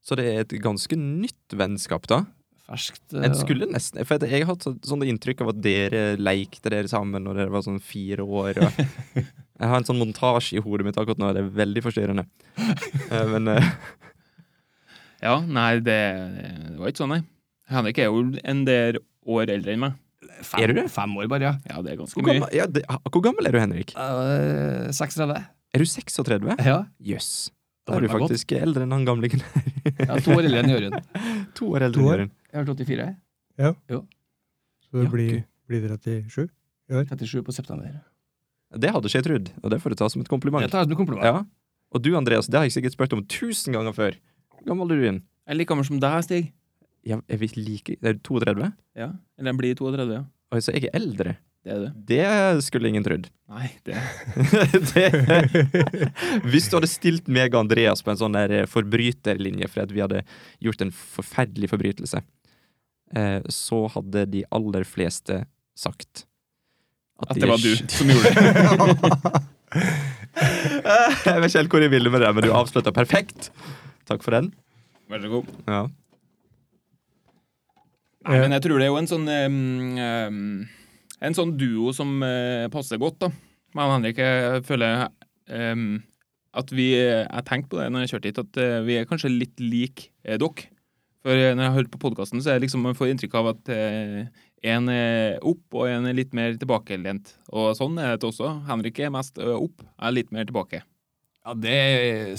B: Så det er et ganske nytt vennskap, da?
D: Ferskt. eh,
B: En skulle nesten For jeg har hatt så- sånn inntrykk av at dere leikte dere sammen når dere var sånn fire år. Og jeg har en sånn montasje i hodet mitt akkurat nå, det er veldig forstyrrende. Eh, Men eh,
C: Ja, nei, det, det var ikke sånn, nei. Henrik er jo en del år eldre enn meg.
D: fem,
B: Er du det?
D: Fem år, bare, ja.
C: Ja, det er ganske
B: hvor
C: mye.
B: gammel, ja, det, ah, hvor gammel er du, Henrik?
D: Eh, 36.
B: Er du 36?
D: Ja.
B: Jøss. Da
D: Det
B: er du
D: var godt.
B: faktisk eldre enn han gamlingen.
D: ja. To år eldre enn Jørund.
B: To år eldre
A: To
B: enn
A: år?
B: Jørund.
D: Jeg har vært 84.
A: Så det
B: Ja,
A: blir,
B: gud.
A: blir 37?
D: 37 på september.
B: Det hadde ikke jeg trodd, og det får du ta som et
D: Det
B: kompliment.
D: tar jeg som en kompliment.
B: Ja. Og du, Andreas, det har jeg sikkert spurt om tusen ganger før. Hvor gammel er du igjen?
C: Jeg er like gammel som deg, Stig.
B: Ja, er vi like Er du 32?
C: Ja, Eller jeg blir 32, ja.
B: Oi, så jeg er eldre.
C: Det er du.
B: Det skulle ingen trodd.
C: Nei, det
B: det, hvis du hadde stilt meg og Andreas på en sånn der eh, forbryterlinje fordi at vi hadde gjort en forferdelig forbrytelse, eh, så hadde de aller fleste sagt
C: At
B: de
C: det
B: er
C: var du
B: sj-
C: som gjorde det.
B: jeg vet ikke helt hvor jeg ville med det, men du avslutta perfekt. Takk for den.
C: Vær så god.
B: Ja.
C: Nei, men jeg tror det er jo en sånn em, em, En sånn duo som eh, passer godt, da. Men Henrik, jeg føler em, at vi Jeg tenkte på det når jeg kjørte hit, at eh, vi er kanskje litt lik eh, dere. For eh, når jeg hører på podkasten, så er det liksom man får inntrykk av at eh, en er opp, og en er litt mer tilbakelent. Og sånn er det også. Henrik er mest eh, opp, jeg er litt mer tilbake.
D: Ja, Det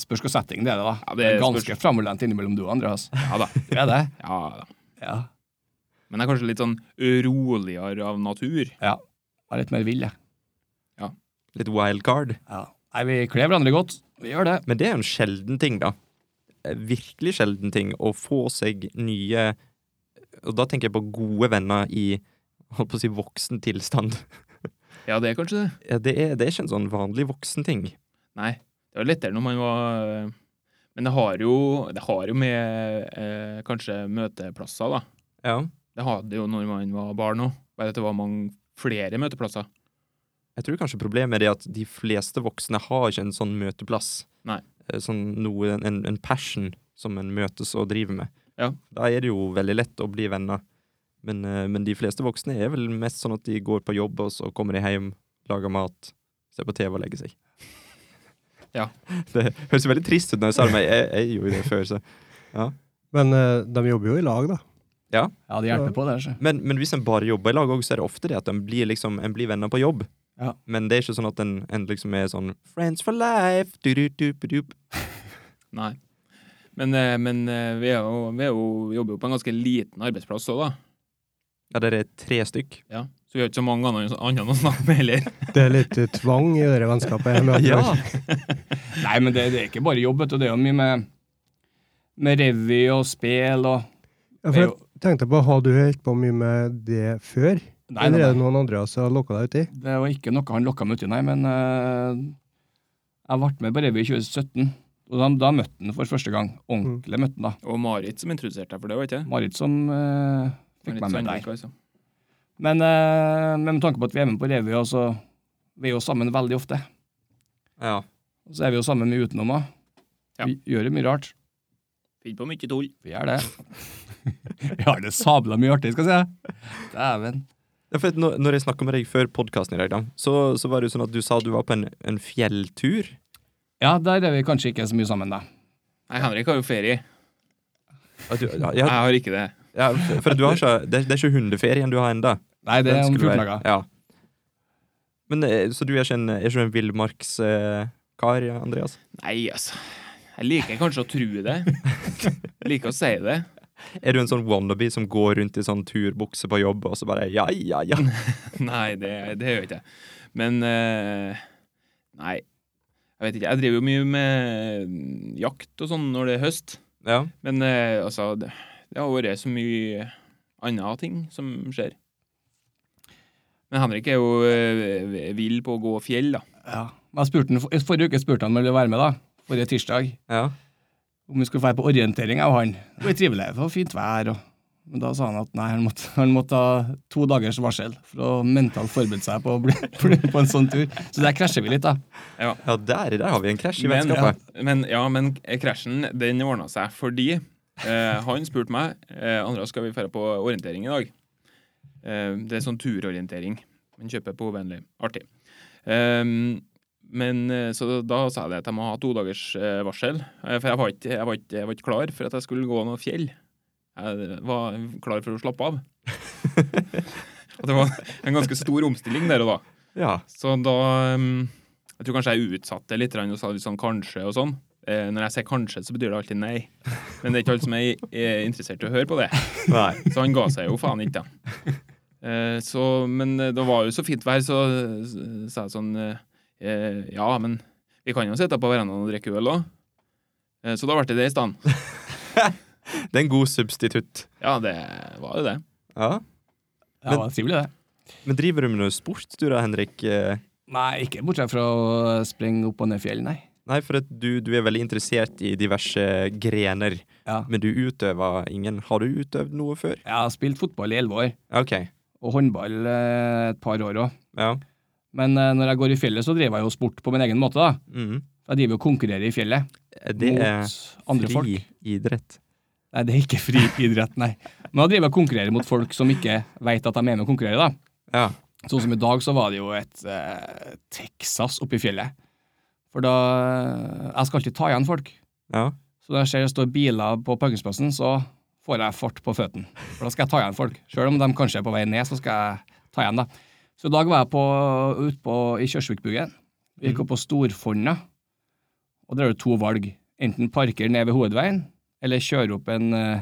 D: spørs hvilken setting det er, da.
C: Ja, det
D: det er
C: spørs.
D: ganske framoverlent innimellom du og Andreas.
C: Ja da.
D: Det er det.
C: Ja, da.
D: Ja.
C: Men jeg er kanskje litt sånn roligere av natur.
D: Jeg er litt mer vill, jeg.
B: Litt wildcard.
D: Ja. Nei, vi kler hverandre godt. Vi gjør det.
B: Men det er jo en sjelden ting, da. Eh, Virkelig sjelden ting å få seg nye Og da tenker jeg på gode venner i holdt på å si voksen tilstand.
C: Ja, det er kanskje det.
B: Ja, det, er, det er ikke en sånn vanlig voksenting.
C: Nei, det var lettere når man var eh, Men det har jo, det har jo med eh, kanskje møteplasser, da.
B: Ja.
C: Det hadde jo når man var barn òg, bare at det var mange flere møteplasser.
B: Jeg tror kanskje problemet er det at de fleste voksne har ikke en sånn møteplass.
C: Nei.
B: Eh, Sånn noe, en, en passion som en møtes og driver med.
C: Ja.
B: Da er det jo veldig lett å bli venner. Men, eh, men de fleste voksne er vel mest sånn at de går på jobb, og så kommer de hjem, lager mat, ser på TV og legger seg.
C: Ja.
B: Det høres veldig trist ut når jeg sa det, men jeg, jeg gjorde det før, så.
A: Men eh, de jobber jo i lag, da.
D: Ja, det hjelper på, det. altså. ikke?
B: Men, men hvis en bare jobber i lag òg, så er det ofte det at en blir, liksom, en blir venner på jobb.
D: Ja.
B: Men det er ikke sånn at en, en liksom er sånn 'Friends for life'. Du, du, du, du, du.
C: Nei. Men, eh, men eh, vi, er jo, vi er jo, jobber jo på en ganske liten arbeidsplass òg, da.
B: Ja, det er tre stykk.
C: Ja. Så vi har ikke så mange andre, andre å snakke med heller.
A: Det er litt eh, tvang i det vennskapet. jeg møter.
D: Nei, men det, det er ikke bare jobb, vet du. Det er jo mye med, med revy og spel og
A: Ja, for jeg tenkte på, Har du holdt på mye med det før?
D: Nei,
A: Eller
D: nei,
A: er det
D: nei.
A: noen andre som har lokka deg uti?
D: Det var ikke noe han lokka meg uti, nei, men eh, jeg ble med på revy i 2017. Og da, da møtte han for første gang. Ordentlig møtte han, da.
C: Og Marit som introduserte deg for det, var ikke det?
D: Marit som eh, fikk
C: Marit
D: meg med
C: Sandvik,
D: der.
C: altså.
D: Men eh, men med tanke på at vi er med på revy, og så Vi er jo sammen veldig ofte.
B: Ja.
D: Og så er vi jo sammen med utenom òg.
C: Ja.
D: Vi gjør det mye rart.
C: Finn på mye tull.
D: Vi gjør det. vi har det sabla mye artig, skal jeg si. Dæven.
B: Ja, for at når, når jeg snakka med deg før podkasten i dag, da, så, så var det jo sånn at du sa du var på en, en fjelltur.
D: Ja, der er vi kanskje ikke så mye sammen, da.
C: Nei, Henrik har jo ferie.
B: At du, ja,
C: Jeg
B: ja,
C: har ikke det.
B: ja, for at du har ikke, det, er- det er ikke hundeferien du har ennå.
D: Nei, det er om 14 dager.
B: Ja. Men, eh, så du er ikke en, er ikke en villmarkskar, eh, kar, Andreas?
C: Nei, altså. Jeg liker kanskje å tro det. liker å si det.
B: Er du en sånn wannabe som går rundt i sånn turbukse på jobb, og så bare ja, ja, ja?
C: Nei, det, det gjør jeg ikke. Men eh, Nei, jeg vet ikke. Jeg driver jo mye med jakt og sånn når det er høst.
B: ja.
C: Men eh, altså, det, det har vært så mye andre ting som skjer. Men Henrik er jo eh, vill på å gå fjell, da.
D: Ja. Men Jeg spurte han, for- forrige uke spurte han om han ville være med, da. Forrige tirsdag.
B: ja.
D: Om vi skulle dra på orientering, jeg og han. Det ble trivelig, det var fint vær. og men da sa han at nei, han måtte, han måtte ha to dagers varsel for å mentalt forberede seg på å bli, bli på en sånn tur. Så der krasjer vi litt, da.
B: Ja, der, der har vi en krasj i
C: Men,
B: vennskapet.
C: men, ja, men krasjen den ordna seg fordi eh, han spurte meg eh, Andreas, skal vi dra på orientering i dag. Eh, det er sånn turorientering. Man kjøper på Vennlig. Artig. Ehm, men eh, så da, da sa jeg det at jeg må ha to dagers eh, varsel. eh, For jeg var, ikke, jeg, var ikke, jeg var ikke klar for at jeg skulle gå noe fjell. Jeg var klar for å slappe av. og det var en ganske stor omstilling der og da.
B: Ja.
C: Så da um, Jeg tror kanskje jeg utsatte litt og sa litt sånn kanskje og sånn. Eh, når jeg sier kanskje, så betyr det alltid nei. Men det er ikke alle som er, er interessert i å høre på det.
B: Nei.
C: Så han ga seg jo faen ikke, da. Eh, så, men eh, det var jo så fint vær, så eh, sa jeg sånn eh, eh, Ja, men vi kan jo sitte på verandaen og drikke øl òg. Eh, så da ble det det i stedet.
B: Det er en god substitutt.
C: Ja, det var jo det.
B: Ja.
D: Ja, det var trivelig, det.
B: Men driver du med noe sport du da, Henrik? Eh,
D: Nei, ikke bortsett fra å springe opp og ned fjell, nei.
B: Nei, for at du, du er veldig interessert i diverse grener,
D: Ja.
B: men du utøver ingen. Har du utøvd noe før?
D: Jeg har spilt fotball i elleve år,
B: Ok,
D: og håndball eh, et par år òg.
B: ja.
D: Men eh, når jeg går i fjellet, så driver jeg jo sport på min egen måte. da.
B: Mhm.
D: Jeg driver og konkurrerer i fjellet
B: Det er
D: mot andre
B: fri
D: folk.
B: idrett.
D: Nei, det er ikke friidrett, nei. Men da driver jeg og konkurrerer mot folk som ikke vet at de er med og konkurrerer. da.
B: Ja.
D: Sånn som i dag, så var det jo et eh, Texas oppe i fjellet. For da eh, Jeg skal alltid ta igjen folk.
B: ja.
D: Så når jeg ser det står biler på parkeringsplassen, så får jeg fart på føttene. For da skal jeg ta igjen folk. Selv om de kanskje er på vei ned, så skal jeg ta igjen, da. Så i dag var jeg på, ute på, i Kjørsvikbugen. Vi gikk opp på Storfonna. Og der er det to valg. Enten parker ned ved hovedveien, eller kjøre opp en eh,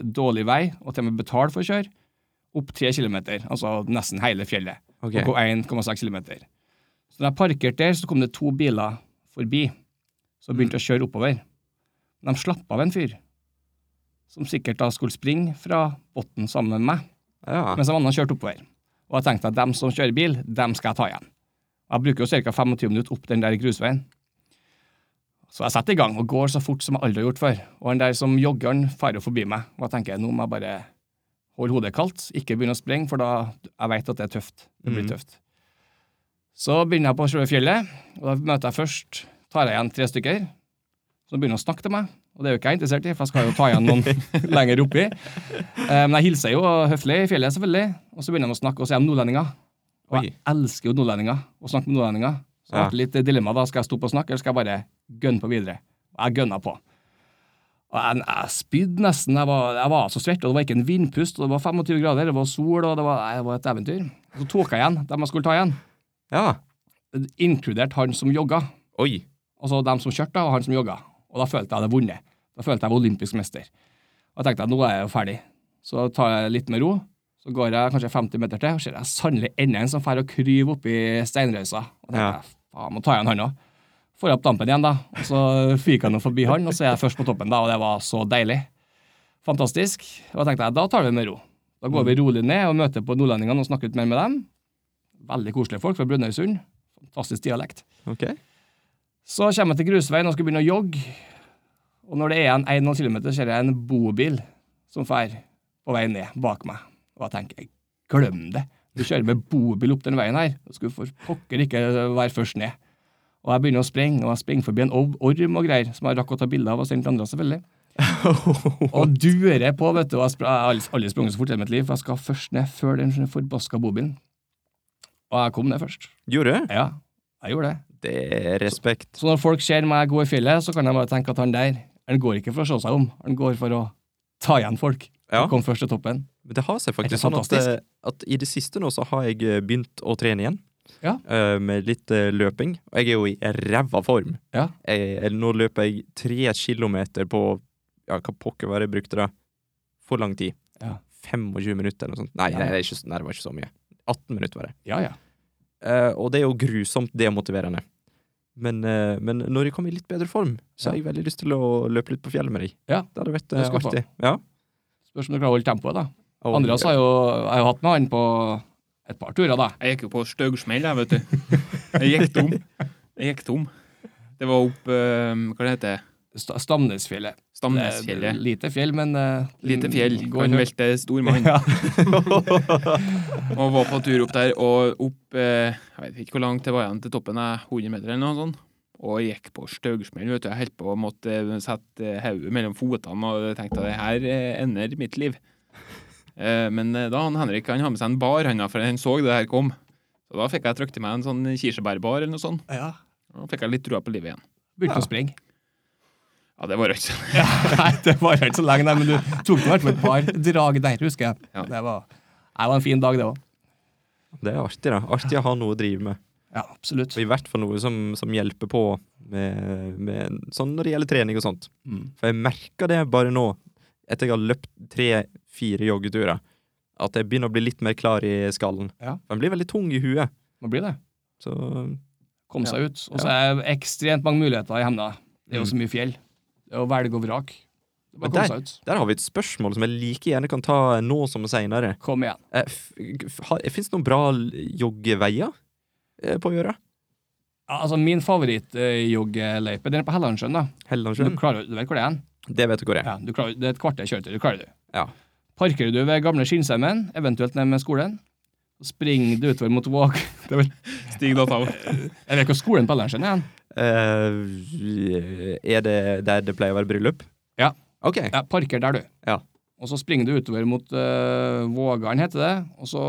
D: dårlig vei og til og med betale for å kjøre. Opp tre kilometer, altså nesten hele fjellet
B: Ok.
D: og gå 1,6 km. Så da jeg parkerte der, så kom det to biler forbi som begynte å kjøre oppover. Men de slapp av en fyr som sikkert da skulle springe fra bunnen sammen med meg,
B: Ja.
D: mens de andre kjørte oppover. Og jeg tenkte at dem som kjører bil, dem skal jeg ta igjen. Jeg bruker jo ca. 25 minutter opp den der grusveien. Så jeg setter i gang og går så fort som jeg aldri har gjort før. Og han der som jogger, han farer jo forbi meg. Og jeg tenker nå må jeg bare holde hodet kaldt, ikke begynne å springe, for da jeg vet at det er tøft. Det blir
B: Mhm.
D: tøft. Så begynner jeg på selve fjellet, og da møter jeg først tar jeg igjen tre stykker. Så begynner han å snakke til meg, og det er jo ikke jeg interessert i, for jeg skal jo ta igjen noen lenger oppi. Eh, Men jeg hilser jo høflig i fjellet, selvfølgelig. Og så begynner de å snakke, og så er de nordlendinger. Og jeg elsker jo nordlendinger, å snakke med nordlendinger. Så det
B: Ja.
D: ble litt dilemma da. Skal jeg stoppe og snakke, eller skal jeg bare gønne på videre? Og jeg gønna på. Og jeg, jeg spydde nesten. Jeg var, jeg var så svett, og det var ikke en vindpust, og det var 25 grader, det var sol, og det var, nei, det var et eventyr. Så tok jeg igjen dem jeg skulle ta igjen,
B: ja.
D: inkludert han som jogga.
B: Oi.
D: Altså dem som kjørte, og han som jogga. Og da følte jeg jeg hadde vunnet. Da følte jeg jeg var olympisk mester. Og jeg tenkte at nå er jeg jo ferdig. Så tar jeg litt med ro. Så går jeg kanskje 50 meter til, og ser jeg sannelig enda en som drar og kryver oppi steinrøysa. Og tenkte
B: Ja.
D: jeg, faen, må ta igjen han òg. Får jeg opp dampen igjen, da. Og så fyker jeg nå forbi han, og så er jeg først på toppen, da. Og det var så deilig. Fantastisk. Og da tenkte jeg, da tar vi det med ro. Da går vi rolig ned og møter på nordlendingene og snakker litt mer med dem. Veldig koselige folk fra Brønnøysund. Fantastisk dialekt.
B: Ok.
D: Så kommer jeg til grusveien og skal begynne å jogge. Og når det er igjen 1,5 km, ser jeg en bobil som fer på vei ned bak meg. Og jeg tenker glem det. Du kjører med bobil opp den veien her. Du skulle for pokker ikke være først ned. Og jeg begynner å springe, og jeg springer forbi en ov- orm og greier, som jeg rakk å ta bilde av og sende til andre, selvfølgelig. Og durer på, vet du. og Jeg spra- jeg har aldri- aldri sprunget så fort i hele mitt liv, for jeg skal først ned før den forbaska bobilen. Og jeg kom ned først.
B: Gjorde du?
D: Ja, jeg gjorde det.
B: Det er respekt.
D: Så når folk ser meg gå i fjellet, så kan de bare tenke at han der han går ikke for å se seg om, han går for å ta igjen folk.
B: Ja.
D: Han kom først til toppen.
B: Men det har seg
D: Er det
B: faktisk sånn at,
D: fantastisk?
B: eh, at i det siste nå så har jeg eh, begynt å trene igjen.
D: Ja.
B: Eh, med litt eh, løping. Og jeg er jo i ræva form.
D: Ja.
B: Jeg, eller nå løper jeg tre kilometer på ja, hva pokker var det jeg brukte da? For lang tid.
D: Ja.
B: 25 minutter eller noe sånt. Nei,
D: Ja.
B: nei, det er ikke, nei, det var ikke så mye. 18 minutter var det.
D: Ja, ja.
B: Eh, og det er jo grusomt demotiverende. Men, eh, men når jeg kommer i litt bedre form, så har jeg veldig lyst til å løpe litt på fjellet med deg.
D: Ja.
B: Det hadde vært
D: Det
B: eh,
D: skal du få.
B: artig. Ja.
D: Spørs om du klarer å holde tempoet, da.
B: Og-
D: Andreas har jo, har jo hatt med han på et par turer, da.
C: Jeg gikk jo på støgsmell, jeg, vet du. Jeg gikk tom. Jeg gikk tom. Det var opp eh, Hva det heter det?
D: Sta- Stamnesfjellet. Eh,
C: Stamnesfjellet.
D: Lite fjell, men eh,
C: Lite fjell.
D: Går
C: Kan
D: høyt.
C: velte stor mann.
D: Ja.
C: Og var på tur opp der, og opp eh, Jeg vet ikke hvor langt det var igjen til toppen, eh, 100 meter eller noe sånt. Og jeg gikk på støgsmell, vet du. Jeg holdt på å måtte eh, sette eh, hodet mellom føttene og jeg tenkte at det her eh, ender mitt liv. Eh, Men eh, da han Henrik han har med seg en bar, han, da, for han så det her kom. Så da fikk jeg trykt i meg en sånn kirsebærbar eller noe sånt.
D: ja.
C: Da fikk jeg litt trua på livet igjen.
D: Begynte å springe.
C: Ja, det var rødt.
D: Nei, det var ikke så lenge, nei, men du tok i hvert fall et par drag der, husker jeg.
C: Ja.
D: Det, var, det var en fin dag, det òg.
B: Det er artig, da. Artig å ha noe å drive med.
D: Ja, absolutt.
B: Og i hvert fall noe som, som hjelper på med, med sånn når det gjelder trening og sånt.
D: Mm.
B: For jeg merker det bare nå, etter jeg har løpt tre-fire joggeturer, at jeg begynner å bli litt mer klar i skallen.
D: Ja.
B: Den blir veldig tung i huet.
D: Nå blir det.
B: Så
D: kom seg ut. Og så er det ekstremt mange muligheter i Hemna. Det er jo så mye fjell. Det er jo velg og vrak. Det er
B: Mm. Men
D: Bare kom seg ut.
B: der har vi et spørsmål som jeg like gjerne kan ta nå som Eh, seinere.
D: Kom igjen.
B: Fins det noen bra l- joggeveier eh, på Gjøra?
D: Ja, Altså, min favorittjoggeløype, den er på Hellandsjøen, da. Du,
B: Hellandsjøen?
D: klarer, du vet hvor det er? hen.
B: Det vet du hvor det er.
D: Mm. Ja, du klarer, det er et kvarter kjøretur. Det klarer du.
B: Ja.
D: Parkerer du ved gamle Skinnsheimen, eventuelt ned med skolen, så springer du utover mot Våg Det er vel-
C: Stig da, ta
D: Jeg vet ikke hvor skolen på Hellandsjøen er. hen.
B: Eh, er det der det pleier å være bryllup?
D: Ja.
B: Ok.
D: Ja, parker der, du.
B: Ja.
D: Og så springer du utover mot uh, Vågan, heter det. Og så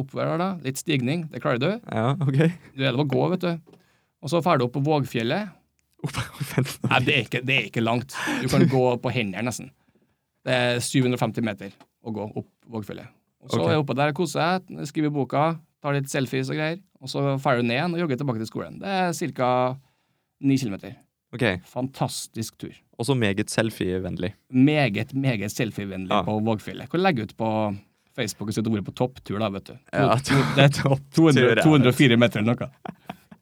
D: oppover der, da. Litt stigning. Det klarer du.
B: Ja, OK.
D: Du er det å gå, vet du. Og så drar du opp på Vågfjellet. Nei, det er, ikke, det er ikke langt. Du kan gå på hendene, nesten. Det er 750 meter å gå opp Vågfjellet. Og så
B: Ok.
D: er jeg oppe der og koser seg, skriver boka, tar litt selfies og greier. Og så drar du ned igjen og jogger tilbake til skolen. Det er ca. 9 km.
B: Ok,
D: Fantastisk tur.
B: Også meget selfievennlig.
D: Meget, meget selfievennlig
B: Ja.
D: på Vågfjellet. Kan legge ut på Facebook og sette ordet på topptur, da, vet du.
B: Ja,
D: To- to- det er
B: topptur, ja.
D: 200, 204 meter eller noe.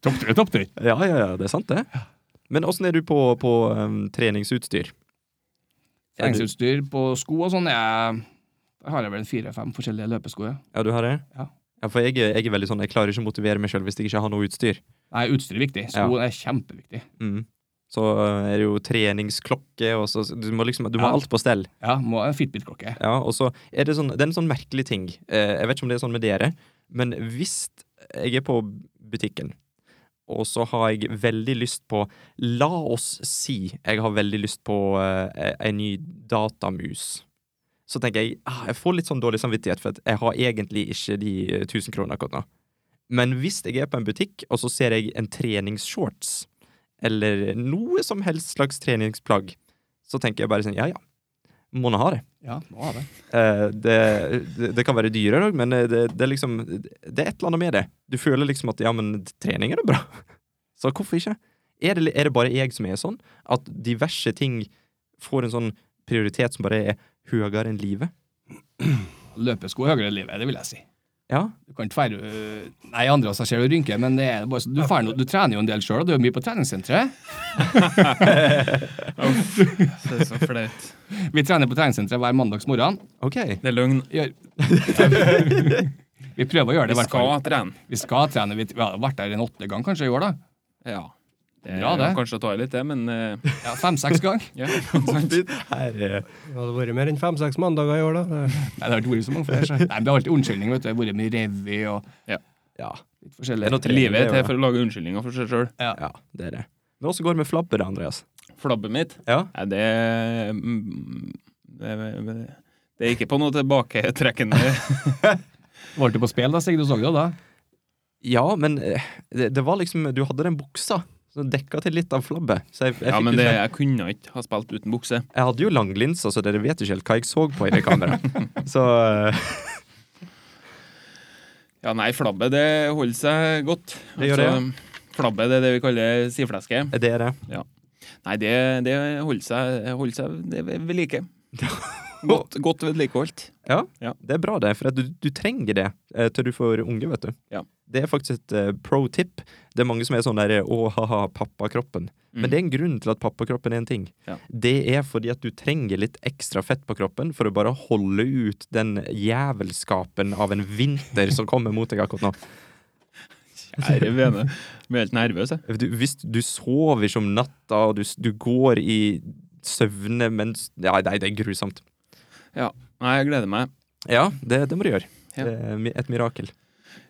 D: Topptur er topptur.
B: Ja, ja, ja, det er sant, det. Men åssen er du på, på um, treningsutstyr? Er du-
D: Treningsutstyr på sko og sånn er Der har jeg vel fire-fem forskjellige løpesko. Ja.
B: Ja, du har det?
D: Ja.
B: Ja, for jeg, er- jeg er veldig sånn, jeg klarer ikke å motivere meg sjøl hvis jeg ikke har noe utstyr.
D: Nei, utstyr er viktig. Sko er kjempeviktig.
B: Mm. Så uh, er det jo treningsklokke, og så Du må liksom, du må
D: Ja.
B: ha alt på stell.
D: Ja, må ha en Fitbit-klokke.
B: Ja, og så er det sånn, det er en sånn merkelig ting. Eh, jeg vet ikke om det er sånn med dere, men hvis jeg er på butikken, og så har jeg veldig lyst på La oss si jeg har veldig lyst på eh, ei ny datamus. Så tenker jeg ah, jeg får litt sånn dårlig samvittighet, for at jeg har egentlig ikke de eh, 1000 kronene akkurat nå. Men hvis jeg er på en butikk, og så ser jeg en treningsshorts, eller noe som helst slags treningsplagg, så tenker jeg bare sånn ja ja, må nå ha det.
D: Ja, må ha det.
B: Eh, det, det, det kan være dyrere òg, men det, det er liksom Det er et eller annet med det. Du føler liksom at ja, men trening er da bra. Så hvorfor ikke? Er det, er det bare jeg som er sånn? At diverse ting får en sånn prioritet som bare er høyere enn livet?
D: Løpesko er høyere i livet, det vil jeg si.
B: Ja.
D: Du kan tverre Nei, andre også ser du rynker, men det er bare så, du, fer no, du trener jo en del sjøl, og du er jo mye på treningssenteret.
C: Uff, det er så flaut.
D: Vi trener på treningssenteret hver mandags morgen.
B: OK.
C: Det er løgn.
D: Gjør- vi prøver å gjøre det, i
C: Vi
D: hvert fall.
C: skal trene.
D: Vi skal trene. Vi, vi har vært der en åtte gang kanskje i år, da.
C: Ja. Det er
D: Bra, det.
C: Eh, kanskje å ta i litt, det, men eh,
D: Ja, Fem-seks ganger.
C: ja. sant.
B: Her, eh,
A: Det hadde vært mer enn fem-seks mandager i år, da.
D: Nei, det har ikke vært så mange flere. så. Nei, men det er alltid unnskyldning, vet du. Det har vært mye revy og
B: ja.
D: litt
B: Det er
D: forskjellig.
B: noe trening,
C: Livet er
B: det
C: til
B: jo.
C: for å lage unnskyldninger for seg sjøl.
B: Ja, det er det. Men åssen går det med flabber, Andreas?
C: Flabbet mitt,
B: Ja.
C: nei, det er mm, det, er- det er ikke på noe tilbaketrekkende
D: Var du på spill da, Stig? Du så det jo da?
B: Ja, men eh, det, det var liksom Du hadde den buksa som dekka til litt av flabbet. Så jeg, jeg,
C: Ja,
B: fikk
C: men
B: jo
C: det,
B: ikke-
C: jeg kunne ikke ha spilt uten bukse.
B: Jeg hadde jo langlinser, så dere vet ikke helt hva jeg så på i det kameraet. så eh,
C: Ja, nei, flabbe det holder seg godt.
B: Det gjør
C: Altså, Flabbe det er det vi kaller sifleske.
B: det er det.
C: Nei, det, det holder seg, holder seg det er ved like. Godt, godt vedlikeholdt.
B: Ja,
C: Ja.
B: det er bra det, for at du, du trenger det eh, til du får unge, vet du.
C: Ja.
B: Det er faktisk et eh, pro tip. Det er mange som er sånn der eh, å ha-ha, pappakroppen. Men det er en grunn til at pappakroppen er en ting.
C: Mm. Ja.
B: Det er fordi at du trenger litt ekstra fett på kroppen for å bare holde ut den jævelskapen av en vinter som kommer mot deg akkurat nå.
C: Kjære vene. Jeg blir helt nervøs, jeg.
B: du, hvis du sover ikke om natta, og du, s- du går i søvne mens ja, Nei, det er grusomt.
C: Nei, jeg gleder meg.
B: Ja, det, det må du gjøre.
C: Ja.
B: Det er mi- et mirakel.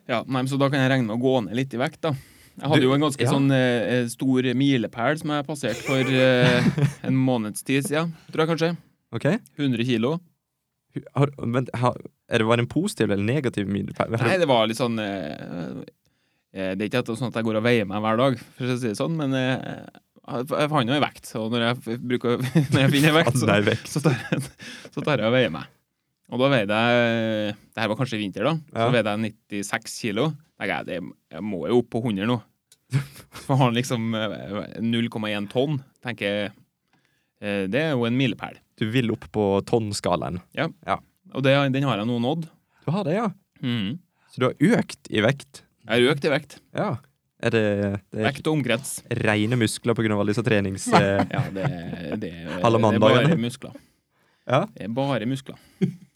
C: Ja, nei, men Så da kan jeg regne med å gå ned litt i vekt, da. Jeg hadde
B: Du-
C: jo en ganske
B: ja.
C: sånn eh, stor milepæl som jeg passerte for eh, en måneds tid siden, tror jeg kanskje.
B: OK?
C: 100 kilo.
B: Hu- Har, men har, er det, var det en positiv eller negativ milepæl?
C: Nei, det var litt sånn eh, eh, Det er ikke at det er sånn at jeg går og veier meg hver dag, for å si det sånn, men eh, jeg jeg fant jo en vekt. Og når jeg, f- bruker, når jeg finner en vekt, så,
B: Nei, vekk.
C: så, tar, jeg, så tar jeg og veier meg. Og da veide jeg Det her var kanskje i vinter, da. Så
B: Ja.
C: veide jeg 96 kilo. Tenker jeg, det, jeg må jo opp på 100 nå. For han liksom eh, 0,1 tonn. Tenker jeg eh, Det er jo en milepæl.
B: Du vil opp på tonnskalaen.
C: Og det, den har jeg nå nådd.
B: Du har det, ja.
C: Mhm.
B: Så du har økt i vekt.
C: Jeg har økt i vekt.
B: Ja. Er det, det er
C: Vekt og omkrets.
B: rene muskler på grunn av alle disse trenings... eh,
C: Ja, det,
B: Alle
C: det, det er
B: mandagene.
C: bare muskler.
B: Ja.
C: Det er bare muskler.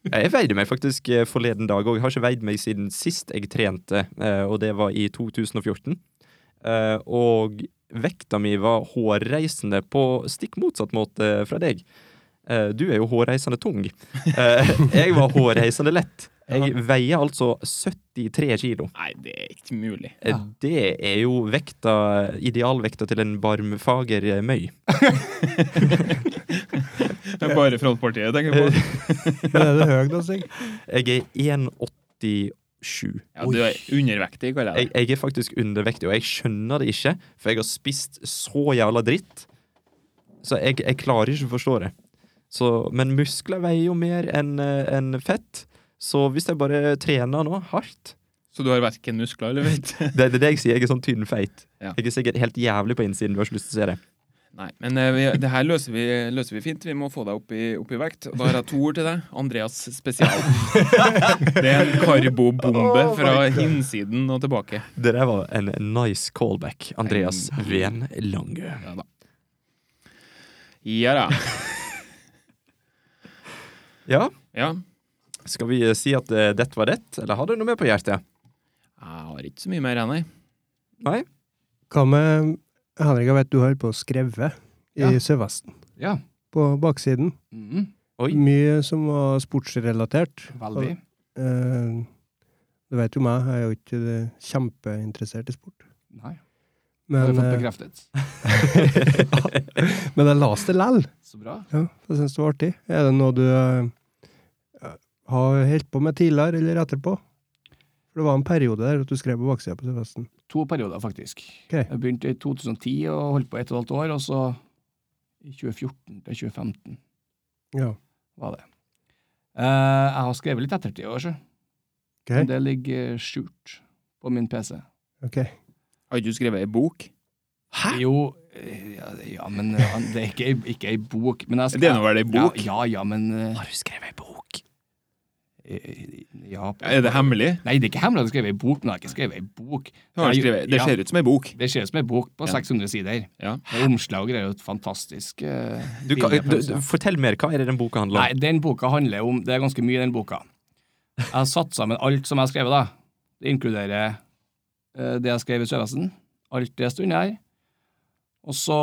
B: Jeg veide meg faktisk eh, forleden dag, og jeg har ikke veid meg siden sist jeg trente, eh, og det var i 2014. Eh, Og vekta mi var hårreisende på stikk motsatt måte fra deg. Eh, Du er jo hårreisende tung. Eh, Jeg var hårreisende lett. Jeg veier altså 73 kilo.
C: Nei, det er ikke mulig.
B: Eh,
D: Ja.
B: Det er jo vekta, idealvekta til en barmfager eh, møy.
C: Det er bare frontpartiet jeg tenker på.
A: Men er det høy, da, Stig?
B: Jeg er 1,87.
C: Ja, du er undervektig, kaller
B: Jeg,
C: jeg det.
B: jeg er faktisk undervektig, og jeg skjønner det ikke, for jeg har spist så jævla dritt. Så jeg, jeg klarer ikke å forstå det. Så, men muskler veier jo mer enn eh, enn fett, så hvis jeg bare trener nå hardt
C: Så du har verken muskler eller vett?
B: Det det er det jeg sier, jeg er sånn tynnfeit.
C: Ja.
B: Jeg er sikkert helt jævlig på innsiden, du har ikke lyst til å se det.
C: Nei, men eh, vi, det her løser vi, løser vi fint. Vi må få deg opp i, opp i vekt. Og da har jeg to ord til deg. Andreas spesial. Det er en karbobombe fra innsiden og tilbake.
B: Det der var en nice callback. Andreas Ven Langø.
C: Ja da. Ja da.
B: Ja,
C: Ja.
B: skal vi si at eh, dette var det, eller har du noe mer på hjertet?
C: Jeg har ikke så mye mer, jeg, nei.
B: Nei?
A: Hva med Henrik, jeg vet du har på skrevet i
D: Ja.
A: Sørvesten.
D: Ja.
A: På baksiden.
D: Mm,
B: Oi.
A: Mye som var sportsrelatert.
D: veldig.
A: Eh, du vet jo meg, jeg er jo ikke det- kjempeinteressert i sport.
D: Nei. Har
A: Men,
D: du fått
A: eh,
D: bekreftet?
A: men jeg leste det lell.
D: Så bra.
A: Ja, jeg syns det var artig. Er det noe du eh, har holdt på med tidligere eller etterpå? For det var en periode der at du skrev på baksida på Sørvesten.
D: To perioder, faktisk.
A: Ok.
D: Jeg begynte i 2010 og holdt på ett og et halvt år, og så i 2014 til 2015
A: Ja.
D: var det. Eh, jeg har skrevet litt ettertid i år, så.
A: Ok.
D: Det ligger eh, skjult på min PC.
A: ok.
C: Har ikke du skrevet ei bok?
D: Hæ? Jo, eh, ja, ja men eh, han- det er ikke, ei- ikke ei bok. Men jeg skal,
C: Det er nå vel ei bok?
D: Ja, ja, ja men eh,
B: Har du skrevet ei bok?
D: eh, ja.
C: Er det hemmelig?
D: Nei, det er ikke hemmelig at jeg har skrevet ei bok, men jeg har ikke skrevet ei bok.
C: Du har
D: Nei,
C: skrevet, det
D: ja.
C: ser ut som ei bok.
D: Det ser ut som ei bok på
C: Ja.
D: 600 sider.
C: Ja.
D: Med omslag og greier. og Et fantastisk eh,
B: Du, kan,
D: bilde på
B: du,
D: det.
B: du, fortell mer. Hva er det den boka handler
D: Nei,
B: om?
D: den boka handler om Det er ganske mye i den boka. Jeg har satt sammen alt som jeg har skrevet, da. Det inkluderer eh, det jeg skrev i Sørvesten. Alt det stundet her. Og så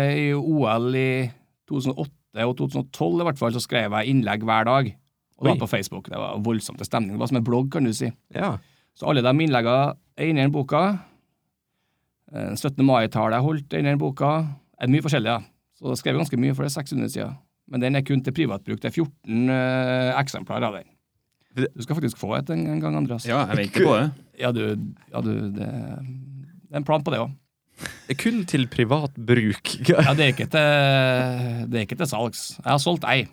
D: eh, i OL i 2008 og 2012 i hvert fall, så skrev jeg innlegg hver dag. Og det
B: Oi.
D: var på Facebook. Det var voldsomt til stemning. Det var som en blogg, kan du si.
B: Ja.
D: Så alle de innleggene er inni den boka. Eh, 17. mai-tallet jeg holdt er inni den boka. Det er mye forskjellig, ja. Så jeg skrev ganske mye, for det er 600 sider. Men den er kun til privatbruk. Det er 14 eh, eksemplarer av den. Du skal faktisk få et en, en gang, Andreas.
C: Ja, jeg venter på det.
D: Ja, du, ja, du det, det er en plan på det òg.
B: Kun til privat bruk.
D: Ja, det er, ikke til, det er ikke til salgs. Jeg har solgt ei.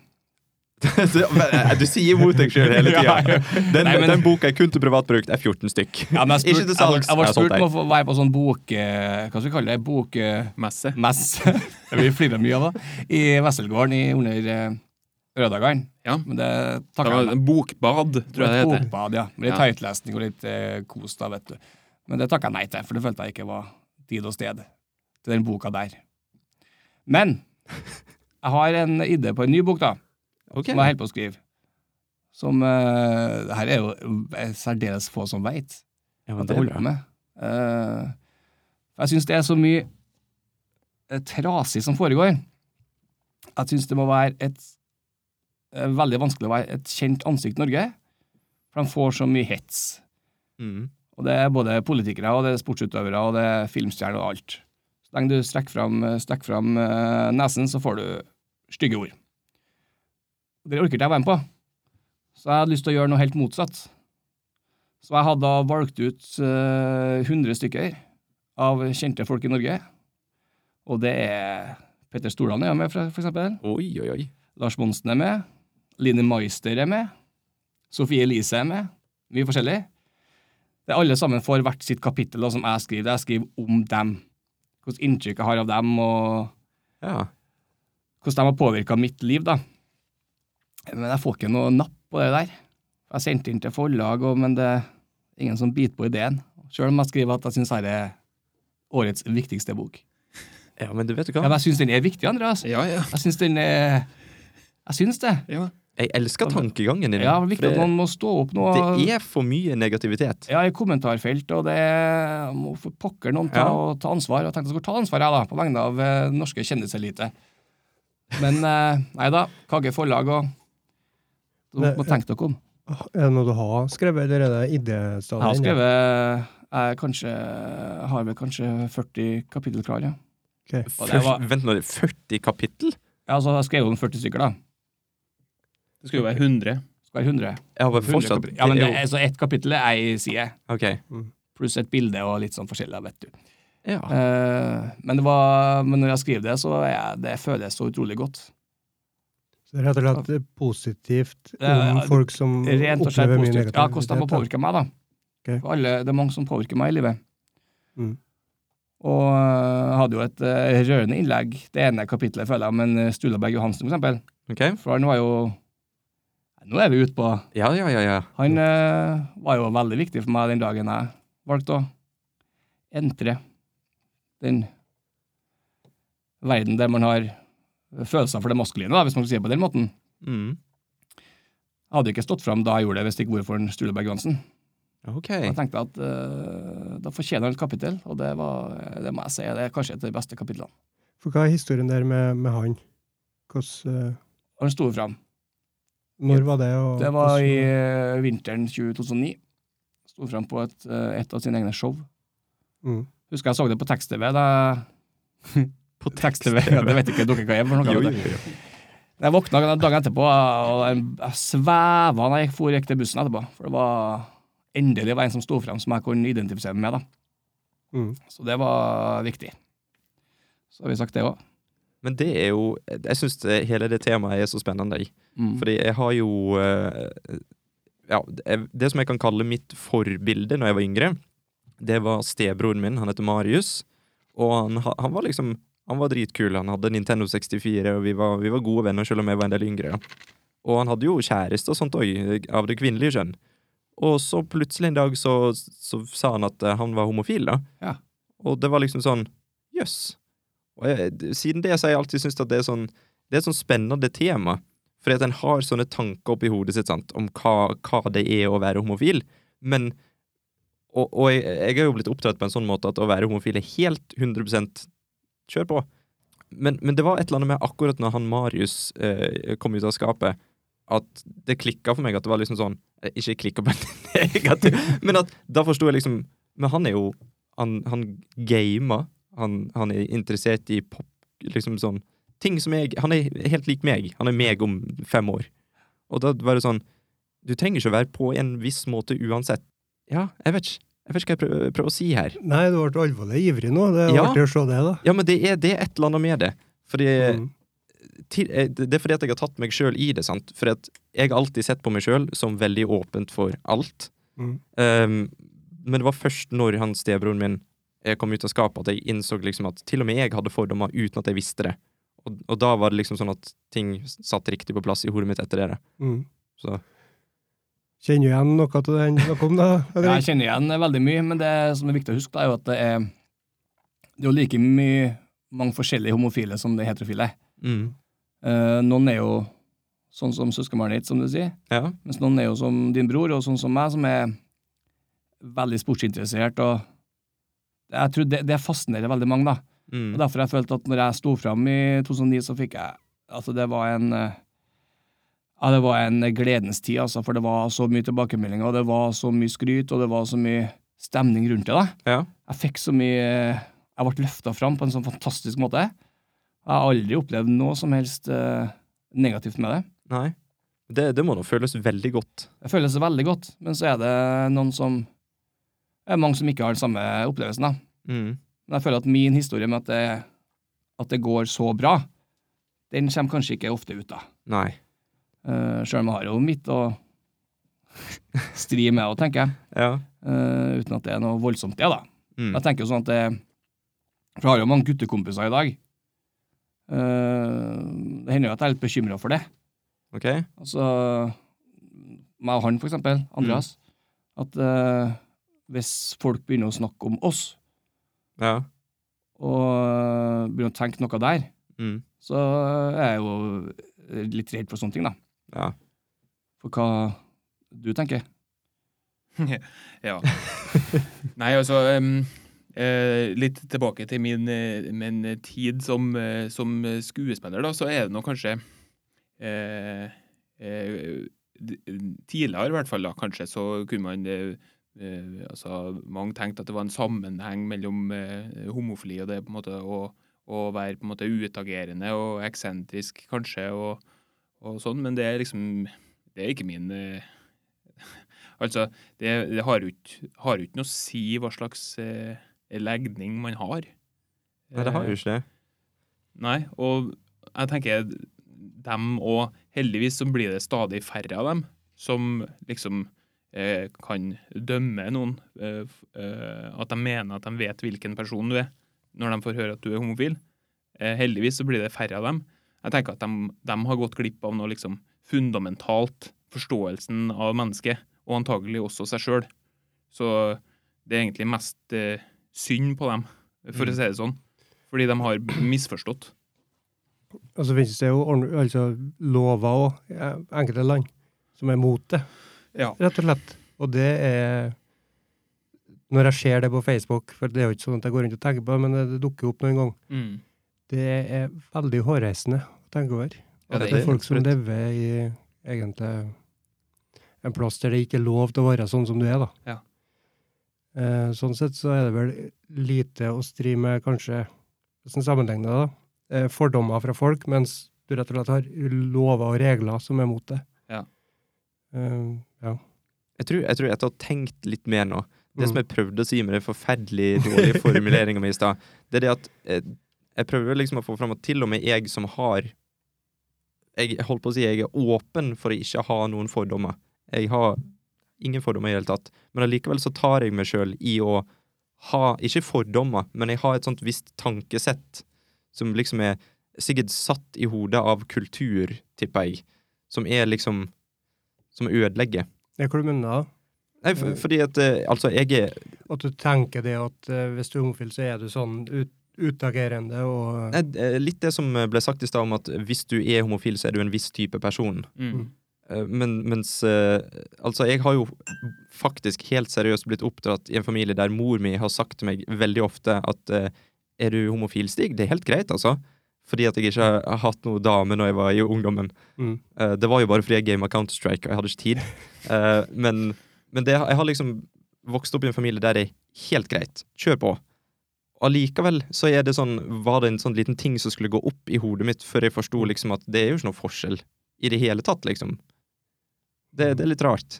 B: du sier imot deg sjøl hele
D: Ja,
B: tida.
D: ja.
B: Den,
D: Nei, men-
B: den boka er kun til privat bruk. Det er 14 stykk.
D: Ja, men jeg, spurte-
B: Ikke til salgs.
D: Jeg, ble- jeg ble
B: Jeg har solgt
D: spurt om
B: ei.
D: å få være på sånn boke... Hva skal vi kalle det? Boke...
C: Messe.
D: messe, det vi flirer mye av, da, i Vesselgården i, under eh, Rødagene.
C: Ja.
D: Men det
C: Det
D: takker
C: var
D: jeg meg.
C: en bokbad,
D: Det var
C: tror jeg det
D: et
C: heter.
D: bokbad, ja. Med litt
C: Ja.
D: høytlesning og litt eh, kos, da, vet du. Men det takka jeg nei til, for det følte jeg ikke var tid og sted til den boka der. Men jeg har en idé på en ny bok, da,
B: Ok.
D: som jeg holder på å skrive. Som eh, det Her er jo eh, særdeles få som veit
B: Ja, men
D: at
B: det er
D: jeg
B: bra.
D: holder på med. Eh, jeg syns det er så mye eh, trasig som foregår. Jeg syns det må være et eh, veldig vanskelig å være et kjent ansikt i Norge, for de får så mye hets.
B: Mm.
D: Og det er både politikere, og det er sportsutøvere, og det er filmstjerner og alt. Så lenge du strekker fram, strekker fram eh, nesen, så får du stygge ord. Det orker ikke jeg være med på. Så jeg hadde lyst til å gjøre noe helt motsatt. Så jeg hadde da valgt ut eh, 100 stykker av kjente folk i Norge. Og det er Petter Stordalen er med, for for eksempel.
B: Oi, oi, oi.
D: Lars Monsen er med. Line Meister er med. Sofie Elise er med. Mye forskjellig. Det er alle sammen får hvert sitt kapittel da, som jeg skriver. Jeg skriver om dem. Hvilket inntrykk jeg har av dem, og
B: Ja.
D: hvordan de har påvirka mitt liv, da. Men jeg får ikke noe napp på det der. Jeg sendte inn til forlag, og, men det er ingen som biter på ideen. Sjøl om jeg skriver at jeg syns dette er årets viktigste bok.
B: ja, men du vet jo
D: Ja,
B: hva.
D: men jeg syns den er viktig, Andreas.
C: Ja, ja.
D: Jeg syns den er Jeg syns det.
C: ja.
B: Jeg elsker tankegangen din.
D: Ja, det
B: for
D: er viktig at
B: det,
D: man må stå opp nå.
B: det er for mye negativitet.
D: Ja, i kommentarfelt, og det er- må for pokker noen ta,
B: Ja.
D: og ta ansvar. Og jeg tenkte jeg skulle ta ansvar, jeg, da, på vegne av eh, norske kjendiselite. Men eh, nei da, Kagge forlag og så må
A: Det-
D: må tenke dere om.
A: Er det noe du har skrevet, eller er det idéstadiet?
D: Jeg har skrevet jeg kanskje, jeg har vel kanskje 40 kapittel klar, ja. Og det var-
B: Først, vent nå, det er 40 kapittel?
D: Ja, Altså, jeg skrev jo om 40 stykker, da.
C: Det skulle jo være 100.
D: Skal være 100.
B: Ja, men fortsatt.
D: Ja, men det,
B: er jo-
D: er- så ett kapittel er ei side,
B: Ok.
D: pluss et bilde og litt sånn forskjellig, vet du.
B: Ja.
D: Eh, men, det var, men når jeg skriver det, så er jeg, det føles så utrolig godt.
A: Så det er rett og slett positivt
D: Ja, ja,
A: om folk som
D: Rent og slett
A: opplever mye
D: positivt.
A: negativt?
D: Ja, hvordan de påvirker meg, da.
A: Ok.
D: For alle, det er mange som påvirker meg i livet.
A: Mm.
D: Og eh, jeg hadde jo et eh, rørende innlegg, det ene kapitlet, føler jeg, om en Stulaberg Johansen, for eksempel.
B: Ok.
D: For han var jo Nå er vi ute på
B: Ja, ja, ja, ja.
D: Han eh, var jo veldig viktig for meg den dagen jeg valgte å entre den verden der man har følelser for det maskuline, da, hvis man kan si det på den måten.
B: Mm.
D: Jeg hadde ikke stått fram da jeg gjorde det, hvis det ikke var for Stuleberg Johansen.
B: Ok.
D: Jeg tenkte at eh, da fortjener han et kapittel, og det, var, det må jeg si det er kanskje et av de beste kapitlene.
A: For hva er historien der med, med han? Hvordan, eh,
D: Han sto fram.
A: når var det? Og,
D: Det var i
A: hvordan-
D: eh, vinteren 2009. Sto fram på et, eh, et av sine egne show.
A: mm.
D: Husker jeg så det på tekst-TV. da På tekst-TV? ja, det vet ikke dere hva er for noe.
B: Jo, jo,
D: vet du.
B: jo.
D: Jeg våkna dagen etterpå, og jeg jeg sveva når jeg for gikk til bussen etterpå. For det var endelig var en som sto fram som jeg kunne identifisere meg med. da.
A: Mm.
D: Så det var viktig. Så har vi sagt det òg.
B: Men det er jo Jeg syns hele det temaet er så spennende. jeg.
D: Mm.
B: Fordi jeg har jo eh, Ja, det- det som jeg kan kalle mitt forbilde når jeg var yngre, det var stebroren min. Han heter Marius. Og han, ha- han var liksom Han var dritkul. Han hadde Nintendo 64, og vi var, vi var gode venner, selv om jeg var en del yngre. da. Og han hadde jo kjæreste og sånt òg, av det kvinnelige kjønn. Og så plutselig en dag så, så sa han at eh, han var homofil, da.
D: Ja.
B: Og det var liksom sånn Jøss. Og jeg, siden det så har jeg alltid syntes at det er sånn Det er et sånn spennende tema. Fordi at en har sånne tanker oppi hodet sitt sant, om hva, hva det er å være homofil. Men Og, og jeg, jeg er jo blitt oppdratt på en sånn måte at å være homofil er helt 100 Kjør på. Men, men det var et eller annet med akkurat når han Marius eh, kom ut av skapet, at det klikka for meg at det var liksom sånn eh, Ikke klikka på negativ, men at da forsto jeg liksom Men han er jo Han, han gamer. Han, han er interessert i pop, liksom sånn ting som jeg Han er helt lik meg. Han er meg om fem år. Og da var det sånn Du trenger ikke å være på en viss måte uansett. Ja, jeg vet ikke. Jeg vet ikke hva jeg prøver, prøver å si her.
A: Nei, du ble alvorlig ivrig nå. Det er
B: Ja.
A: artig å se det, da.
B: Ja, men det er, det er et eller annet med det. Fordi
A: Mm.
B: til, eh, det det er fordi at jeg har tatt meg sjøl i det. sant? Fordi at jeg har alltid sett på meg sjøl som veldig åpent for alt.
A: Mm.
B: Ehm, men det var først når han stebroren min eh, kom ut av skapet, at jeg innså liksom at til og med jeg hadde fordommer uten at jeg visste det. Og, og da var det liksom sånn at ting satt riktig på plass i hodet mitt etter det. da.
A: Mm.
B: Så.
A: Kjenner du igjen noe til den noe om det?
D: Ja,
A: Henrik?
D: jeg kjenner igjen veldig mye, men det som er viktig å huske, da, er jo at det er, det er jo like mye mange forskjellige homofile som det er heterofile.
B: Mm.
D: Eh, noen er jo sånn som søskenbarnet ditt, som du sier,
B: Ja.
D: mens noen er jo som din bror, og sånn som meg, som er veldig sportsinteressert. og jeg tror det, det fascinerer veldig mange. da. Og
B: Mm.
D: Derfor har jeg følt at når jeg sto fram i 2009, så fikk jeg Altså, det var en eh, Ja, det var en gledens tid, altså, for det var så mye tilbakemeldinger, og det var så mye skryt, og det var så mye stemning rundt det. da.
B: ja.
D: Jeg fikk så mye Jeg ble løfta fram på en sånn fantastisk måte. Jeg har aldri opplevd noe som helst eh, negativt med det.
B: Nei. Det, det må nå føles veldig godt.
D: Det føles veldig godt, men så er det noen som det er mange som ikke har den samme opplevelsen. da.
B: Mm.
D: Men jeg føler at min historie med at det, at det går så bra, den kommer kanskje ikke ofte ut, da.
B: Nei.
D: Uh, Sjøl om jeg har jo mitt å stri med, og tenker jeg.
B: Ja.
D: Eh, uten at det er noe voldsomt, det, da.
B: Mm.
D: Jeg tenker jo sånn at det For jeg har jo mange guttekompiser i dag. Eh, det hender jo at jeg er litt bekymra for det.
B: Ok.
D: Altså meg og han, for eksempel, Andreas, at eh, hvis folk begynner å snakke om oss,
B: Ja.
D: og eh, begynner å tenke noe der,
B: Mm.
D: så er jeg jo litt redd for sånne ting, da.
B: Ja.
D: For hva du tenker.
C: Ja. Nei, altså em, eh, Litt tilbake til min, eh, min tid som, eh, som skuespiller, da, så er det nå kanskje eh, eh, d- Tidligere i hvert fall da, kanskje, så kunne man eh, eh, altså, Mange tenkte at det var en sammenheng mellom eh, homofili og det på en måte å, å være på en måte utagerende og eksentrisk, kanskje, og, og sånn, men det er liksom Det er ikke min eh, Altså, det, det har jo ikke har jo ikke noe å si hva slags eh, legning man har.
B: Nei, det har jo ikke det.
C: Nei, og jeg tenker dem og heldigvis så blir det stadig færre av dem som liksom eh, kan dømme noen. Eh, f- eh, at de mener at de vet hvilken person du er når de får høre at du er homofil. Eh, heldigvis så blir det færre av dem. Jeg tenker at de, de har gått glipp av noe liksom fundamentalt, forståelsen av mennesket, og antagelig også seg sjøl. Så det er egentlig mest eh, synd på dem, for å si det sånn. Fordi de har misforstått.
A: Og så finnes det jo ordn- altså, lover òg, enkelte land, som er mot det,
C: Ja.
A: rett og slett. Og det er Når jeg ser det på Facebook, for det er jo ikke sånn at jeg går rundt og tenker på det, men det det dukker opp noen gang,
C: Mm.
A: det er veldig hårreisende å tenke over.
C: Ja,
A: At
C: det
A: det,
C: er
A: er folk som
B: absolutt.
A: lever i egentlig en plass der det ikke er lov til å være sånn som du er, da.
C: Ja.
A: Eh, sånn sett så er det vel lite å stri med, kanskje, hvordan sammenligner det, da, eh, fordommer fra folk, mens du rett og slett har lover og regler som er mot det.
C: Ja.
A: Eh, ja.
B: Jeg tror, jeg tror jeg har tenkt litt mer nå. Det som jeg prøvde å si med den forferdelig dårlige formuleringa mi i stad, det er det at eh, jeg prøver liksom å få fram at til og med jeg som har Jeg holdt på å si jeg er åpen for å ikke ha noen fordommer. Jeg har ingen fordommer i det hele tatt. Men allikevel så tar jeg meg sjøl i å ha Ikke fordommer, men jeg har et sånt visst tankesett som liksom er sikkert satt i hodet av kultur, tipper jeg, som er liksom Som ødelegger.
A: Det er hva du mener da.
B: Nei, for,
A: Eh.
B: fordi at eh, Altså, jeg er
A: At du tenker det at eh, hvis du er homofil, så er du sånn ut, utagerende og
B: nei, d- eh, Litt det som eh, ble sagt i stad om at hvis du er homofil, så er du en viss type person.
C: Mm.
B: Eh, Men mens eh, Altså, jeg har jo faktisk helt seriøst blitt oppdratt i en familie der mor mi har sagt til meg veldig ofte at eh, Er du homofil, Stig? Det er helt greit, altså. Fordi at jeg ikke har hatt noe dame når jeg var i ungdommen.
A: Mm.
B: Eh, det var jo bare fordi jeg gama Counter-Strike, og jeg hadde ikke tid. Eh, men men det, jeg har liksom vokst opp i en familie der det er helt greit. Kjør på. Allikevel så er det sånn, var det en sånn liten ting som skulle gå opp i hodet mitt før jeg forsto liksom at det er jo ikke noe forskjell i det hele tatt, liksom. Det, det er litt rart.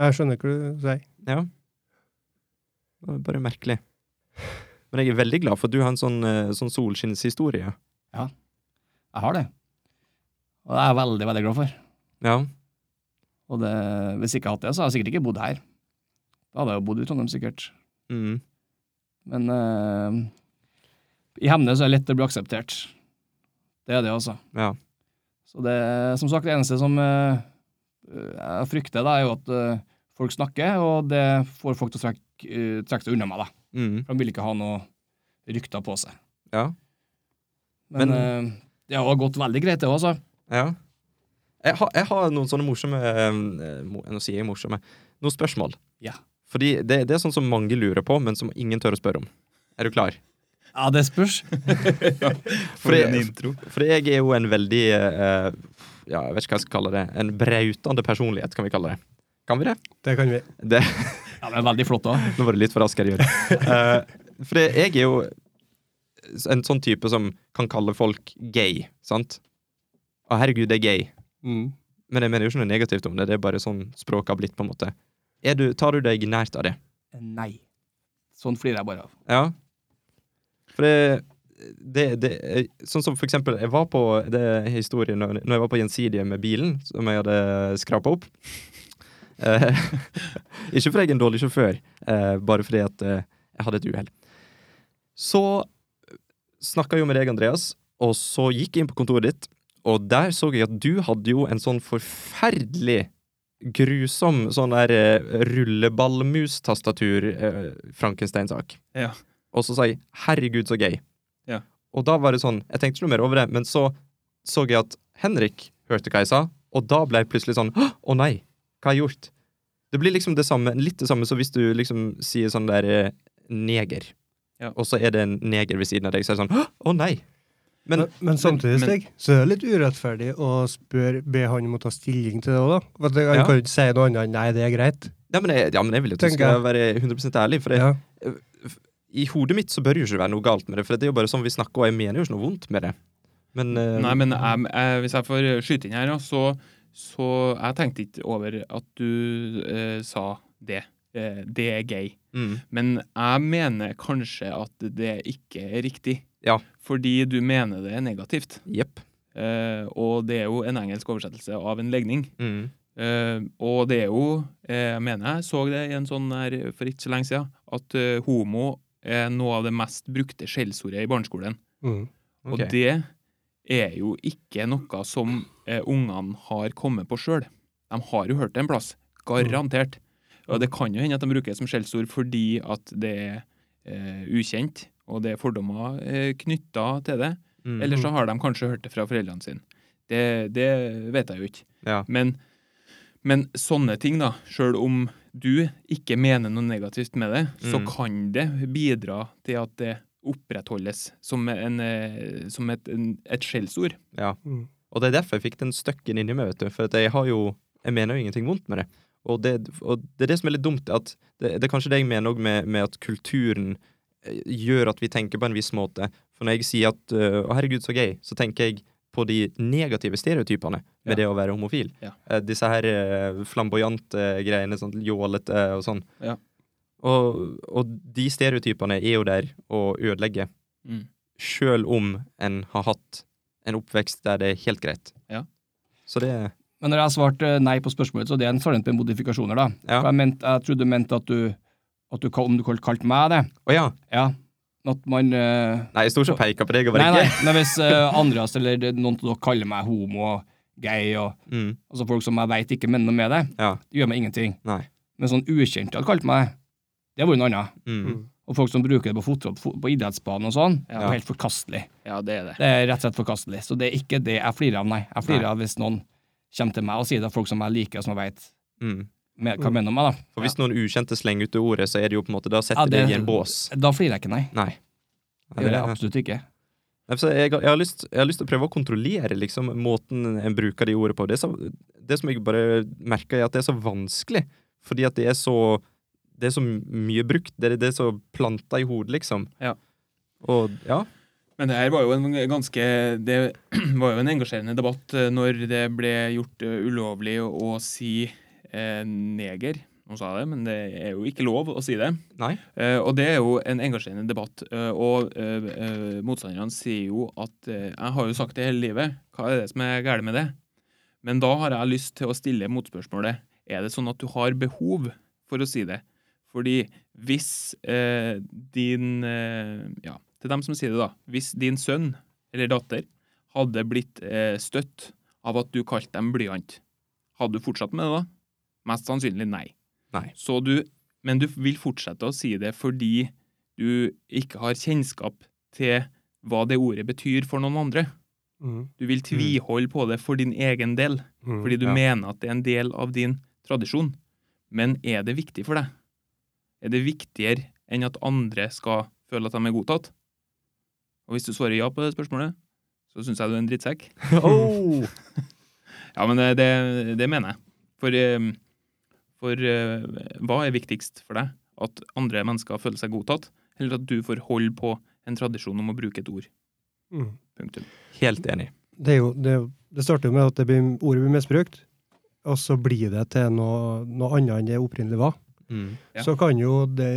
A: Jeg skjønner hva du sier.
B: Ja. Det var Bare merkelig. Men jeg er veldig glad for at du har en sånn, eh, sånn solskinnshistorie.
D: Jeg har det. Og det er jeg veldig, veldig glad for.
B: Ja.
D: Og det, hvis jeg ikke hadde hatt det, så hadde jeg sikkert ikke bodd her. Da hadde jeg jo bodd i Trondheim, sikkert.
B: Mm.
D: Men eh, i Hemne så er det lett å bli akseptert. Det er det, altså.
B: Ja.
D: Så det som sagt, det eneste som eh, jeg frykter, da, er jo at eh, folk snakker, og det får folk til å trekke, eh, trekke seg unna meg. da.
B: Mm.
D: For de vil ikke ha noe rykter på seg.
B: Ja.
D: Men,
B: Men-
D: eh, det har gått veldig greit, det òg, altså.
B: Ja. Jeg, har- jeg har noen sånne morsomme eh, mo- Nå sier jeg morsomme. Noen spørsmål.
D: Ja.
B: Fordi det, det er sånn som mange lurer på, men som ingen tør å spørre om. Er du klar?
D: Ja, det spørs.
B: For jeg, for jeg er jo en veldig eh, Ja, jeg vet ikke hva jeg skal kalle det. En brautende personlighet, kan vi kalle det. Kan vi det?
A: Det kan vi.
B: det
D: Ja, det er veldig flott òg.
B: nå var det litt for rask herjord. for det, jeg er jo en sånn type som kan kalle folk gay, sant? Å, herregud, det er gay.
A: Mm.
B: Men jeg mener jo ikke noe negativt om det, det er bare sånn språket har blitt, på en måte. Er du, tar du deg nært av det?
D: Eh, Nei. Sånn flirer jeg bare av.
B: Ja. For det, det, det Sånn som for eksempel, jeg var på det er historien når, når jeg var på Gjensidige med bilen, som jeg hadde skrapa opp. Eh, ikke fordi jeg er en dårlig sjåfør, eh, bare fordi at eh, jeg hadde et uhell. Så snakka jeg jo med deg, Andreas, og så gikk jeg inn på kontoret ditt, og der så jeg at du hadde jo en sånn forferdelig grusom sånn der eh, rulleballmus-tastatur-Frankenstein-sak.
C: Ja.
B: Og så sa jeg 'herregud, så gøy'.
C: Ja.
B: Og da var det sånn Jeg tenkte ikke noe mer over det, men så så jeg at Henrik hørte hva jeg sa, og da ble jeg plutselig sånn 'Å å nei, hva har jeg gjort?' Det blir liksom det samme, litt det samme som hvis du liksom sier sånn der eh, 'neger',
C: Ja.
B: og så er det en neger ved siden av deg, så er det sånn 'Å å nei, Men
A: Men, men samtidig,
B: men-
A: Stig, så er det litt urettferdig å spørre, be han om å ta stilling til det òg, da. For at Han
B: Ja.
A: kan jo ikke si noe annet enn nei, det er greit.
B: Ja, men jeg, ja, men jeg vil jo at du
A: Tenker
B: skal
A: jeg.
B: være 100 ærlig. For det,
A: Ja.
B: i hodet mitt så bør jo ikke være noe galt med det, for det er jo bare sånn vi snakker, og jeg mener jo ikke noe vondt med det. Men, eh,
C: Nei, men jeg, jeg, hvis jeg får skyte inn her, ja, så, så jeg tenkte ikke over at du eh, sa det. Eh, det er gay.
B: mm,
C: Men jeg mener kanskje at det ikke er riktig.
B: Ja.
C: Fordi du mener det er negativt.
B: jepp.
C: Eh, og det er jo en engelsk oversettelse av en legning.
B: Mm,
C: Eh, og det er jo, eh, jeg mener jeg så det i en sånn her for ikke så lenge siden, at eh, homo er noe av det mest brukte skjellsordet i barneskolen.
A: Mm.
B: ok.
C: Og det er jo ikke noe som eh, ungene har kommet på sjøl. De har jo hørt det en plass, garantert. Og det kan jo hende at de bruker det som skjellsord fordi at det er eh, ukjent, og det er fordommer eh, knytta til det.
B: Mm,
C: Eller så har de kanskje hørt det fra foreldrene sine. Det, det vet jeg jo ikke.
B: ja.
C: Men, men sånne ting, da, sjøl om du ikke mener noe negativt med det, så
B: Mm.
C: kan det bidra til at det opprettholdes som, en, eh, som et, en, et skjellsord.
A: Mm.
B: Og det er derfor jeg fikk den støkken inni meg, vet du. For at jeg har jo Jeg mener jo ingenting vondt med det. Og det, og det er det som er litt dumt, at det, det er kanskje det jeg mener òg med, med at kulturen eh, gjør at vi tenker på en viss måte. For når jeg sier at øh, 'Å, herregud, så gøy', så tenker jeg på de negative stereotypene med
C: Ja.
B: det å være homofil.
C: Ja.
B: Eh, disse her eh, flamboyante greiene, sånn jålete og sånn.
C: Ja.
B: Og, og de stereotypene er jo der og ødelegger
C: Mm.
B: sjøl om en har hatt en oppvekst der det er helt greit.
C: Ja.
B: Så det
D: Men når jeg har svart eh, nei på spørsmålet, så det er en forhånd med modifikasjoner, da.
B: Ja.
D: For Jeg, mente, jeg trodde du mente at du, at du kal- om du kalte kalt meg det.
B: Å ja.
D: Ja. At man eh,
B: Nei, jeg sto ikke og peka på deg. Jeg
D: Nei,
B: var
D: nei,
B: ikke
D: men hvis eh, andre altså, eller det- noen av dere kaller meg homo og gay og
B: Mm,
D: altså folk som jeg veit ikke mener noe med det,
B: ja.
D: det gjør meg ingenting.
B: Nei.
D: Men sånn ukjente hadde kalt meg det, det var jo noe annet.
B: Mm.
A: Mm.
D: Og folk som bruker det på, fotball, fo- på idrettsbanen og sånn, det
C: Ja.
D: er helt forkastelig.
C: Ja, det er det.
D: Det er rett og slett forkastelig. Så det er ikke det jeg flirer av, nei. Jeg flirer av hvis noen kommer til meg og sier det er folk som jeg liker, og som jeg veit
B: Mm.
D: hva
A: Mm.
D: mener om meg, da.
B: For hvis noen ukjente slenger ut det ordet, så er det jo på en måte Da setter
D: Ja, det-
B: deg i en bås.
D: Da flirer jeg ikke, nei.
B: Nei.
D: Det gjør jeg absolutt ikke.
B: Nei, for Jeg, jeg, har lyst, jeg har lyst til å prøve å kontrollere liksom, måten en bruker de ordene på. Det, er så, det som jeg bare merker, er at det er så vanskelig, fordi at det er så, det er så mye brukt. Det er, det er så planta i hodet, liksom.
C: Ja.
B: Og ja.
C: Men det her var jo en ganske Det var jo en engasjerende debatt eh, når det ble gjort eh, ulovlig å si eh, neger. Nå sa jeg det, men det er jo ikke lov å si det.
B: Nei.
C: Eh, og det er jo en engasjerende debatt. eh, og eh, eh, motstanderne sier jo at eh, jeg har jo sagt det hele livet, hva er det som er galt med det? Men da har jeg lyst til å stille motspørsmålet. Er det sånn at du har behov for å si det? Fordi hvis eh, din eh, Ja, til dem som sier det, da. Hvis din sønn eller datter hadde blitt eh, støtt av at du kalte dem blyant, hadde du fortsatt med det da? Mest sannsynlig nei.
B: Nei.
C: Så du, men du vil fortsette å si det fordi du ikke har kjennskap til hva det ordet betyr for noen andre.
A: Mm.
C: Du vil tviholde på det for din egen del,
A: Mm.
C: fordi du
B: ja.
C: mener at det er en del av din tradisjon. Men er det viktig for deg? Er det viktigere enn at andre skal føle at de er godtatt? Og hvis du svarer ja på det spørsmålet, så syns jeg du er en drittsekk.
B: Oh!
C: Ja, men det, det, det mener jeg. For, eh, for eh, hva er viktigst for deg? At andre mennesker føler seg godtatt, eller at du får holde på en tradisjon om å bruke et ord?
A: Mm.
C: Punktum.
B: Helt enig.
A: Det, er jo, det, er jo- det starter jo med at det blir, ordet blir misbrukt, og så blir det til noe, noe annet enn det opprinnelig var.
B: Mm.
C: Ja.
A: Så kan jo det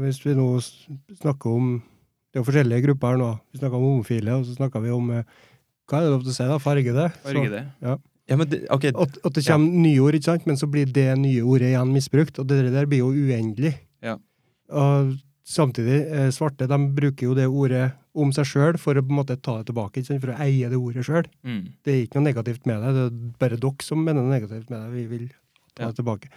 A: Hvis vi nå s- snakker om Det er jo forskjellige grupper her nå. Vi snakker om homofile, og så snakker vi om eh, Hva er det lov til å si, da? Fargede? Så-
C: Farge det.
B: Ja, men det, ok,
A: At, at det kommer nye ord, ikke sant? men så blir det nye ordet igjen misbrukt, og det der blir jo uendelig.
C: Ja.
A: Og samtidig, eh, svarte de bruker jo det ordet om seg sjøl for å på en måte ta det tilbake, ikke sant? for å eie det ordet sjøl.
C: Mm.
A: Det er ikke noe negativt med det, det er bare dere som mener noe negativt med det. Vi vil ta
C: Ja.
A: det tilbake.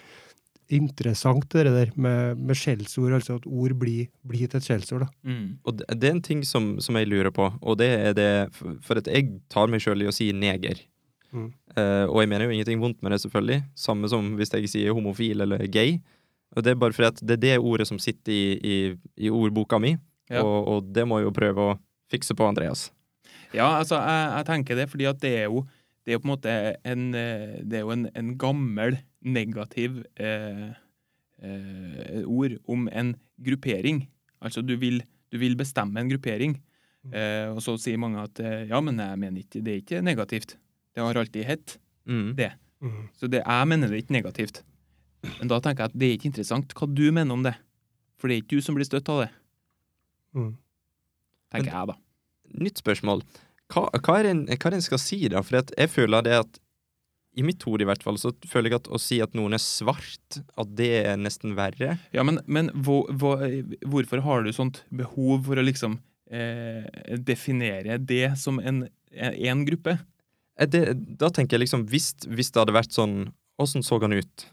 A: Interessant det der med, med skjellsord, altså at ord blir, blir til et skjellsord. da.
C: Mm.
B: og det, det er en ting som, som jeg lurer på, og det er det For for at jeg tar meg sjøl i å si neger.
A: Mm.
B: Eh, og jeg mener jo ingenting vondt med det, selvfølgelig. Samme som hvis jeg sier homofil eller gay. Og Det er bare fordi at det er det ordet som sitter i, i, i ordboka mi,
C: Ja.
B: og, og det må jeg jo prøve å fikse på, Andreas.
C: Ja, altså, jeg, jeg tenker det, fordi at det er jo det er jo på en måte en, eh, det er jo en, en gammel negativ eh, eh, ord om en gruppering. Altså, du vil, du vil bestemme en gruppering. Eh, og så sier mange at eh, ja, men jeg mener ikke, det er ikke negativt. Det har alltid hett.
B: Mm.
C: det. Så det, jeg mener det er ikke negativt. Men da tenker jeg at det er ikke interessant hva du mener om det. For det er ikke du som blir støtt av det,
A: Mm.
C: tenker jeg da.
B: Nytt spørsmål. Hva, hva, er en, hva er en skal si, da? For at jeg føler det at I mitt hode, i hvert fall, så føler jeg at å si at noen er svart, at det er nesten verre.
C: Ja, men, men hvor, hvor, hvorfor har du sånt behov for å liksom eh, definere det som en, en gruppe?
B: Eh, Det, da tenker jeg liksom Hvis, hvis det hadde vært sånn Åssen så han ut?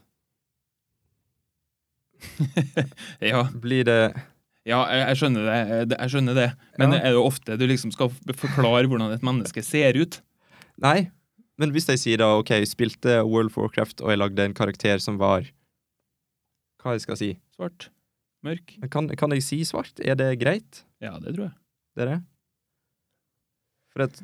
C: Ja,
B: Blir det
C: ja jeg, jeg skjønner det. eh, det- Jeg skjønner det. Men
B: Ja.
C: det er jo ofte du liksom skal f- forklare hvordan et menneske ser ut.
B: Nei. Men hvis jeg sier da OK, jeg spilte World of Warcraft, og jeg lagde en karakter som var Hva jeg skal si?
C: Svart. Mørk.
B: Kan, kan jeg si svart? Er det greit?
C: Ja, det tror jeg.
B: dere? For et,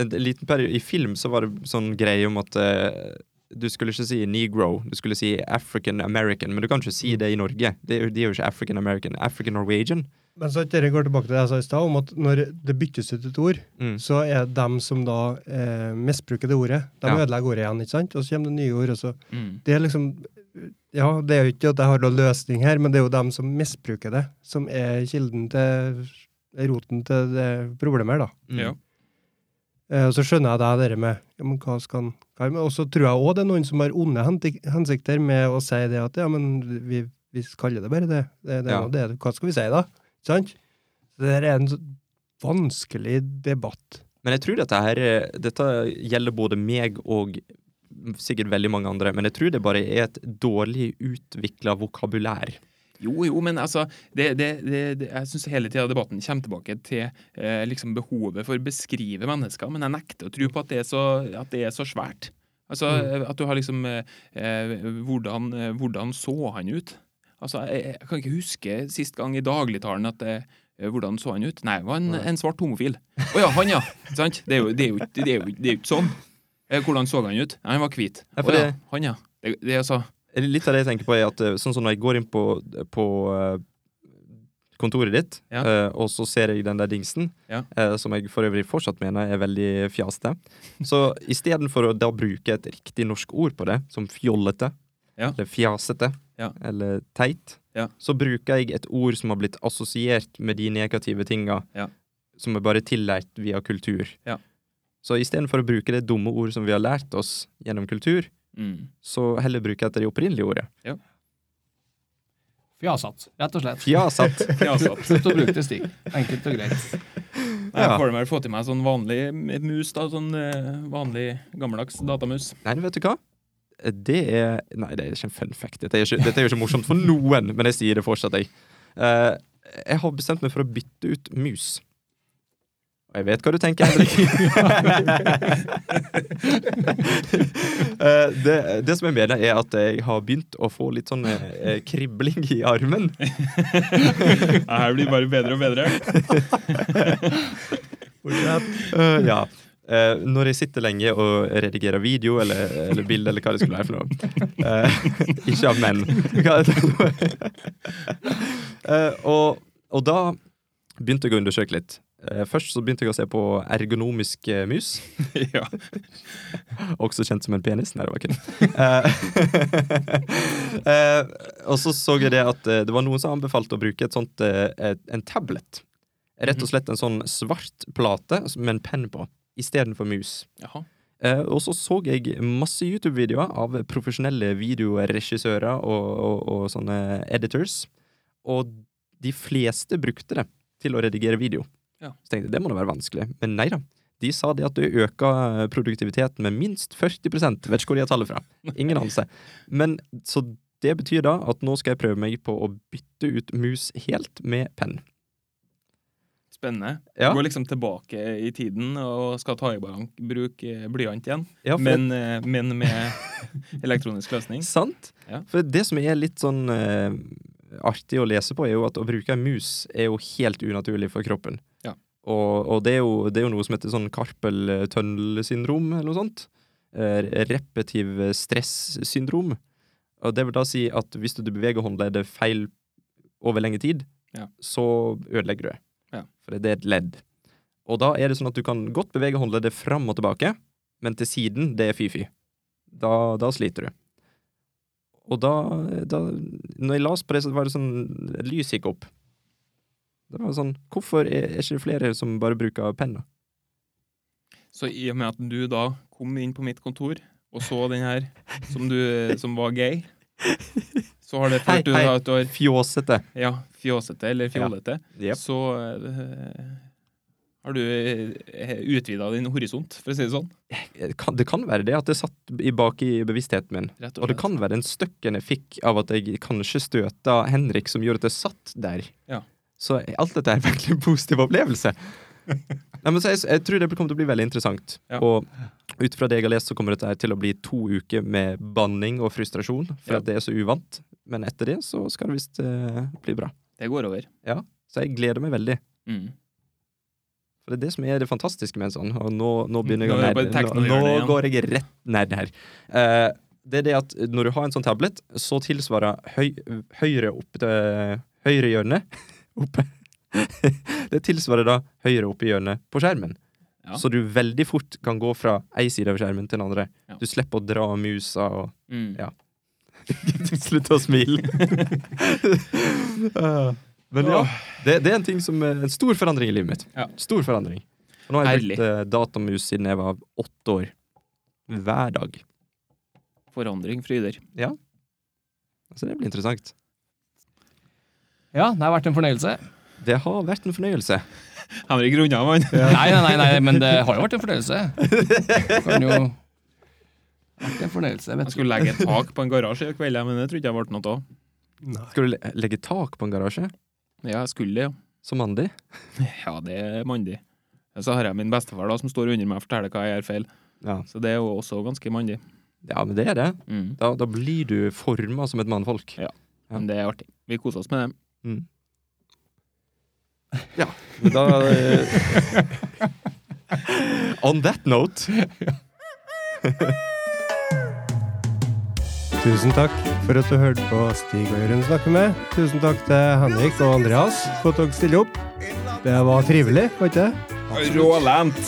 B: en liten periode I film så var det sånn greie om at eh, du skulle ikke si negro, du skulle si African American, men du kan ikke si det i Norge. Det er, jo- de er jo ikke African American. African Norwegian.
A: Men så at dere går tilbake til det jeg sa i stad, om at når det byttes ut et ord,
B: Mm.
A: så er det dem som da eh, misbruker det ordet. De
B: Ja.
A: ødelegger ordet igjen, ikke sant? Og så kommer det nye ord. og så...
C: Mm.
A: Det er liksom Ja, det er jo ikke at jeg har noen løsning her, men det er jo dem som misbruker det, som er kilden til roten til det problemet her, da.
B: Mm.
C: Ja.
A: Eh, Og så skjønner jeg det der med ja, men hva skal han hva, men også tror jeg òg det er noen som har onde hentik- hensikter med å si det at ja, men vi, vi kaller det bare det. det, det, er
B: Ja.
A: nå det. Hva skal vi si da? Ikke sant? Så det der er en så vanskelig debatt.
B: Men jeg tror dette her eh, Dette gjelder både meg og sikkert veldig mange andre, men jeg tror det bare er et dårlig utvikla vokabulær.
C: Jo, jo, men altså det, det, det, det, Jeg syns hele tida debatten kommer tilbake til eh, liksom behovet for å beskrive mennesker, men jeg nekter å tro på at det er så, at det er så svært. Altså,
A: Mm.
C: At du har liksom eh, eh, hvordan, eh, hvordan så han ut? Altså, jeg, jeg kan ikke huske sist gang i dagligtalen at eh, hvordan så han ut? Nei, han var en, en svart homofil. Å ja, han, ja! Sant? Det er jo, det er jo, ikke- det er jo, det er jo ikke sånn. Eh, Hvordan så han ut? Nei, Han var hvit.
B: Ja,
C: Å
B: for
C: ja,
B: det-
C: han, ja. Det, det er altså
B: Litt av det jeg tenker på er at eh, sånn som når jeg går inn på, på eh, kontoret ditt,
C: Ja.
B: eh, og så ser jeg den der dingsen,
C: Ja.
B: eh, som jeg for øvrig fortsatt mener er veldig fjaste. Så istedenfor å da bruke et riktig norsk ord på det, som fjollete,
C: Ja.
B: eller fjasete,
C: Ja.
B: eller teit,
C: Ja.
B: så bruker jeg et ord som har blitt assosiert med de negative tinga,
C: Ja.
B: som er bare tillært via kultur.
C: Ja.
B: Så istedenfor å bruke det dumme ordet som vi har lært oss gjennom kultur,
C: mm.
B: så heller bruker jeg etter det opprinnelige ordet.
D: Fjasatt, rett og slett.
B: Fjasatt.
C: Fjasatt.
D: Slutt å bruke det stig. Enkelt og greit.
C: Nei,
B: Ja.
C: Jeg får vel få til meg sånn vanlig mus, da. Sånn eh, vanlig gammeldags datamus.
B: Nei, vet du hva? Det er Nei, det er ikke en fun fact. Dette er, ikke, dette er jo ikke morsomt for noen, men jeg sier det fortsatt, jeg. Eh, jeg har bestemt meg for å bytte ut mus. Og jeg vet hva du tenker, Henrik. Eh, det, det som jeg mener, er at jeg har begynt å få litt sånn eh, kribling i armen.
C: Det her blir bare bedre og bedre.
B: Eh, ja. Eh, når jeg sitter lenge og redigerer video eller, eller bilde eller hva det skulle være for noe. Eh, ikke av menn. Hva er det? Eh, og, og da begynte jeg å undersøke litt. Eh, først så begynte jeg å se på ergonomisk eh, mus,
C: ja.
B: også kjent som en penis. Nei, det var ikke det. Eh, eh, og så så jeg det at eh, det var noen som anbefalte å bruke et sånt, eh, et, en tablet. Rett
C: Mhm.
B: og slett en sånn svart plate med en penn på, istedenfor mus.
C: Jaha.
B: Eh, og så så jeg masse YouTube-videoer av profesjonelle videoregissører og, og, og sånne editors, og de fleste brukte det til å redigere video.
C: Ja.
B: Så tenkte jeg det må da være vanskelig, men nei da. De sa det at du øker eh, produktiviteten med minst 40 Vet ikke hvor de har tallet fra. Ingen anelse. Men så det betyr da at nå skal jeg prøve meg på å bytte ut mus helt med penn.
C: Spennende.
B: Ja.
C: Går liksom tilbake i tiden og skal ta i bank, bruk eh, blyant igjen,
B: Ja, for
C: men, eh, men med elektronisk løsning.
B: Sant?
C: Ja.
B: For det som er litt sånn eh, artig å lese på, er jo at å bruke en mus er jo helt unaturlig for kroppen.
C: Ja.
B: Og, og det, er jo, det er jo noe som heter sånn karpeltønnelsyndrom, eller noe sånt. Eh, Repetiv stressyndrom. Og det vil da si at hvis du beveger håndleddet feil over lenge tid,
C: Ja.
B: så ødelegger du det.
C: Ja.
B: For det er et ledd. Og da er det sånn at du kan godt bevege håndleddet fram og tilbake, men til siden, det er fy-fy. Da, da sliter du. Og da, da Når jeg las på det, så var det sånn Lys gikk opp. Det var sånn Hvorfor er er ikke det flere som bare bruker penn? da?
C: Så i og med at du da kom inn på mitt kontor og så den her som, du, eh, som var gay, så har det
B: Hei,
C: ført til
B: hei.
C: at du har
B: Fjåsete.
C: ja, fjåsete eller fjollete.
B: Jep.
C: Så eh, har du eh, utvida din horisont, for å si det sånn.
B: Det kan- Det kan være det at det satt i bak i bevisstheten min.
C: Rett
B: Og det kan være en støkken jeg fikk av at jeg kanskje støta Henrik, som gjorde at jeg satt der.
C: Ja.
B: Så alt dette er virkelig en positiv opplevelse. Nei, men så jeg, jeg tror det kommer til å bli veldig interessant.
C: Ja.
B: Og ut fra det jeg har lest, så kommer dette her til å bli to uker med banning og frustrasjon, for
C: Ja.
B: at det er så uvant. Men etter det så skal det visst eh, bli bra.
C: Det går over.
B: Så jeg gleder meg veldig.
C: Mm.
B: For det er det som er det fantastiske med en sånn. Og nå, nå begynner
C: Nå er
B: jeg å nerde.
C: jeg på
B: Nå,
C: teknohjørnet
B: nå
C: igjen.
B: går jeg rett nerd her. Eh, det er det at når du har en sånn tablet, så tilsvarer høy, høyre opp til høyre hjørne oppe. Det tilsvarer da høyre oppe i hjørnet på skjermen.
C: Ja.
B: Så du veldig fort kan gå fra ei side av skjermen til den andre.
C: Ja.
B: Du slipper å dra musa og
C: Mm.
B: Ja. Slutt å smile. Ah, Men ja, det, det er en ting som er en stor forandring i livet mitt.
C: Ja.
B: Stor forandring. Og nå har jeg
C: Herlig.
B: brukt eh, datamus siden jeg var åtte år. Hver dag.
C: Forandring fryder.
B: Så det blir interessant.
D: Ja, det har vært en fornøyelse.
B: Det har vært en fornøyelse.
C: Henrik runda, mann.
D: Nei, nei, nei, nei, men det har jo vært en fornøyelse. Det Kan jo vært en fornøyelse,
C: Jeg
D: vet du.
C: skulle legge et tak på en garasje i kveld, jeg, men det trodde jeg ble noe av.
B: Skal du le legge tak på en garasje?
C: Ja, jeg skulle det, ja.
B: Som Andy?
C: Ja, det er mandig. Så har jeg min bestefar da, som står under meg og forteller hva jeg gjør feil.
B: Ja.
C: Så det er jo også ganske mandig.
B: ja, men det er det.
C: Mm.
B: Da, da blir du forma som et mannfolk.
C: Ja. Men det er artig. Vi koser oss med det.
B: Mm. Ja, men da eh, On that note
A: Tusen takk for at du hørte på Stig og Jørund snakke med. Tusen takk til Henrik og Andreas for at dere stiller opp. Det var trivelig, var ikke det?
C: Rålent!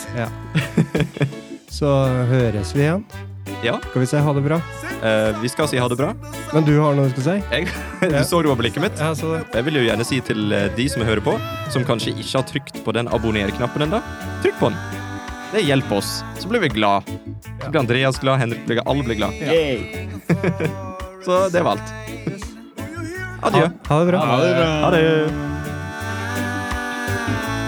A: Så høres vi igjen.
B: Ja,
A: Skal vi si ha det bra?
B: eh, vi skal si ha det bra.
A: Men du har noe du skal si?
B: Jeg, du så det var blikket mitt.
A: Ja, så det.
B: Jeg vil jo gjerne si til eh, de som hører på, som kanskje ikke har trykt på den abonner-knappen ennå, trykk på den. Det hjelper oss. Så blir vi glad. Så blir Andreas glad, Henrik blir glad, alle blir glad. Så det var alt. Adjø.
A: Ha det bra.
B: Ha det.